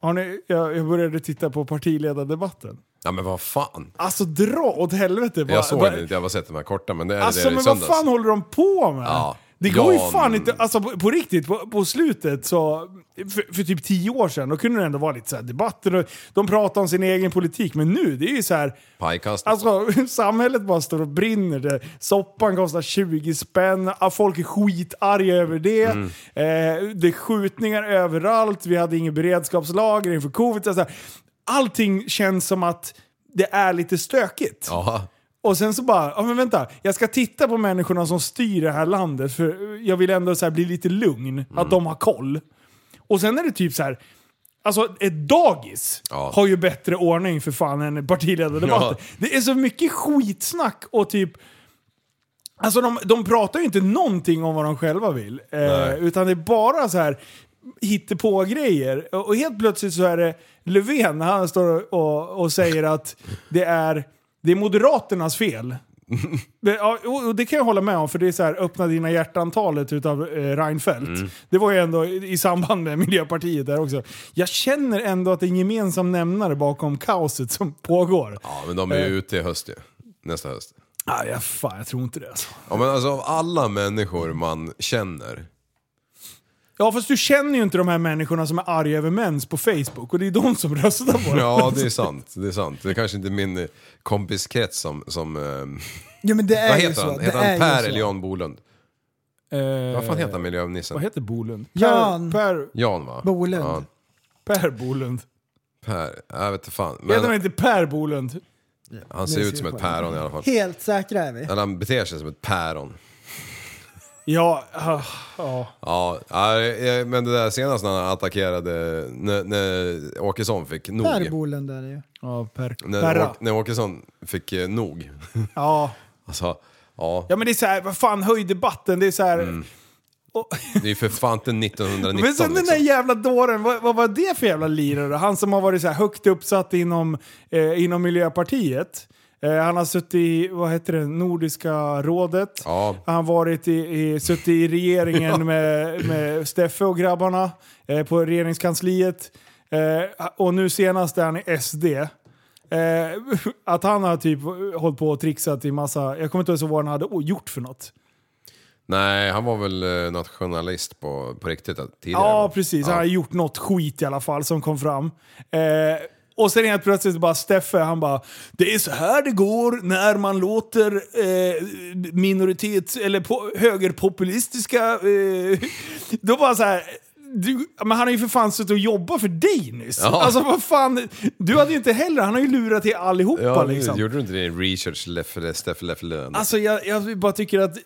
S4: Har ni, jag, jag började titta på partiledardebatten.
S6: ja, men vad fan.
S4: Alltså dra åt helvete. bara-
S6: Jag såg
S4: bara-
S6: den inte, jag har bara sett de här korta, men det är
S4: Alltså
S6: det i
S4: men vad
S6: söndags.
S4: fan håller de på med?
S6: Ja.
S4: Det går ju
S6: Jan-
S4: fan inte, alltså på, på riktigt, på, på slutet så, för, för typ tio år sedan, då kunde det ändå vara lite så här debatter och de pratade om sin egen politik, men nu, det är ju så här,
S6: Pajkast.
S4: alltså samhället bara står och brinner, det, soppan kostar 20 spänn, ah, folk är skitarga över det,
S6: Mm.
S4: eh, det är skjutningar överallt, vi hade ingen beredskapslager inför covid, så här, allting känns som att det är lite stökigt.
S6: Ja.
S4: Och sen så bara, ja men vänta, jag ska titta på människorna som styr det här landet för jag vill ändå så här bli lite lugn,
S6: Mm.
S4: att de har koll. Och sen är det typ så här, alltså ett dagis
S6: Ja.
S4: har ju bättre ordning för fan än partiledardebatter.
S6: Ja.
S4: Det är så mycket skitsnack och typ Alltså de, de pratar ju inte någonting om vad de själva vill. Eh,
S6: Nej.
S4: utan det är bara så här på grejer Och och helt plötsligt så är det Löfven, han står och, och säger att det är, det är Moderaternas fel. Det, ja, och och det kan jag hålla med om, för det är så här öppna dina hjärtan-talet utav eh, Reinfeldt.
S14: Mm.
S4: Det var ju ändå i, i samband med Miljöpartiet där också. Jag känner ändå att det är en gemensam nämnare bakom kaoset som pågår.
S6: Ja, men de är ju
S4: Eh.
S6: ute i höst ju. Nästa höst.
S4: Ah, jag, fan, jag tror inte det alltså.
S6: Ja, men alltså av alla människor man känner.
S4: Ja fast du känner ju inte de här människorna som är arga över mens på Facebook och det är de som röstar på det.
S6: Ja, det är sant. Det är sant. Det är kanske inte min eh, kompiskrets som... som eh,
S5: Ja, men det är
S6: vad
S5: ju
S6: heter
S5: så.
S6: han?
S5: Det
S6: Heter
S5: är ju
S6: han Per
S5: så.
S6: eller Jan Bolund?
S4: Eh,
S6: Vad fan heter han miljönissen?
S4: Vad heter Bolund?
S5: Jan.
S4: Per,
S6: Jan va?
S4: Bolund.
S6: Ja,
S4: per Bolund.
S6: per. Jag vet inte fan.
S4: Heter han
S6: Men
S4: inte Per Bolund?
S6: han ser ut som ett päron i alla fall.
S5: Helt säkra är vi.
S6: Eller han beter sig som ett päron.
S4: Ja, ah, ja.
S6: Ja, ja, eh, men det där senast när han attackerade, när, när Åkesson fick nog.
S5: Per Bolund är det ju.
S4: Ja, Per.
S6: När,
S4: Perra.
S6: Åk, när Åkesson fick eh, nog.
S4: Ja.
S6: Alltså, ja.
S4: ja men det är så här, vad fan höj debatten, det är så här...
S6: Det är ju för fan inte 1919
S4: Men sen den där
S6: liksom.
S4: jävla dåren, vad, vad var det för jävla lirare? Han som har varit så här högt uppsatt inom, eh, inom Miljöpartiet. Eh, han har suttit i, vad heter det, Nordiska rådet. Han har varit i, i, suttit i regeringen med, med Steffe och grabbarna eh, på regeringskansliet. Eh, och nu senast är han i SD. Eh, att han har typ hållit på och trixat i massa, jag kommer inte ens ihåg vad han hade gjort för något.
S6: Nej, han var väl eh, nationalist på, på riktigt eh, tidigare.
S4: Ja, precis. Han har gjort något skit i alla fall som kom fram. Eh, och sen helt plötsligt bara Steffe, han bara “Det är så här det går när man låter eh, minoritets eller po- högerpopulistiska...” eh, Då bara så här, du, men han har ju för fan suttit och jobbat för dig nyss.
S6: Ja.
S4: Alltså vad fan, du hade ju inte heller, han har ju lurat er allihopa
S6: Ja,
S4: liksom.
S6: Gjorde du inte din research Leffele, Steffe Leffele?
S4: Alltså jag, jag bara tycker att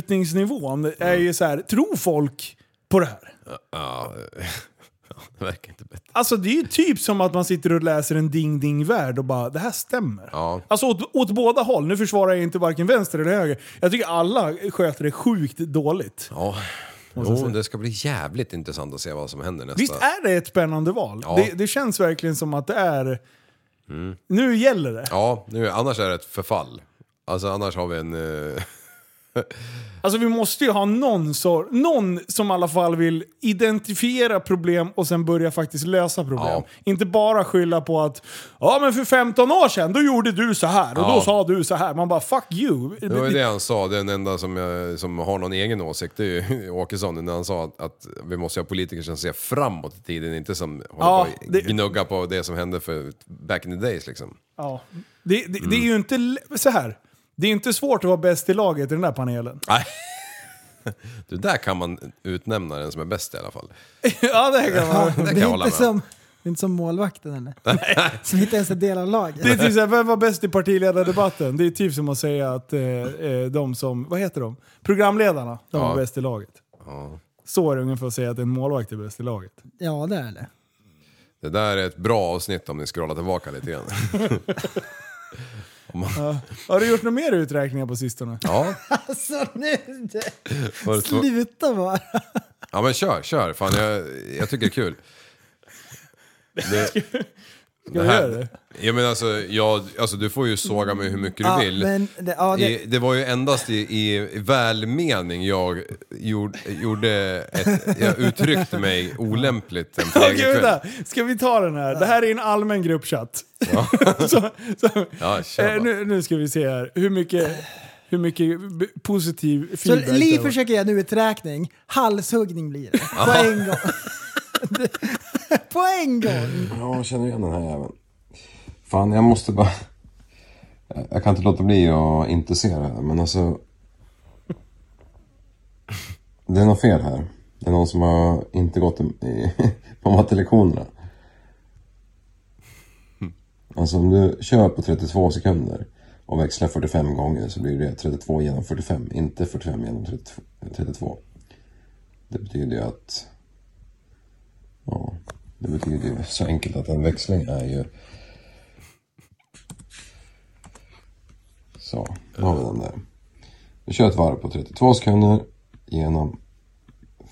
S4: uteslutningsnivån är ju så här. tror folk på det här?
S6: Ja, det verkar inte bättre.
S4: Alltså det är ju typ som att man sitter och läser en Ding Ding Värld och bara, det här stämmer.
S6: Ja.
S4: Alltså åt, åt båda håll, nu försvarar jag inte varken vänster eller höger. Jag tycker alla sköter det sjukt dåligt.
S6: Ja.
S4: Måste jag
S6: Jo,
S4: säga.
S6: det ska bli jävligt intressant att se vad som händer nästa...
S4: Visst är det ett spännande val?
S6: Ja.
S4: Det, det känns verkligen som att det är...
S6: Mm.
S4: Nu gäller det.
S6: Ja, nu, annars är det ett förfall. Alltså annars har vi en... eh,
S4: Alltså vi måste ju ha någon, sor- någon som i alla fall vill identifiera problem och sen börja faktiskt lösa problem. Inte bara skylla på att ja men för 15 år sedan då gjorde du så här och
S6: Ja.
S4: då sa du så här. Man bara fuck you.
S6: Det var ju det han sa, den enda som, jag, som har någon egen åsikt, det är ju Åkesson, när han sa att, att vi måste ha politiker som ser framåt i tiden, inte som
S4: Ja,
S6: håller på och gnuggar på det som hände för back in the days liksom.
S4: Ja. Det, det, det är
S6: Mm.
S4: ju inte l- så här. Det är inte svårt att vara bäst i laget i den här panelen.
S6: Nej. Du, där kan man utnämna den som är bäst i alla fall.
S4: ja det kan man.
S6: Det kan
S5: Det
S6: jag
S5: är
S6: hålla
S5: inte
S6: med
S5: som, det är inte som målvakten eller? Som inte ens är del av laget.
S4: Det är typ såhär, vem var bäst i partiledardebatten? Det är typ som att säga att eh, eh, de som, vad heter de? Programledarna, de
S6: Ja.
S4: var bäst i laget. Så är det ungefär att säga att en målvakt är bäst i laget.
S5: Ja, det är det.
S6: Det där är ett bra avsnitt om ni scrollar tillbaka lite grann. Om man-
S4: Ja. Har du gjort några mer uträkningar på sistone?
S6: Ja.
S5: Alltså nu!
S6: Var det två-
S5: Sluta bara!
S6: ja men kör, kör. Fan, jag, jag tycker det är kul. Det, Ska
S4: vi göra det?
S6: Ja, men alltså, jag, alltså, du får ju såga mig hur mycket
S5: Ja,
S6: du vill.
S5: men det- ja, det-
S6: I, det var ju endast i, i välmening jag gjorde, gjorde ett, jag uttryckte mig olämpligt en
S4: Okej,
S6: fredag kväll.
S4: vänta. Ska vi ta den här? Det här är en allmän gruppchatt.
S6: Ja.
S4: så, så,
S6: Ja, kör
S4: eh, nu, nu ska vi se här. Hur mycket, hur mycket b- positiv
S5: Så
S4: feedback
S5: Li
S4: det var.
S5: försöker göra en uträkning, halshuggning blir det. På
S4: Ja.
S5: en gång. På en
S4: Mm.
S5: gång!
S14: Ja, jag känner igen den här jäveln. Fan, jag måste bara... Jag- Jag kan inte låta bli att inte se det här, men alltså... Det är något fel här. Det är någon som har inte gått i, på mattelektionerna. Alltså om du kör på 32 sekunder och växlar 45 gånger så blir det 32 genom 45, inte 45 genom 32. 32. Det betyder ju att... Ja, det betyder ju så enkelt att en växling är ju... Så, nu har vi den där. Vi kör ett varv på 32 sekunder genom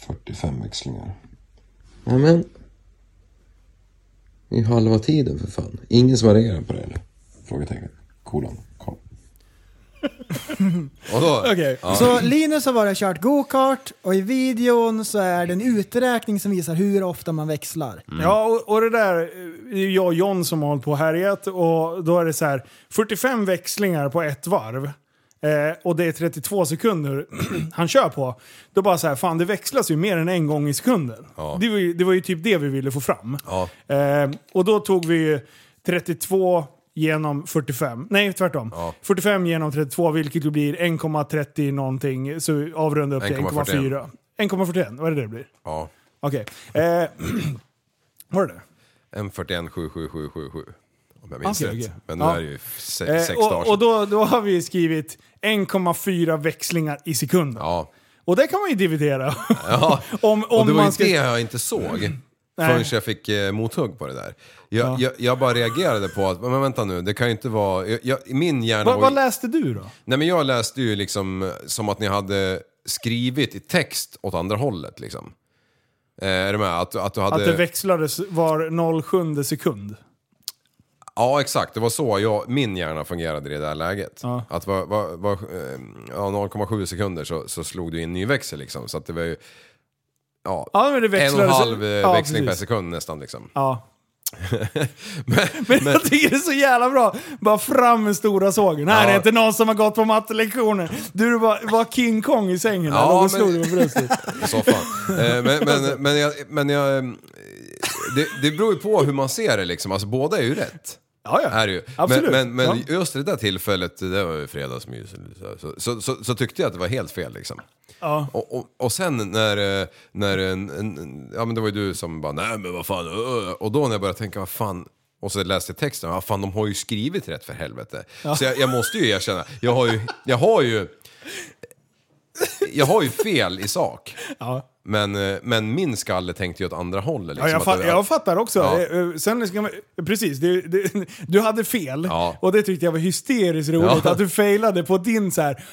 S14: 45 växlingar. Nämen. Det är ju halva tiden för fan. Ingen som har reagerat på det eller? Frågetecken. Kolon. Kom.
S5: Okej. Så Linus har bara kört go-kart och i videon så är det en uträkning som visar hur ofta man växlar.
S4: Mm. Ja, och, och det där eh, är ju jag och John som har hållit på och härjat. Och då är det så här, 45 växlingar på ett varv. Eh, och det är 32 sekunder han kör på. Då bara så här, fan det växlas ju mer än en gång i sekunden. Det, var ju, det var ju typ det vi ville få fram.
S6: Ja.
S4: Eh, och då tog vi ju 32 genom 45. Nej, tvärtom. 45 genom 32, vilket ju blir 1,30 någonting. Så avrunda upp till 1,4.
S6: 1,41.
S4: 1,41, vad är det det blir?
S6: Ja.
S4: Okej. Eh, var det det?
S6: M41777777. Om jag minns
S4: Okej,
S6: rätt.
S4: okej.
S6: Men nu
S4: Ja.
S6: är det ju se,
S4: Eh,
S6: sex dagar
S4: och
S6: sedan.
S4: och då, då har vi skrivit 1,4 växlingar i sekunden. Och det kan man ju dividera.
S6: Ja.
S4: om, om
S6: och det var
S4: man
S6: ju
S4: ska...
S6: det jag inte såg. Förrän
S4: Nej.
S6: jag fick eh, mothugg på det där. Jag, jag, jag bara reagerade på att, men vänta nu, det kan ju inte vara... Jag, jag, min hjärna
S4: Vad,
S6: var
S4: vad
S6: ju-
S4: läste du då?
S6: Nej men jag läste ju liksom eh, som att ni hade skrivit i text åt andra hållet liksom. Eh, är du med? Att, att du hade...
S4: Att det växlades var 07 sekund.
S6: Ja, exakt. Det var så jag, min hjärna fungerade i det där läget. Att var, var, var, eh, ja, 0,7 sekunder så, så slog du in ny växel liksom. Så att det var ju... Ja,
S4: Ja, men det
S6: en och en
S4: växlades-
S6: halv eh,
S4: ja,
S6: växling per
S4: precis.
S6: sekund nästan liksom.
S4: Ja. Men, jag tycker det är så jävla bra. Bara fram med stora sågen. Här
S6: Ja.
S4: är inte någon som har gått på mattelektioner. Du var, var King Kong i sängen
S6: Ja,
S4: där. och
S6: men-
S4: då slog du på bröstet.
S6: I soffan. Eh, men, men, men jag... Men jag eh, det, det beror ju på hur man ser det liksom. Alltså båda är ju rätt.
S4: Ja, ja.
S6: Är det ju.
S4: Absolut.
S6: Men, men, men
S4: Ja.
S6: just det där tillfället, det var ju fredagsmys, så, så, så, så tyckte jag att det var helt fel liksom.
S4: Ja.
S6: Och, och, och sen när, eh, när en, en, en, ja men det var ju du som bara nej men vad fan, öh." och då när jag började tänka vad fan, och så läste jag texten, vad fan de har ju skrivit rätt för helvete.
S4: Ja.
S6: Så jag, jag måste ju erkänna, jag har ju, jag har ju, jag har ju fel i sak.
S4: Ja.
S6: Men, eh, men min skalle tänkte ju åt andra hållet. liksom,
S4: Ja, jag,
S6: att
S4: fa-
S6: det-
S4: jag fattar också.
S6: Ja.
S4: Eh, eh, Sen ska man, eh, precis, det, det, du hade fel.
S6: Ja.
S4: Och det tyckte jag var hysteriskt roligt.
S6: Ja.
S4: Att du failade på din så här.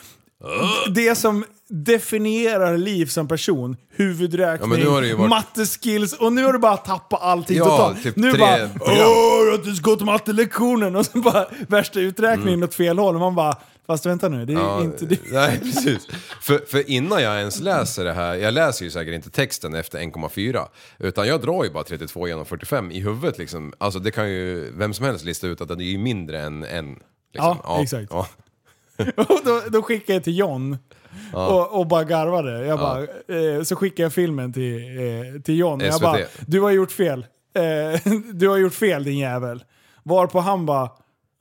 S4: Det som definierar liv som person,
S6: Ja,
S4: huvudräkning,
S6: men nu har det ju varit-
S4: matteskills och nu har du bara tappat allting
S6: Ja,
S4: totalt.
S6: typ
S4: nu
S6: tre
S4: bara
S6: program.
S4: Åh, jag har inte gått mattelektionen och så bara värsta uträkningen
S6: Mm.
S4: åt fel håll. Och Man bara, fast vänta nu, det är ju
S6: Ja,
S4: inte det.
S6: Nej, precis. För, för innan jag ens läser det här, jag läser ju säkert inte texten efter 1,4. Utan jag drar ju bara 32 genom 45 i huvudet liksom. Alltså det kan ju vem som helst lista ut att det är ju mindre än en. Liksom.
S4: Ja, exakt.
S6: Ja.
S4: Och då, då skickade jag till John
S6: Ja.
S4: och, och bara garvade. Jag
S6: Ja.
S4: bara, eh, så skickade jag filmen till, eh, till John. Jag
S6: SVT.
S4: bara, du har gjort fel. Eh, du har gjort fel din jävel. Varpå han bara,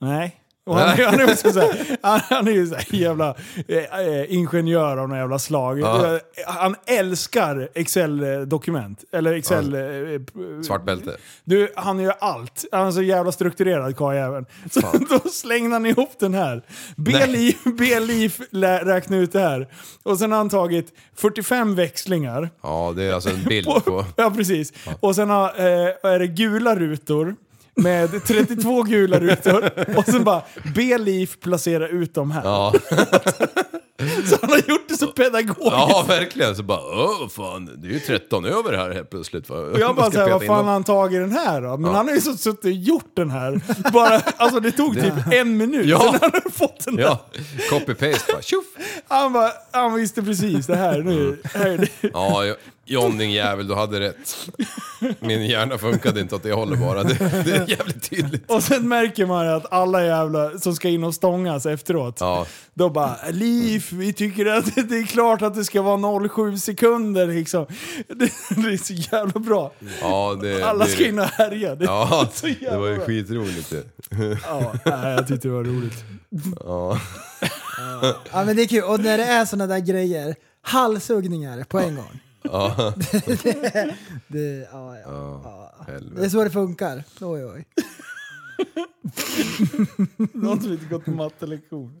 S4: nej. Och han,
S6: Nej.
S4: han, är också så här, han, han är ju såhär jävla eh, eh, ingenjör av något jävla slag.
S6: Ja.
S4: Eh, Han älskar Excel-dokument. Eller Excel...
S6: Ja.
S4: eh, p-
S6: Svart bälte.
S4: du, han gör allt. Han är så jävla strukturerad karljäveln. Så då slängde han ihop den här. B-Leaf räkna ut det här. Och sen har han tagit 45 växlingar.
S6: Ja, det är alltså en bild
S4: På-
S6: på...
S4: Ja, precis. Och sen har, eh, är det gula rutor. Med 32 gula rutor. Och sen bara B-Leaf placera ut dem här.
S6: Ja.
S4: Så han har gjort det så pedagogiskt.
S6: ja, verkligen. Så bara, åh fan, det är ju 13 över här helt plötsligt. va?
S4: Och jag bara
S6: Man ska
S4: såhär, vad
S6: peta in
S4: fan har
S6: dem.
S4: han tagit den här då? Men
S6: Ja.
S4: han har ju så suttit och gjort den här. Bara, alltså det tog typ en minut.
S6: Ja.
S4: Sen har han fått den
S6: Ja, copy-paste bara, tjoff!
S4: Han bara, han visste precis det här nu. Här är det.
S6: Ja, Jo- John din jävel, du hade rätt. Min hjärna funkade inte åt det hållet bara. Det, det är jävligt tydligt.
S4: Och sen märker man att alla jävla som ska in och stångas efteråt,
S6: Ja.
S4: då bara Liv, vi tycker att det är klart att det ska vara 0,7 sekunder liksom. Det, det är så jävla bra.
S6: Ja, det,
S4: Alla
S6: det,
S4: ska in och härja. Det
S6: Ja,
S4: är så jävla
S6: det var ju
S4: bra.
S6: skitroligt det.
S4: Ja, nej, jag tyckte det var roligt.
S6: Ja.
S5: Ja men det är kul, och när det är sådana där grejer, halshuggningar på en gång.
S6: Ja.
S5: det, det, ja, ja.
S6: helvete.
S5: det är så det funkar. Oj, oj.
S4: Någon som inte gått mattelektion.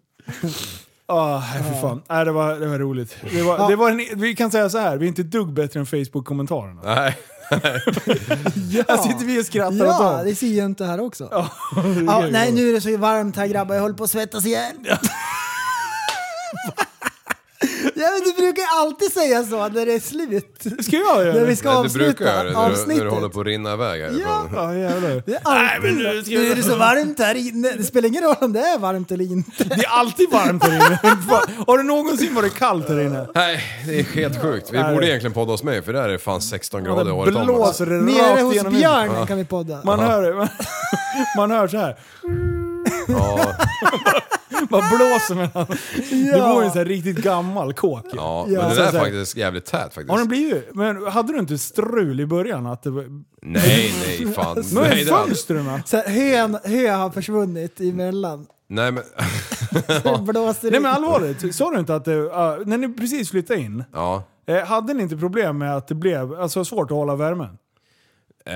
S4: Ah, nej, för fan. Nej, det, var, det var roligt. Det var, det var en, vi kan säga så här, vi är inte ett dugg bättre än Facebook-kommentarerna.
S6: Nej.
S4: Här sitter vi och skrattar åt
S5: Ja,
S4: dem.
S5: det ser ju inte här också. Ja,
S4: det kan ju
S5: nej,
S4: vara.
S5: nu är det så varmt här grabbar, jag håller på att svettas ihjäl. Ja. men du brukar alltid säga så när det är slut.
S4: Ska jag göra
S5: När vi ska
S6: Nej, du
S5: avsluta
S6: brukar göra det när du, när
S5: avsnittet.
S6: du håller på att rinna iväg härifrån.
S4: Ja, jävlar.
S5: Det är alltid,
S4: men
S5: nu,
S4: nu ska vi-
S5: är det så varmt här inne. Det spelar ingen roll om det är varmt eller inte.
S4: Det är alltid varmt här inne. Fan, Har det någonsin varit kallt här inne?
S6: Nej, det är helt sjukt. Vi
S4: Nej.
S6: borde egentligen podda oss med för där är det fan 16
S4: Ja,
S6: grader
S4: Det
S6: året om. alltså.
S4: blåser det
S5: Nere
S4: rakt
S5: hos
S4: genom
S5: björnen
S6: Ja.
S5: kan vi podda.
S4: Man hör, man, man hör så här.
S6: Ja,
S4: Man blåser med den. Det
S5: Ja.
S4: var ju en så här riktigt gammal kåk. ju.
S6: ja.
S4: Ja.
S6: men det
S4: Så
S6: där är
S4: här-
S6: faktiskt jävligt tät faktiskt.
S4: Har den blivit? Men hade du inte strul i början? Att det var...
S6: Nej, nej, fan.
S4: Men
S6: Nej, det hade-
S4: fönstren
S5: Så här, hön, hö har försvunnit emellan.
S6: Nej, men...
S5: Det blåser
S4: Nej
S5: in.
S4: men allvarligt, sa du inte att det, ah, när ni precis flyttade in,
S6: Ja.
S4: eh, hade ni inte problem med att det blev alltså, svårt att hålla värmen?
S6: Eh,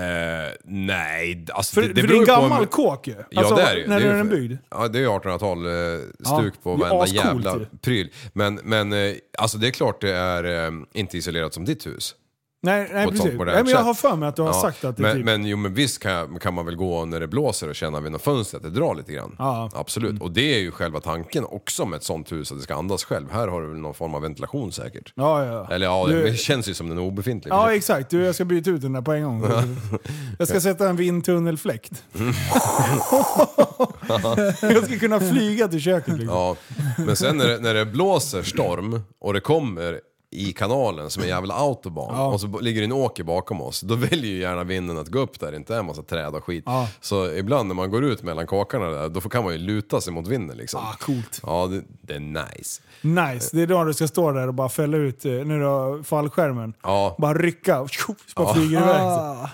S6: nej, alltså
S4: För,
S6: det,
S4: för det
S6: det
S4: är en
S6: beror ju på...
S4: gammal kåk ju.
S6: Ja, det är det ju.
S4: Alltså, När
S6: det
S4: är
S6: ju-
S4: den byggd?
S6: Ja, det är ju 1800-tal eh, stuk
S4: Ja,
S6: på
S4: det är
S6: varenda
S4: ascoolt
S6: jävla
S4: ju.
S6: pryl. Men, men eh, alltså det är klart det är eh, inte isolerat som ditt hus.
S4: Nej, nej
S6: på ett
S4: precis.
S6: sånt
S4: Nej,
S6: modernt
S4: men jag
S6: sätt.
S4: har för mig att du har
S6: Ja,
S4: sagt att det är
S6: men,
S4: typ...
S6: men jo men visst kan, kan man väl gå när det blåser och känna vid något fönster att det drar lite grann.
S4: Ja. Mm.
S6: Absolut. Och det är ju själva tanken också med ett sånt hus att det ska andas själv. Här har du väl någon form av ventilation säkert.
S4: Ja, ja, ja.
S6: Eller ja,
S4: Du-
S6: det känns ju som den är obefintlig.
S4: Ja exakt, du jag ska byta ut den där på en gång. Jag ska sätta en vindtunnelfläkt.
S6: Mm.
S4: Jag ska kunna flyga till köket. Liksom.
S6: Ja, men sen när det, när det blåser storm och det kommer i kanalen som en jävla autobahn och så ligger det en åker bakom oss. Då väljer ju gärna vinden att gå upp där det inte är en massa träd och skit.
S4: Ja.
S6: Så ibland när man går ut mellan kakarna där, då får- kan man ju luta sig mot vinden liksom.
S4: Ah, coolt.
S6: Ja, det, det är nice.
S4: Nice, det är då du ska stå där och bara fälla ut eh, nu då, fallskärmen.
S6: Ja,
S4: Bara rycka, tjo, så bara
S6: Ja.
S4: flyger iväg. Så.
S5: Ah.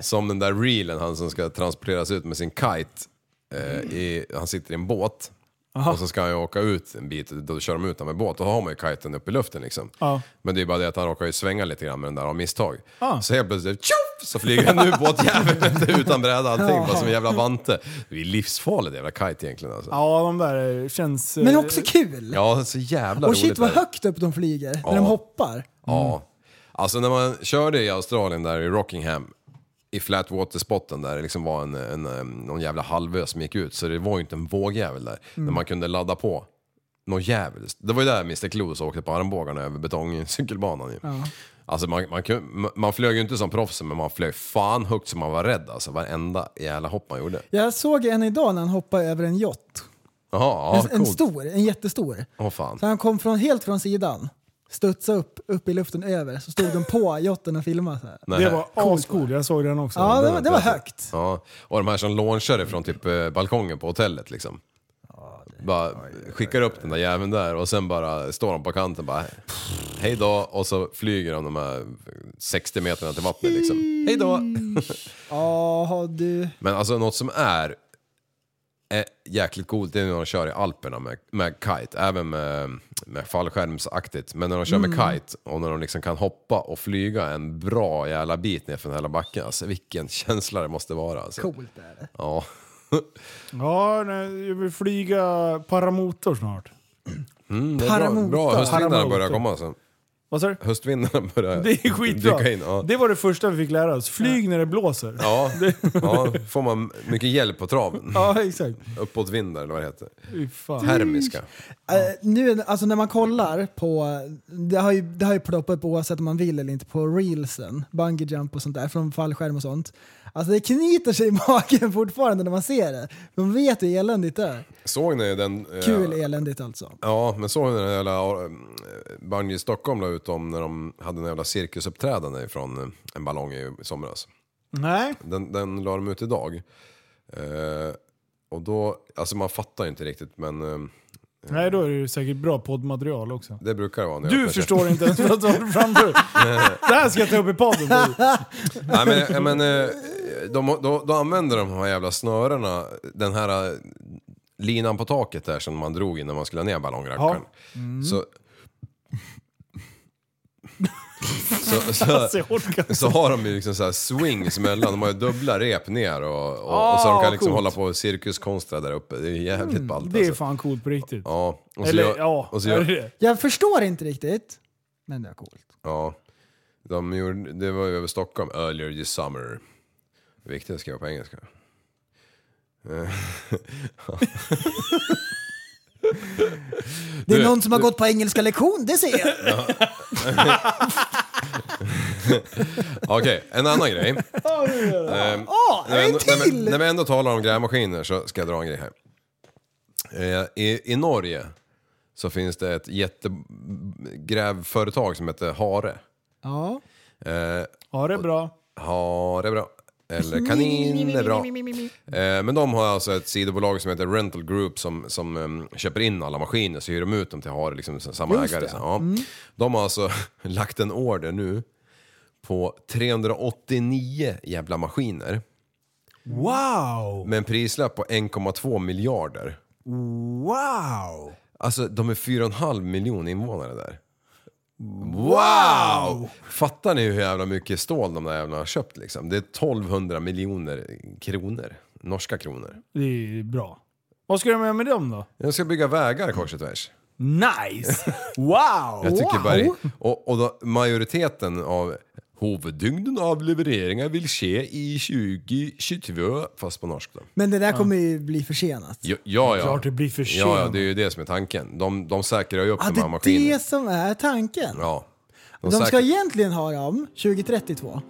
S6: som den där reelen han som ska transporteras ut med sin kite. eh, i, han sitter i en båt. Och så ska han ju åka ut en bit, då kör de ut honom med båt. Då har man ju kiten uppe i luften liksom.
S4: Ja.
S6: Men det är bara det att han råkar ju svänga lite grann med den där av misstag.
S4: Ah.
S6: Så helt plötsligt tjoff, så flyger han ur båtjäveln vet du, utan bräda och allting.
S4: Ja.
S6: Bara som en jävla vante. Det är livsfarligt jävla kite egentligen alltså.
S4: Ja, de där eh, känns... eh,
S5: Men också kul!
S6: Ja, så jävla
S5: Och
S6: roligt.
S5: shit vad
S6: är det.
S5: högt upp de flyger
S6: Ja.
S5: när de hoppar. Mm.
S6: Ja. Alltså när man körde i Australien där i Rockingham i flatwater-spotten där det liksom var en, en, eh, någon jävla halvö som gick ut så det var ju inte en vågjävel där.
S4: Mm.
S6: Där man kunde ladda på någon jävel. Det var ju där Mr. Kloos åkte på armbågarna över betongcykelbanan ju.
S4: Ja.
S6: Alltså man, man, kun- man flög ju inte som proffsen men man flög fan högt som man var rädd alltså. Varenda jävla hopp man gjorde.
S5: Jag såg en idag när han hoppade över en jott.
S6: Jaha, ja,
S5: en, en
S6: coolt.
S5: stor, en jättestor.
S6: Åh fan.
S5: Så han kom från, helt från sidan, studsade upp, upp i luften över, så stod de på jotten och filmade. Så här.
S6: Nej.
S4: Det var ascool, jag såg den också.
S5: Ja, det var, det var högt.
S6: Ja, och de här som launchade från typ eh, balkongen på hotellet liksom. bara skickar upp den där jäveln där och sen bara står de på kanten bara hej då och så flyger de de här 60 meterna till vattnet liksom. Hej då!
S5: Jaha du.
S6: Men alltså något som är, är jäkligt coolt det är när de kör i Alperna med, med kite, även med, med fallskärmsaktigt. Men när de kör
S4: Mm.
S6: med kite och när de liksom kan hoppa och flyga en bra jävla bit ner för den hela backen. Alltså vilken känsla det måste vara. Alltså.
S5: Coolt är det.
S6: Ja.
S4: Ja, nej, jag vill flyga paramotor snart.
S6: Mm, det är bra, bra.
S4: Paramotor.
S6: höstvindarna börjar
S4: Paramotor.
S6: komma alltså.
S4: Vad sa du?
S6: Höstvindarna börjar
S4: Det är skitbra.
S6: dyka in. Ja.
S4: Det var det första vi fick lära oss. Flyg när det blåser.
S6: Ja, ja, får man mycket hjälp på traven.
S4: Ja, exakt.
S6: Uppåtvindar eller vad det heter.
S4: Fy fan.
S6: Termiska.
S5: Eh, nu, alltså när man kollar på, det har ju, det har ju ploppat upp oavsett om man vill eller inte på reelsen, bungee jump och sånt där från fallskärm och sånt. Alltså det knyter sig i magen fortfarande när man ser det. De vet hur eländigt det är.
S6: Såg ni den... eh,
S5: Kul eländigt alltså.
S6: Ja, men såg ni den jävla eh, Bungy Stockholm la ut om när de hade en jävla cirkusuppträdande från eh, en ballong i somras?
S4: Nej.
S6: Den, den la de ut idag. Eh, och då, alltså man fattar ju inte riktigt men eh,
S4: Nej, då är det ju säkert bra poddmaterial också.
S6: det brukar det vara. när jag
S4: Du
S6: öppnar
S4: förstår
S6: käften.
S4: inte ens vad du har framför dig. Det här ska jag ta upp i podden.
S6: Nej men, jag men eh, de, då, då använder de här jävla snörena, den här eh, linan på taket där som man drog in när man skulle ha ner ballongrackaren. Mm.
S4: Mm.
S6: Så, så,
S4: Alltså,
S6: så,
S4: jag orkar inte.
S6: så har de ju liksom så här swings mellan, de har ju dubbla rep ner och, och, och så
S4: Ah,
S6: de kan liksom
S4: coolt. Mm,
S6: hålla på och cirkuskonstra där uppe. Det är jävligt ballt
S4: Det är
S6: alltså.
S4: fan coolt på riktigt.
S6: Ja, och så
S4: Eller
S6: gör-
S4: ja,
S6: och så
S4: är
S6: gör-
S4: det det?
S5: Jag förstår inte riktigt, men det är coolt.
S6: Ja. De gjorde, det var ju över Stockholm, earlier this summer. Viktigt att skriva på engelska. Eh,
S5: Det är
S6: Du,
S5: någon som har
S6: du-
S5: gått på engelska lektion, det ser jag.
S6: Ja. Okej, en annan grej. Ehm,
S5: Åh,
S6: när vi
S5: en
S6: ändå- när vi-
S5: till!
S6: När vi ändå talar om grävmaskiner så ska jag dra en grej här. Eh, I, I Norge så finns det ett jättegrävföretag som heter Hare.
S5: Ja.
S6: Eh,
S4: Ja, det är bra.
S6: Hare är bra. Eller kanin är bra. Eh, Men de har alltså ett sidobolag som heter Rental Group som, som em, köper in alla maskiner så hyr de ut dem till har liksom samma
S4: Just
S6: ägare.
S4: det.
S6: Så, ja.
S4: Mm.
S6: De har alltså lagt en order nu på 389 jävla maskiner
S4: Wow!
S6: med en prislapp på 1,2 miljarder.
S4: Wow!
S6: Alltså de är 4,5 miljoner invånare där.
S4: Wow!
S6: Fattar ni hur jävla mycket stål de där jävlarna har köpt liksom? Det är 1200 miljoner kronor. Norska kronor.
S4: Det är bra. Vad ska de göra med dem då?
S6: Jag ska bygga vägar kors och tvärs.
S4: Nice! Wow!
S6: Jag tycker bara, och och då, majoriteten av huvudtyngden av levereringar vill ske i 2022, fast på norsk då.
S5: Men det där kommer ju bli försenat.
S6: Ja, ja. ja.
S4: Klart det blir försenat.
S6: Ja, ja, det är ju det som är tanken. De, de säkrar ju upp
S5: Ja,
S6: de
S5: det
S6: här
S5: är
S6: maskinerna.
S5: det som är tanken.
S6: Ja.
S5: De ska egentligen ha dem 2032.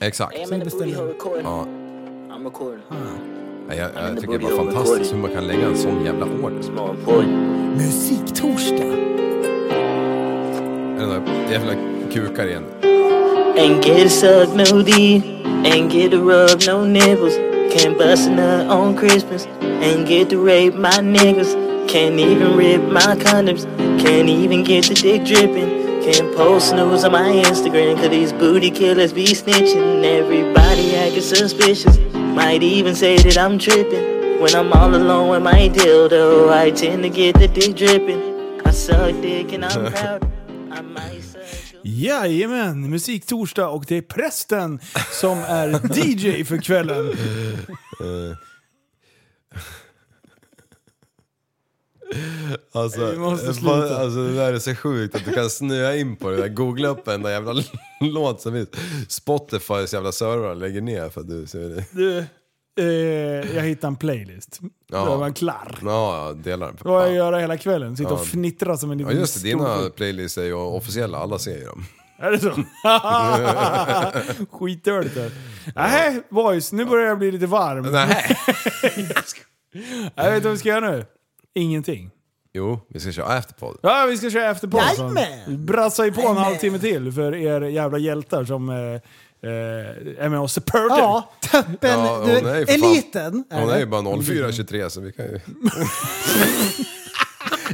S6: Exakt.
S5: Så vi beställer. Ah.
S6: Ja. Jag, jag, jag tycker det är bara fantastiskt hur man kan lägga en sån jävla order.
S5: Musiktorsdag.
S6: Den där jävla kukar igen.
S15: Ain't get a suck, no D. Ain't get a rub, no nipples. Can't bust a nut on Christmas. Ain't get to rape my niggas. Can't even rip my condoms. Can't even get the dick dripping. Can't post news on my Instagram. Cause these booty killers be snitching. Everybody acting suspicious. Might even say that I'm tripping. When I'm all alone with my dildo, I tend to get the dick dripping. I suck dick and I'm proud.
S4: Jajamän, musiktorsdag och det är prästen som är DJ för kvällen.
S6: Eh. Alltså,
S4: Vi måste
S6: fan,
S4: sluta.
S6: alltså, det där är så sjukt att du kan snöa in på det där. Googla upp en jävla låt som finns. Spotifys jävla servrar lägger ner för att du ser det.
S4: Du, eh, jag hittade en playlist.
S6: Ja.
S4: Då var en klar.
S6: Ja, jag delar den.
S4: Vad jag gör hela kvällen? Sitta
S6: Ja.
S4: och fnittra som en
S6: Ja
S4: liten
S6: just det, dina
S4: stor-
S6: playlists är ju officiella, alla ser ju dem.
S4: Är det så? Skitdåligt där. Nej, boys, nu börjar jag bli lite varm.
S6: Nej.
S4: jag vet du vad vi ska göra nu? Ingenting.
S6: Jo, vi ska köra afterpod.
S4: Ja, vi ska köra efter på.
S5: Jajamän!
S4: Brassa ju på en halvtimme till för er jävla hjältar som eh, eh, är med och supportar.
S5: Ja, toppen.
S6: Ja,
S5: du,
S6: hon är ju för fan-
S5: eliten.
S6: Hon är ju bara 0423 så vi kan ju...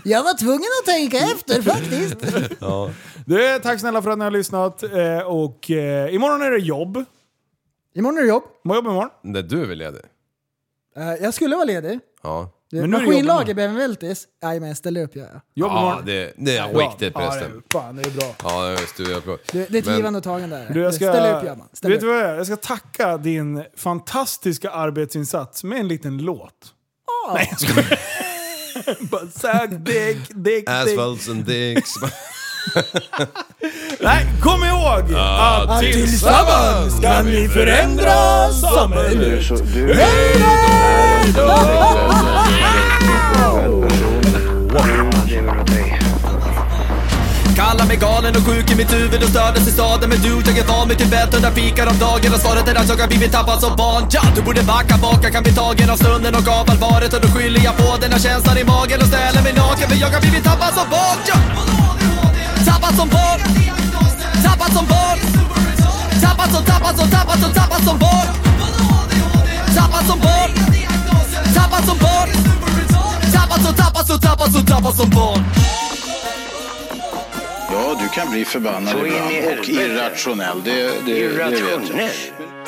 S5: Jag var tvungen att tänka efter faktiskt.
S6: Ja.
S4: Du, tack snälla för att ni har lyssnat. Eh, och eh, imorgon är det jobb.
S5: Imorgon är det jobb.
S4: Må jobb imorgon.
S6: När du är ledig.
S5: Eh, Jag skulle vara ledig.
S6: Ja.
S5: Du,
S4: Men nu är det
S5: maskinlager behöver vältis. Jajamän, jag ställer upp gör jag.
S6: Ja, det, det är
S4: Bra.
S6: riktigt
S4: Ja, det är-
S6: förresten.
S4: Fan, det är bra.
S6: Ja, det är studier på.
S5: Det, det är ett
S6: Men-
S5: givande och tagande. där.
S4: Du, jag ska,
S5: Ställ upp gör man. Ställ
S4: vet
S5: upp.
S4: du vad jag, gör? jag ska tacka din fantastiska arbetsinsats med en liten låt. Nej, jag skojar. Bara sag, dick, dick, dick.
S6: Assholes and dicks.
S4: Nej, kom ihåg
S6: Ja,
S4: att
S6: tillsammans
S4: kan vi förändra samhället.
S1: Du är så... Du
S4: Hej
S1: Du är en person. Du lever åt dig.
S2: Kallar mig galen och sjuk i mitt huvud och stördes i staden Men du, jag är van vid Tibet under fikar om dagen Och svaret är att jag har blivit tappad som barn ja, Du borde backa bak, jag kan bli tagen av stunden och av allvaret Och då skyller jag på den här känslan i magen och ställer mig naken För jag har blivit tappad som barn ja. Tappad som barn Tappad som barn Tappad som, tappad som, tappad som, tappad som barn Tappad som barn Tappad som barn Tappad som, tappad som, tappad som, tappad som barn
S16: Ja, du kan bli förbannad
S1: Så in i
S16: ibland och
S1: helvete.
S16: irrationell. Det, det, det vet jag.
S1: Irrationell.